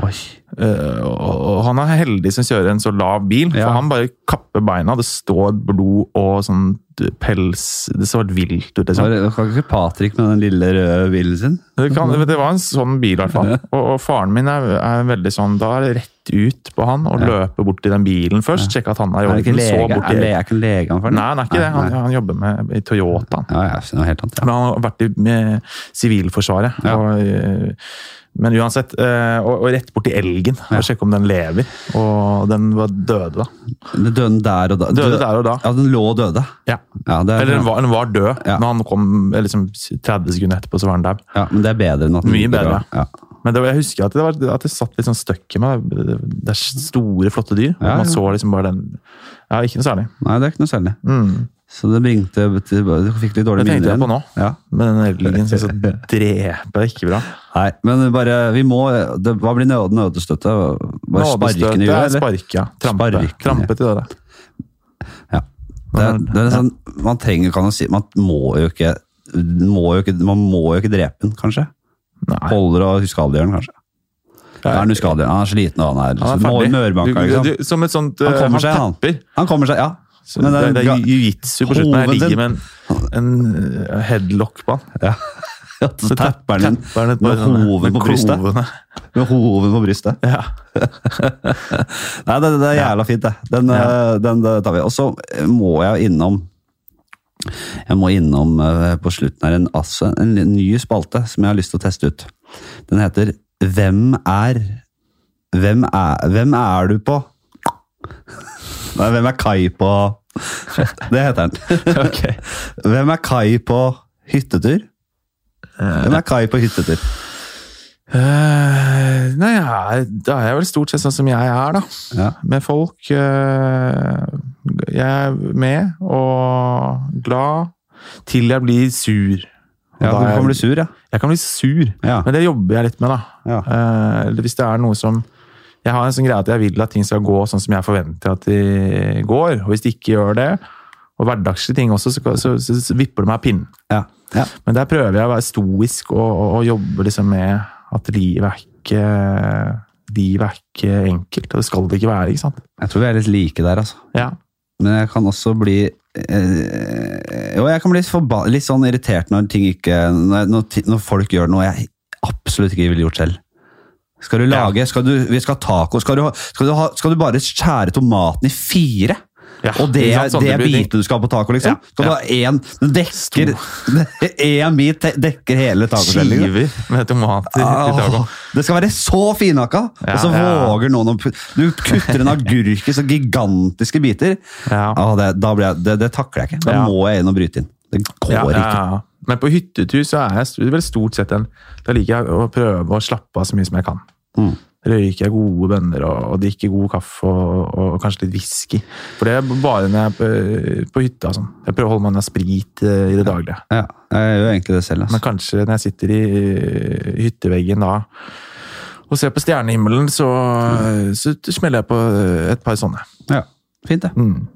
[SPEAKER 2] Oi.
[SPEAKER 1] Eh, og og han er heldig som kjører en så lav bil,
[SPEAKER 2] Ja.
[SPEAKER 1] for han bare kapper beina. Det står blod og sånn pels Det så helt vilt ut, liksom.
[SPEAKER 2] Var det- Kan ikke Patrick med den lille røde bilen sin?
[SPEAKER 1] Det, kan, det var en sånn bil, i hvert fall. Og, og faren min er, er veldig sånn Da er det rett ut på han og løpe bort til den bilen først. Sjekke at han er i
[SPEAKER 2] Er det ikke
[SPEAKER 1] orden. Så
[SPEAKER 2] lege?
[SPEAKER 1] bort
[SPEAKER 2] Er
[SPEAKER 1] til
[SPEAKER 2] det er ikke en lege han for den?
[SPEAKER 1] Nei, han er ikke det. Han, han jobber med i Toyotaen.
[SPEAKER 2] Ja, ja, så det var helt annet. Ja.
[SPEAKER 1] Men han har vært i med Sivilforsvaret.
[SPEAKER 2] Ja.
[SPEAKER 1] Og, eh, men uansett, eh, og, og rett bort til elgen og sjekke om den lever. Og den var døde, da.
[SPEAKER 2] Den døde der og da.
[SPEAKER 1] Døde der og da.
[SPEAKER 2] Ja, den lå og døde.
[SPEAKER 1] Ja.
[SPEAKER 2] Ja, det er,
[SPEAKER 1] Eller den var, den var død.
[SPEAKER 2] Ja.
[SPEAKER 1] Når han kom eh, liksom, 30 sekunder etterpå, så var han dau.
[SPEAKER 2] ja, men det er bedre enn at den
[SPEAKER 1] Mye bedre.
[SPEAKER 2] Ja.
[SPEAKER 1] Men det, var- jeg husker at det, var, at det satt litt sånn støkk i meg. Det- Det det er store, flotte dyr. og
[SPEAKER 2] Ja,
[SPEAKER 1] Man
[SPEAKER 2] ja.
[SPEAKER 1] så liksom bare den Ja, ikke noe særlig.
[SPEAKER 2] Nei, det er ikke noe særlig.
[SPEAKER 1] Mm.
[SPEAKER 2] Så det bringte Du fikk litt dårlige
[SPEAKER 1] Det tenkte
[SPEAKER 2] minner
[SPEAKER 1] jeg på nå.
[SPEAKER 2] Ja.
[SPEAKER 1] Men den elgen som så
[SPEAKER 2] [laughs]
[SPEAKER 1] dreper ikke bra.
[SPEAKER 2] Nei, men bare Vi må det, Hva blir nød, nødestøtte? Bare sparke den
[SPEAKER 1] Nådestøt,
[SPEAKER 2] i huet,
[SPEAKER 1] det er
[SPEAKER 2] eller?
[SPEAKER 1] Sparke, ja. Trampe,
[SPEAKER 2] Sparke, ja.
[SPEAKER 1] trampe til døde.
[SPEAKER 2] Ja. Det er, det er sånn, man trenger kan jo si Man må jo ikke må jo ikke, man må jo ikke drepe den, kanskje.
[SPEAKER 1] Nei.
[SPEAKER 2] Holder og huskadegjør den, kanskje. Ja, er den huskadegjør? Han er sliten, og han er,
[SPEAKER 1] Han er
[SPEAKER 2] liksom,
[SPEAKER 1] ferdig.
[SPEAKER 2] mørbanka.
[SPEAKER 1] Du-
[SPEAKER 2] Ikke
[SPEAKER 1] du-
[SPEAKER 2] sant?
[SPEAKER 1] du- Som et sånt
[SPEAKER 2] Han
[SPEAKER 1] eh,
[SPEAKER 2] kommer seg, han.
[SPEAKER 1] tapper.
[SPEAKER 2] Han kommer seg, ja.
[SPEAKER 1] Så
[SPEAKER 2] Men
[SPEAKER 1] det,
[SPEAKER 2] den
[SPEAKER 1] det
[SPEAKER 2] ga-
[SPEAKER 1] er jiu-jitsu på slutten. Jeg
[SPEAKER 2] Hoven
[SPEAKER 1] ligger
[SPEAKER 2] din-
[SPEAKER 1] med en, en eh, headlock på han.
[SPEAKER 2] [laughs] ja. Så tapper han
[SPEAKER 1] Tapper han et
[SPEAKER 2] med
[SPEAKER 1] par sånne-
[SPEAKER 2] hoven
[SPEAKER 1] med
[SPEAKER 2] på brystet. [laughs]
[SPEAKER 1] klovene.
[SPEAKER 2] Med hoven på brystet.
[SPEAKER 1] Ja.
[SPEAKER 2] Nei, det, det er jævla fint, det. Den, eh, den eh, tar vi. Og så må jeg innom Jeg må innom eh, på slutten her en, altså, en li- ny spalte som jeg har lyst til å teste ut. Den heter Hvem er Hvem er, hvem er du på? Nei, hvem er Kai på Det heter den. Hvem er Kai på hyttetur? Hvem er Kai på hyttetur?
[SPEAKER 1] [laughs] Eh, nei, jeg er, da er jeg vel stort sett sånn som jeg er, da.
[SPEAKER 2] Ja.
[SPEAKER 1] Med folk. eh, jeg er med og glad til jeg blir sur. Og
[SPEAKER 2] Ja,
[SPEAKER 1] da
[SPEAKER 2] du
[SPEAKER 1] er-
[SPEAKER 2] kan bli sur, ja.
[SPEAKER 1] Jeg kan bli sur,
[SPEAKER 2] Ja.
[SPEAKER 1] men det jobber jeg litt med, da.
[SPEAKER 2] Ja.
[SPEAKER 1] Eh, eller hvis det er noe som Jeg har en sånn greie at jeg vil at ting skal gå sånn som jeg forventer at de går. Og hvis de ikke gjør det, og hverdagslige ting også, så, så, så, så vipper det meg av pinnen.
[SPEAKER 2] ja. ja.
[SPEAKER 1] Men der prøver jeg å være stoisk og, og, og jobbe liksom med at livet er ikke Livet er ikke enkelt, og det skal det ikke være. ikke sant?
[SPEAKER 2] Jeg tror vi er litt like der, altså.
[SPEAKER 1] Ja.
[SPEAKER 2] Men jeg kan også bli eh, Jo, jeg kan bli litt, forba litt sånn irritert når ting ikke når, når, ti- når folk gjør noe jeg absolutt ikke ville gjort selv. Skal du
[SPEAKER 1] Ja.
[SPEAKER 2] lage skal du, Vi skal ha taco. Skal du, ha, skal, du ha, skal du bare skjære tomaten i fire?
[SPEAKER 1] Ja,
[SPEAKER 2] og det,
[SPEAKER 1] ikke
[SPEAKER 2] er-
[SPEAKER 1] sant? Sånne
[SPEAKER 2] det er
[SPEAKER 1] blir ting.
[SPEAKER 2] bitene du skal ha på taco, liksom?
[SPEAKER 1] Ja,
[SPEAKER 2] Skal du
[SPEAKER 1] ja.
[SPEAKER 2] ha én Den dekker [laughs] Én bit te- dekker hele tacoskjellet. liksom.
[SPEAKER 1] Skiver med tomater
[SPEAKER 2] Ah.
[SPEAKER 1] i taco.
[SPEAKER 2] Åh, det skal være så finhakka!
[SPEAKER 1] Ja,
[SPEAKER 2] og så
[SPEAKER 1] ja.
[SPEAKER 2] våger noen å pu- Du kutter en agurk i så gigantiske biter.
[SPEAKER 1] Ja.
[SPEAKER 2] Åh, Ah, det, da blir jeg, det, det takler jeg ikke. Da
[SPEAKER 1] Ja.
[SPEAKER 2] må jeg inn og bryte inn. Det går
[SPEAKER 1] Ja, ja,
[SPEAKER 2] ikke.
[SPEAKER 1] ja. Men på hyttetur så er jeg st- vel stort sett en Da liker jeg å prøve å slappe av så mye som jeg kan.
[SPEAKER 2] Mm.
[SPEAKER 1] Røyker jeg gode bønner og, og drikker god kaffe og, og kanskje litt whisky. For det er bare når jeg er på, på hytta. og Sånn. Jeg prøver å holde meg unna sprit eh, i det daglige.
[SPEAKER 2] Ja, jeg gjør egentlig det selv.
[SPEAKER 1] Men
[SPEAKER 2] Altså.
[SPEAKER 1] kanskje når jeg sitter i eh, hytteveggen da og ser på stjernehimmelen, så,
[SPEAKER 2] Mm.
[SPEAKER 1] så smeller jeg på eh, et par sånne.
[SPEAKER 2] Ja, fint, det.
[SPEAKER 1] Mm.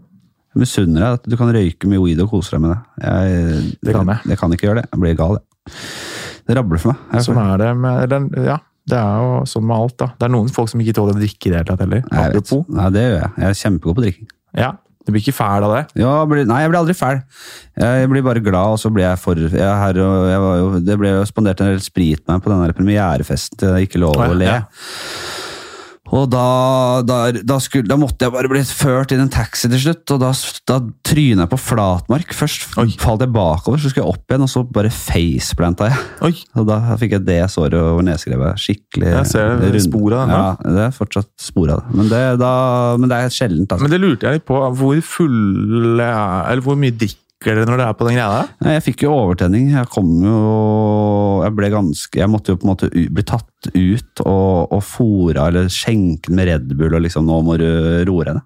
[SPEAKER 2] Jeg misunner deg at du kan røyke mye weed og kose deg med det. Jeg,
[SPEAKER 1] Det kan jeg.
[SPEAKER 2] jeg kan ikke gjøre det. Jeg blir gal, jeg. Det rabler for meg. Jeg,
[SPEAKER 1] Sånn er det med den, Ja, det er jo sånn med alt, da. Det er noen folk som ikke tåler å drikke i det hele tatt heller.
[SPEAKER 2] jeg vet.
[SPEAKER 1] Apropos.
[SPEAKER 2] Nei, det gjør jeg. Jeg er kjempegod på drikking.
[SPEAKER 1] Ja, Du blir ikke fæl av det?
[SPEAKER 2] Ja, jeg blir- nei, jeg blir aldri fæl. Jeg blir bare glad, og så blir jeg for... Jeg er her, og jeg var jo, det ble jo spandert en del sprit med meg på den her premierefesten. til Ikke lov
[SPEAKER 1] Å, ja,
[SPEAKER 2] å le.
[SPEAKER 1] ja.
[SPEAKER 2] Og da, da, da, skulle, da måtte jeg bare bli ført inn i en taxi til slutt, og da, da tryna jeg på flatmark. Først falt jeg bakover, så skulle jeg opp igjen, og så bare faceplanta jeg. [laughs]
[SPEAKER 1] Oi!
[SPEAKER 2] Og da fikk jeg det såret over nesegrevet. Skikkelig
[SPEAKER 1] Jeg ser det, det er spor av den,
[SPEAKER 2] Ja,
[SPEAKER 1] da.
[SPEAKER 2] det er fortsatt spor av det. Men det, da, men det er sjeldent. Altså.
[SPEAKER 1] Men det lurte jeg litt på. Hvor fulle er Eller hvor mye drikker dere når dere er på den greia der?
[SPEAKER 2] Nei, Jeg fikk jo overtenning. Jeg kom jo Jeg ble ganske Jeg måtte jo på en måte u- bli tatt ut og, og fora eller skjenke den med Red Bull og liksom Nå må du roe deg ned.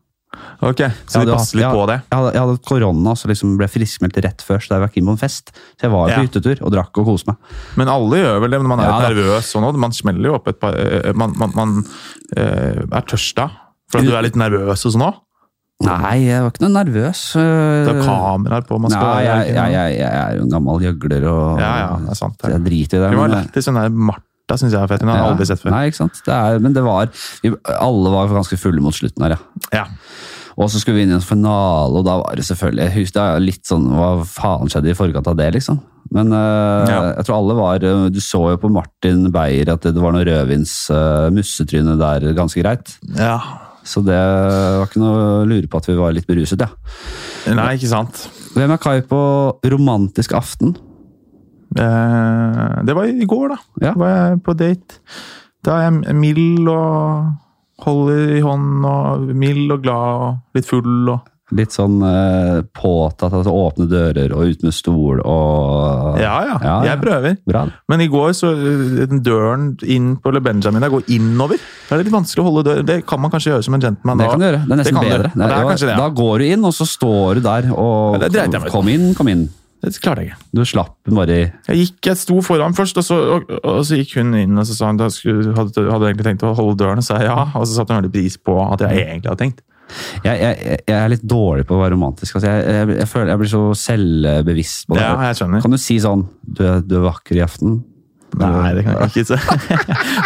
[SPEAKER 1] Ok, Så de
[SPEAKER 2] Jeg hadde hatt-
[SPEAKER 1] passer litt
[SPEAKER 2] jeg-
[SPEAKER 1] på det?
[SPEAKER 2] Jeg hadde, jeg hadde korona så liksom ble friskmeldt rett før, så jeg var keen på en fest. Så jeg var jo på
[SPEAKER 1] Ja.
[SPEAKER 2] hyttetur og drakk og koste meg.
[SPEAKER 1] Men alle gjør vel det, men man er
[SPEAKER 2] Ja, da.
[SPEAKER 1] litt nervøs og noe. Man smeller jo opp et par eh, Man, man, man eh, er tørsta fordi du er litt nervøs og sånn òg.
[SPEAKER 2] Nei, jeg var ikke noe nervøs. øh.
[SPEAKER 1] Det er kameraer på, man skal
[SPEAKER 2] Eh, Nei, jeg,
[SPEAKER 1] ikke noe-
[SPEAKER 2] jeg, jeg, jeg er jo en gammel gjøgler og
[SPEAKER 1] Ja, ja, det er sant.
[SPEAKER 2] Jeg driter i det.
[SPEAKER 1] Vi må
[SPEAKER 2] men- øh,
[SPEAKER 1] ha lættis. Den sånn der Martha syns jeg er fett. Den har jeg
[SPEAKER 2] Ja.
[SPEAKER 1] aldri sett før.
[SPEAKER 2] Nei, ikke sant? Det er, men det var vi, Alle var ganske fulle mot slutten her, ja.
[SPEAKER 1] Ja.
[SPEAKER 2] Og så skulle vi inn i en finale, og da var det selvfølgelig jeg husker, det er jo litt sånn, Hva faen skjedde i forkant av det, liksom? Men øh,
[SPEAKER 1] Ja.
[SPEAKER 2] jeg tror alle var øh, Du så jo på Martin Beyer at det, det var noe rødvins øh, mussetryne der ganske greit.
[SPEAKER 1] ja.
[SPEAKER 2] Så det var ikke noe å lure på at vi var litt beruset, ja.
[SPEAKER 1] Nei, ikke sant.
[SPEAKER 2] Hvem er Kai på romantisk aften?
[SPEAKER 1] Eh, Det var i går, da.
[SPEAKER 2] Ja.
[SPEAKER 1] Da var jeg på date. Da er jeg mild og holder i hånden og mild og glad og litt full og
[SPEAKER 2] Litt sånn øh, påtatt, altså åpne dører og ut med stol og
[SPEAKER 1] Ja, ja.
[SPEAKER 2] Ja, ja.
[SPEAKER 1] Jeg prøver.
[SPEAKER 2] Bra. det.
[SPEAKER 1] Men i går så øh, den døren inn på Le Benjamin der går innover. Da er det litt vanskelig å holde døren. Det kan man kanskje gjøre som en gentleman.
[SPEAKER 2] Det
[SPEAKER 1] da.
[SPEAKER 2] kan du gjøre. Det er nesten
[SPEAKER 1] kan du.
[SPEAKER 2] bedre.
[SPEAKER 1] Ja, det er kanskje det.
[SPEAKER 2] Da
[SPEAKER 1] Ja.
[SPEAKER 2] går du inn, og så står du der og
[SPEAKER 1] Ja, det dreit jeg meg ut.
[SPEAKER 2] Kom inn, kom inn.
[SPEAKER 1] Det klarte jeg ikke.
[SPEAKER 2] Du slapp bare i
[SPEAKER 1] Jeg gikk, jeg sto foran først, og så, og, og så gikk hun inn og så sa hun, da skulle, hadde, hadde egentlig tenkt å holde døren, og sa jeg ja. Og så satte hun veldig pris på at jeg egentlig hadde tenkt.
[SPEAKER 2] Jeg, jeg, jeg- jeg er litt dårlig på å være romantisk. Altså, jeg, jeg, jeg føler jeg blir så selvbevisst på det.
[SPEAKER 1] Ja, jeg skjønner.
[SPEAKER 2] Kan du si sånn Du, er- du er vakker i aften.
[SPEAKER 1] Nei, det kan jeg ikke
[SPEAKER 2] [laughs]
[SPEAKER 1] si.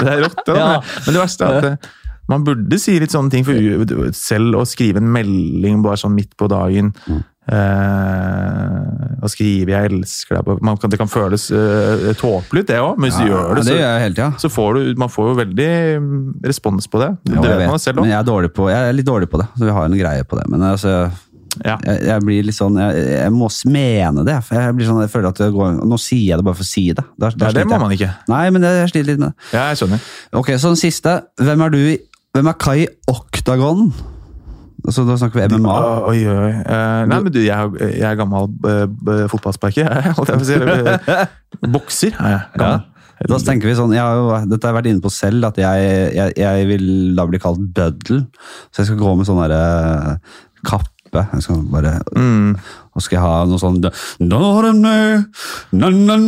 [SPEAKER 1] det er rått, det. da.
[SPEAKER 2] Ja.
[SPEAKER 1] Men det verste er at eh, man burde si litt sånne ting, for u- selv å skrive en melding bare sånn midt på dagen
[SPEAKER 2] Mm.
[SPEAKER 1] eh, Og skrive 'jeg elsker deg' på- man kan, Det kan føles eh, tåpelig ut, det òg, men hvis du gjør det,
[SPEAKER 2] det
[SPEAKER 1] så,
[SPEAKER 2] gjør jeg hele tida.
[SPEAKER 1] så får du Man får jo veldig mm, respons på det. Det
[SPEAKER 2] Ja, jeg
[SPEAKER 1] vet man
[SPEAKER 2] vet,
[SPEAKER 1] jo selv
[SPEAKER 2] men
[SPEAKER 1] òg.
[SPEAKER 2] jeg er, dårlig på, jeg er litt dårlig på det, så vi har en greie på det. Men altså,
[SPEAKER 1] Ja.
[SPEAKER 2] jeg, jeg blir litt sånn Jeg, jeg må mene det. For jeg, blir sånn, jeg føler at det går, Nå sier jeg det bare for å si det. Da- da
[SPEAKER 1] Nei, det
[SPEAKER 2] sliter
[SPEAKER 1] må
[SPEAKER 2] jeg.
[SPEAKER 1] man ikke.
[SPEAKER 2] Nei, men jeg, jeg sliter litt med det.
[SPEAKER 1] Ja, jeg skjønner.
[SPEAKER 2] Ok, så den siste. Hvem er du i Hvem er Kai i Octagon? Altså, da snakker vi MMA.
[SPEAKER 1] Å, Oi, oi, oi. Eh, nei, men du, jeg, er- jeg er gammel eh, b- fotballsparker. [laughs] Jeg holdt jeg
[SPEAKER 2] [laughs]
[SPEAKER 1] på å si. Eller, eh, Bokser er jeg. Gammel.
[SPEAKER 2] Da tenker vi sånn, jeg har jo, Dette har jeg vært inne på selv, at jeg, jeg, jeg vil da bli kalt bøddel. Så jeg skal gå med sånn derre kappe. Jeg skal bare,
[SPEAKER 1] Mm.
[SPEAKER 2] og skal jeg ha noe sånn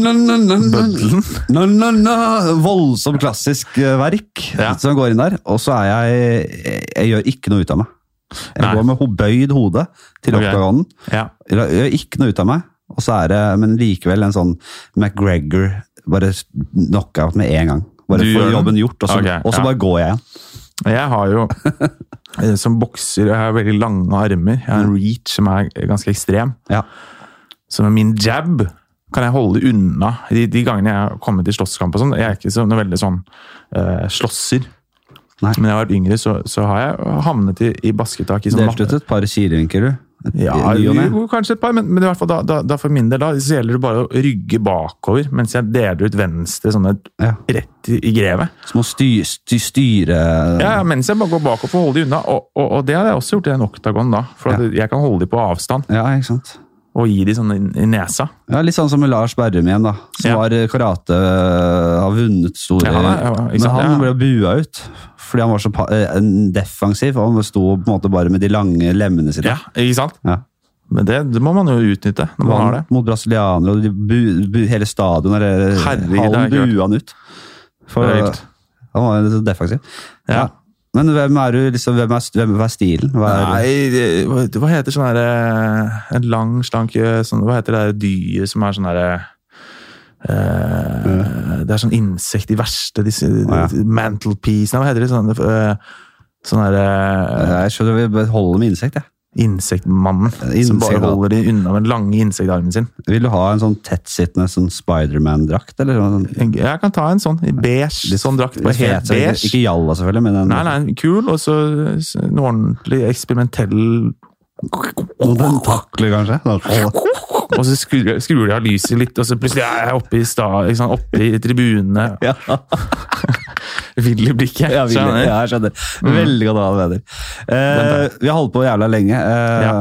[SPEAKER 2] Bøddelen? Voldsom klassisk eh, verk
[SPEAKER 1] Ja.
[SPEAKER 2] som går inn der. Og så er jeg jeg- Jeg gjør ikke noe ut av meg. Jeg
[SPEAKER 1] Nei.
[SPEAKER 2] går med ho- bøyd hode til
[SPEAKER 1] Ok.
[SPEAKER 2] oktagonen.
[SPEAKER 1] Ja.
[SPEAKER 2] Eller, Jeg gjør ikke noe ut av meg, og så er det, men likevel en sånn McGregor bare knockout med en gang. Bare
[SPEAKER 1] Du gjør
[SPEAKER 2] får
[SPEAKER 1] den?
[SPEAKER 2] jobben gjort, og så,
[SPEAKER 1] Ok,
[SPEAKER 2] og så
[SPEAKER 1] ja.
[SPEAKER 2] bare går jeg igjen.
[SPEAKER 1] Jeg har
[SPEAKER 2] [laughs]
[SPEAKER 1] jo eh, Som bokser jeg har veldig lange armer. Jeg har en reach som er ganske ekstrem.
[SPEAKER 2] Mm. Ja.
[SPEAKER 1] Så med min jab kan jeg holde unna de, de gangene jeg har kommet i slåsskamp. og sånn. Jeg er ikke så, noe veldig sånn eh, slåsser.
[SPEAKER 2] Nei.
[SPEAKER 1] Men jeg har vært yngre, så, så har jeg havnet i, i basketak i sånn
[SPEAKER 2] Delt ut et par kilevinker, du. Et-
[SPEAKER 1] Ja,
[SPEAKER 2] i ny og ne.
[SPEAKER 1] jo, kanskje et par, men, men i hvert fall da, da, da for min del da, så gjelder det bare å rygge bakover, mens jeg deler ut venstre sånn et-
[SPEAKER 2] Ja.
[SPEAKER 1] rett i, i grevet.
[SPEAKER 2] Som å sty, sty, styre
[SPEAKER 1] Ja, ja, mens jeg bare går bakover for å holde de unna, og, og, og det har jeg også gjort i en oktagon da, for at jeg kan holde de på avstand
[SPEAKER 2] Ja, ikke sant?
[SPEAKER 1] og gi de sånn i, i nesa.
[SPEAKER 2] Ja, Litt sånn som med Lars Berrum igjen, da. Som
[SPEAKER 1] Ja.
[SPEAKER 2] har karate eh, Har vunnet store
[SPEAKER 1] Ja, ja, ja, ikke
[SPEAKER 2] Men
[SPEAKER 1] sant,
[SPEAKER 2] han
[SPEAKER 1] ja.
[SPEAKER 2] ble bua ut fordi han var så pa- eh, defensiv. og Han sto på en måte bare med de lange lemmene sine.
[SPEAKER 1] Ja, ikke sant?
[SPEAKER 2] Ja.
[SPEAKER 1] Men det, det må man jo utnytte når man har det.
[SPEAKER 2] Vant mot brasilianere, og de bu, bu, hele stadion eller
[SPEAKER 1] Herregud,
[SPEAKER 2] hallen
[SPEAKER 1] det har jeg
[SPEAKER 2] bua han ut. For, eh,
[SPEAKER 1] Det er vilt.
[SPEAKER 2] han var jo litt så defensiv.
[SPEAKER 1] Ja.
[SPEAKER 2] Men hvem er du, liksom, hvem er, hvem er stilen? Hva er,
[SPEAKER 1] Nei, det- hva, hva heter sånn herre En lang, slank eh, sånn, Hva heter det der dyret som er sånn herre eh, Det er sånn insekt, de verste disse
[SPEAKER 2] ja.
[SPEAKER 1] Mantelpiece Nei, hva heter det sånn eh, Sånn herre
[SPEAKER 2] Jeg skjønner vi bare holder med insekt, jeg.
[SPEAKER 1] Insektmannen som bare
[SPEAKER 2] Insektmannen.
[SPEAKER 1] holder de unna med den lange insektarmen sin.
[SPEAKER 2] Vil du ha en sånn tettsittende sånn Spiderman-drakt? eller sånn?
[SPEAKER 1] Jeg kan ta en sånn i beige sånn drakt. Bare helt
[SPEAKER 2] Fet, så ikke-
[SPEAKER 1] beige.
[SPEAKER 2] Ikke jalla, selvfølgelig, men en,
[SPEAKER 1] Nei, nei, kul, og så så noe ordentlig eksperimentell
[SPEAKER 2] Og den takler kanskje. Sånn.
[SPEAKER 1] [laughs] Og så skrur, skrur de av lyset litt, og så plutselig er jeg oppe i, sta, ikke sant, oppe i tribunene.
[SPEAKER 2] Ja,
[SPEAKER 1] Vill i blikket.
[SPEAKER 2] jeg, vil,
[SPEAKER 1] skjønner. Mm.
[SPEAKER 2] ja, jeg skjønner. Veldig godt hva du mener. Eh, vi har holdt på jævla lenge. Eh,
[SPEAKER 1] Ja.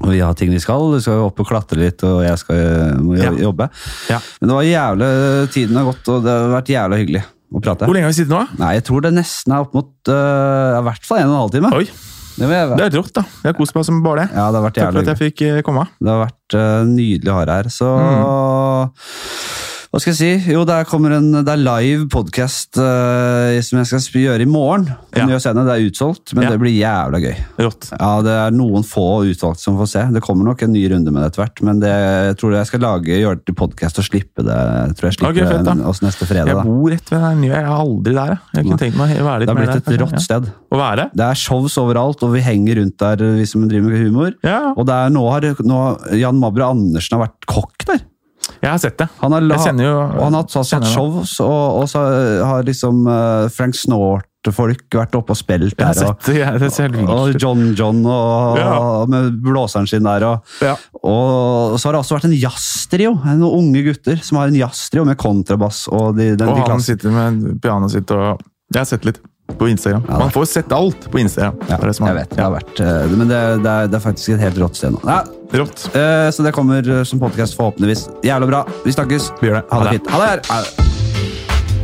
[SPEAKER 2] Og vi har ting vi skal. Du skal jo opp og klatre litt, og jeg skal eh, må jo-
[SPEAKER 1] Ja.
[SPEAKER 2] jobbe.
[SPEAKER 1] Ja.
[SPEAKER 2] Men det var jævla, tiden har gått, og det har vært jævla hyggelig å prate.
[SPEAKER 1] Hvor lenge har vi sittet nå?
[SPEAKER 2] Nei, jeg tror det nesten er opp mot eh, ja, i hvert fall en og en halv time.
[SPEAKER 1] Oi,
[SPEAKER 2] Det, må jeg,
[SPEAKER 1] det er rått, da. Jeg har kost meg som bare det.
[SPEAKER 2] ja, det har vært
[SPEAKER 1] Takk for
[SPEAKER 2] jævlig.
[SPEAKER 1] at jeg fikk eh, komme.
[SPEAKER 2] Det har vært eh, nydelig å ha deg her. Så
[SPEAKER 1] Mm.
[SPEAKER 2] Hva skal jeg si? Jo, det kommer en det er live podkast som jeg skal sp- gjøre i morgen.
[SPEAKER 1] Ja.
[SPEAKER 2] Nye Scene. Det er utsolgt, men
[SPEAKER 1] Ja.
[SPEAKER 2] det blir jævla gøy.
[SPEAKER 1] Rått.
[SPEAKER 2] Ja, Det er noen få utvalgte som får se. Det kommer nok en ny runde med det etter hvert, men det, jeg tror jeg skal lage, gjøre det til podkast og slippe det jeg tror jeg slipper
[SPEAKER 1] Ok, fett, da.
[SPEAKER 2] den oss neste fredag.
[SPEAKER 1] Jeg
[SPEAKER 2] Da.
[SPEAKER 1] bor rett ved den nye, jeg er aldri der. jeg. Jeg kunne tenkt meg å være
[SPEAKER 2] Det
[SPEAKER 1] litt
[SPEAKER 2] har
[SPEAKER 1] mer
[SPEAKER 2] blitt
[SPEAKER 1] der.
[SPEAKER 2] et
[SPEAKER 1] kanskje.
[SPEAKER 2] rått sted.
[SPEAKER 1] Ja. Å være?
[SPEAKER 2] Det er shows overalt, og vi henger rundt der, vi som driver med humor.
[SPEAKER 1] Ja,
[SPEAKER 2] Og det er, nå har nå, Jan Mabra Andersen har vært kokk der.
[SPEAKER 1] jeg har sett det.
[SPEAKER 2] Han har, la,
[SPEAKER 1] Jeg kjenner jo
[SPEAKER 2] og han har tatt- satt
[SPEAKER 1] kjenner
[SPEAKER 2] shows, og, og så har liksom eh, Frank Snort-folk vært oppe og spilt
[SPEAKER 1] Jeg har
[SPEAKER 2] der.
[SPEAKER 1] sett det. Jeg- Det ser helt
[SPEAKER 2] Og,
[SPEAKER 1] vilt
[SPEAKER 2] og
[SPEAKER 1] ut.
[SPEAKER 2] John John og,
[SPEAKER 1] Ja.
[SPEAKER 2] med blåseren sin der. Og,
[SPEAKER 1] Ja.
[SPEAKER 2] og så har det også vært en jazztrio. Noen unge gutter som har en jazztrio med kontrabass. Og de, den,
[SPEAKER 1] Og
[SPEAKER 2] de
[SPEAKER 1] han
[SPEAKER 2] klass-
[SPEAKER 1] sitter med pianoet sitt og Jeg har sett litt på Instagram.
[SPEAKER 2] Ja,
[SPEAKER 1] Man får sett alt på Instagram.
[SPEAKER 2] ja,
[SPEAKER 1] Det er det som er-
[SPEAKER 2] jeg vet, det har vært, eh, men det, det, er, det er faktisk et helt rått sted nå. Ja,
[SPEAKER 1] Rått.
[SPEAKER 2] eh, så det kommer eh, som podkast, forhåpentligvis. Jævla bra. Vi snakkes.
[SPEAKER 1] Vi gjør det.
[SPEAKER 2] Ha
[SPEAKER 1] Ha
[SPEAKER 2] det
[SPEAKER 1] det.
[SPEAKER 2] fint. Ha det. Ha det.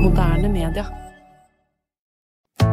[SPEAKER 3] Moderne media.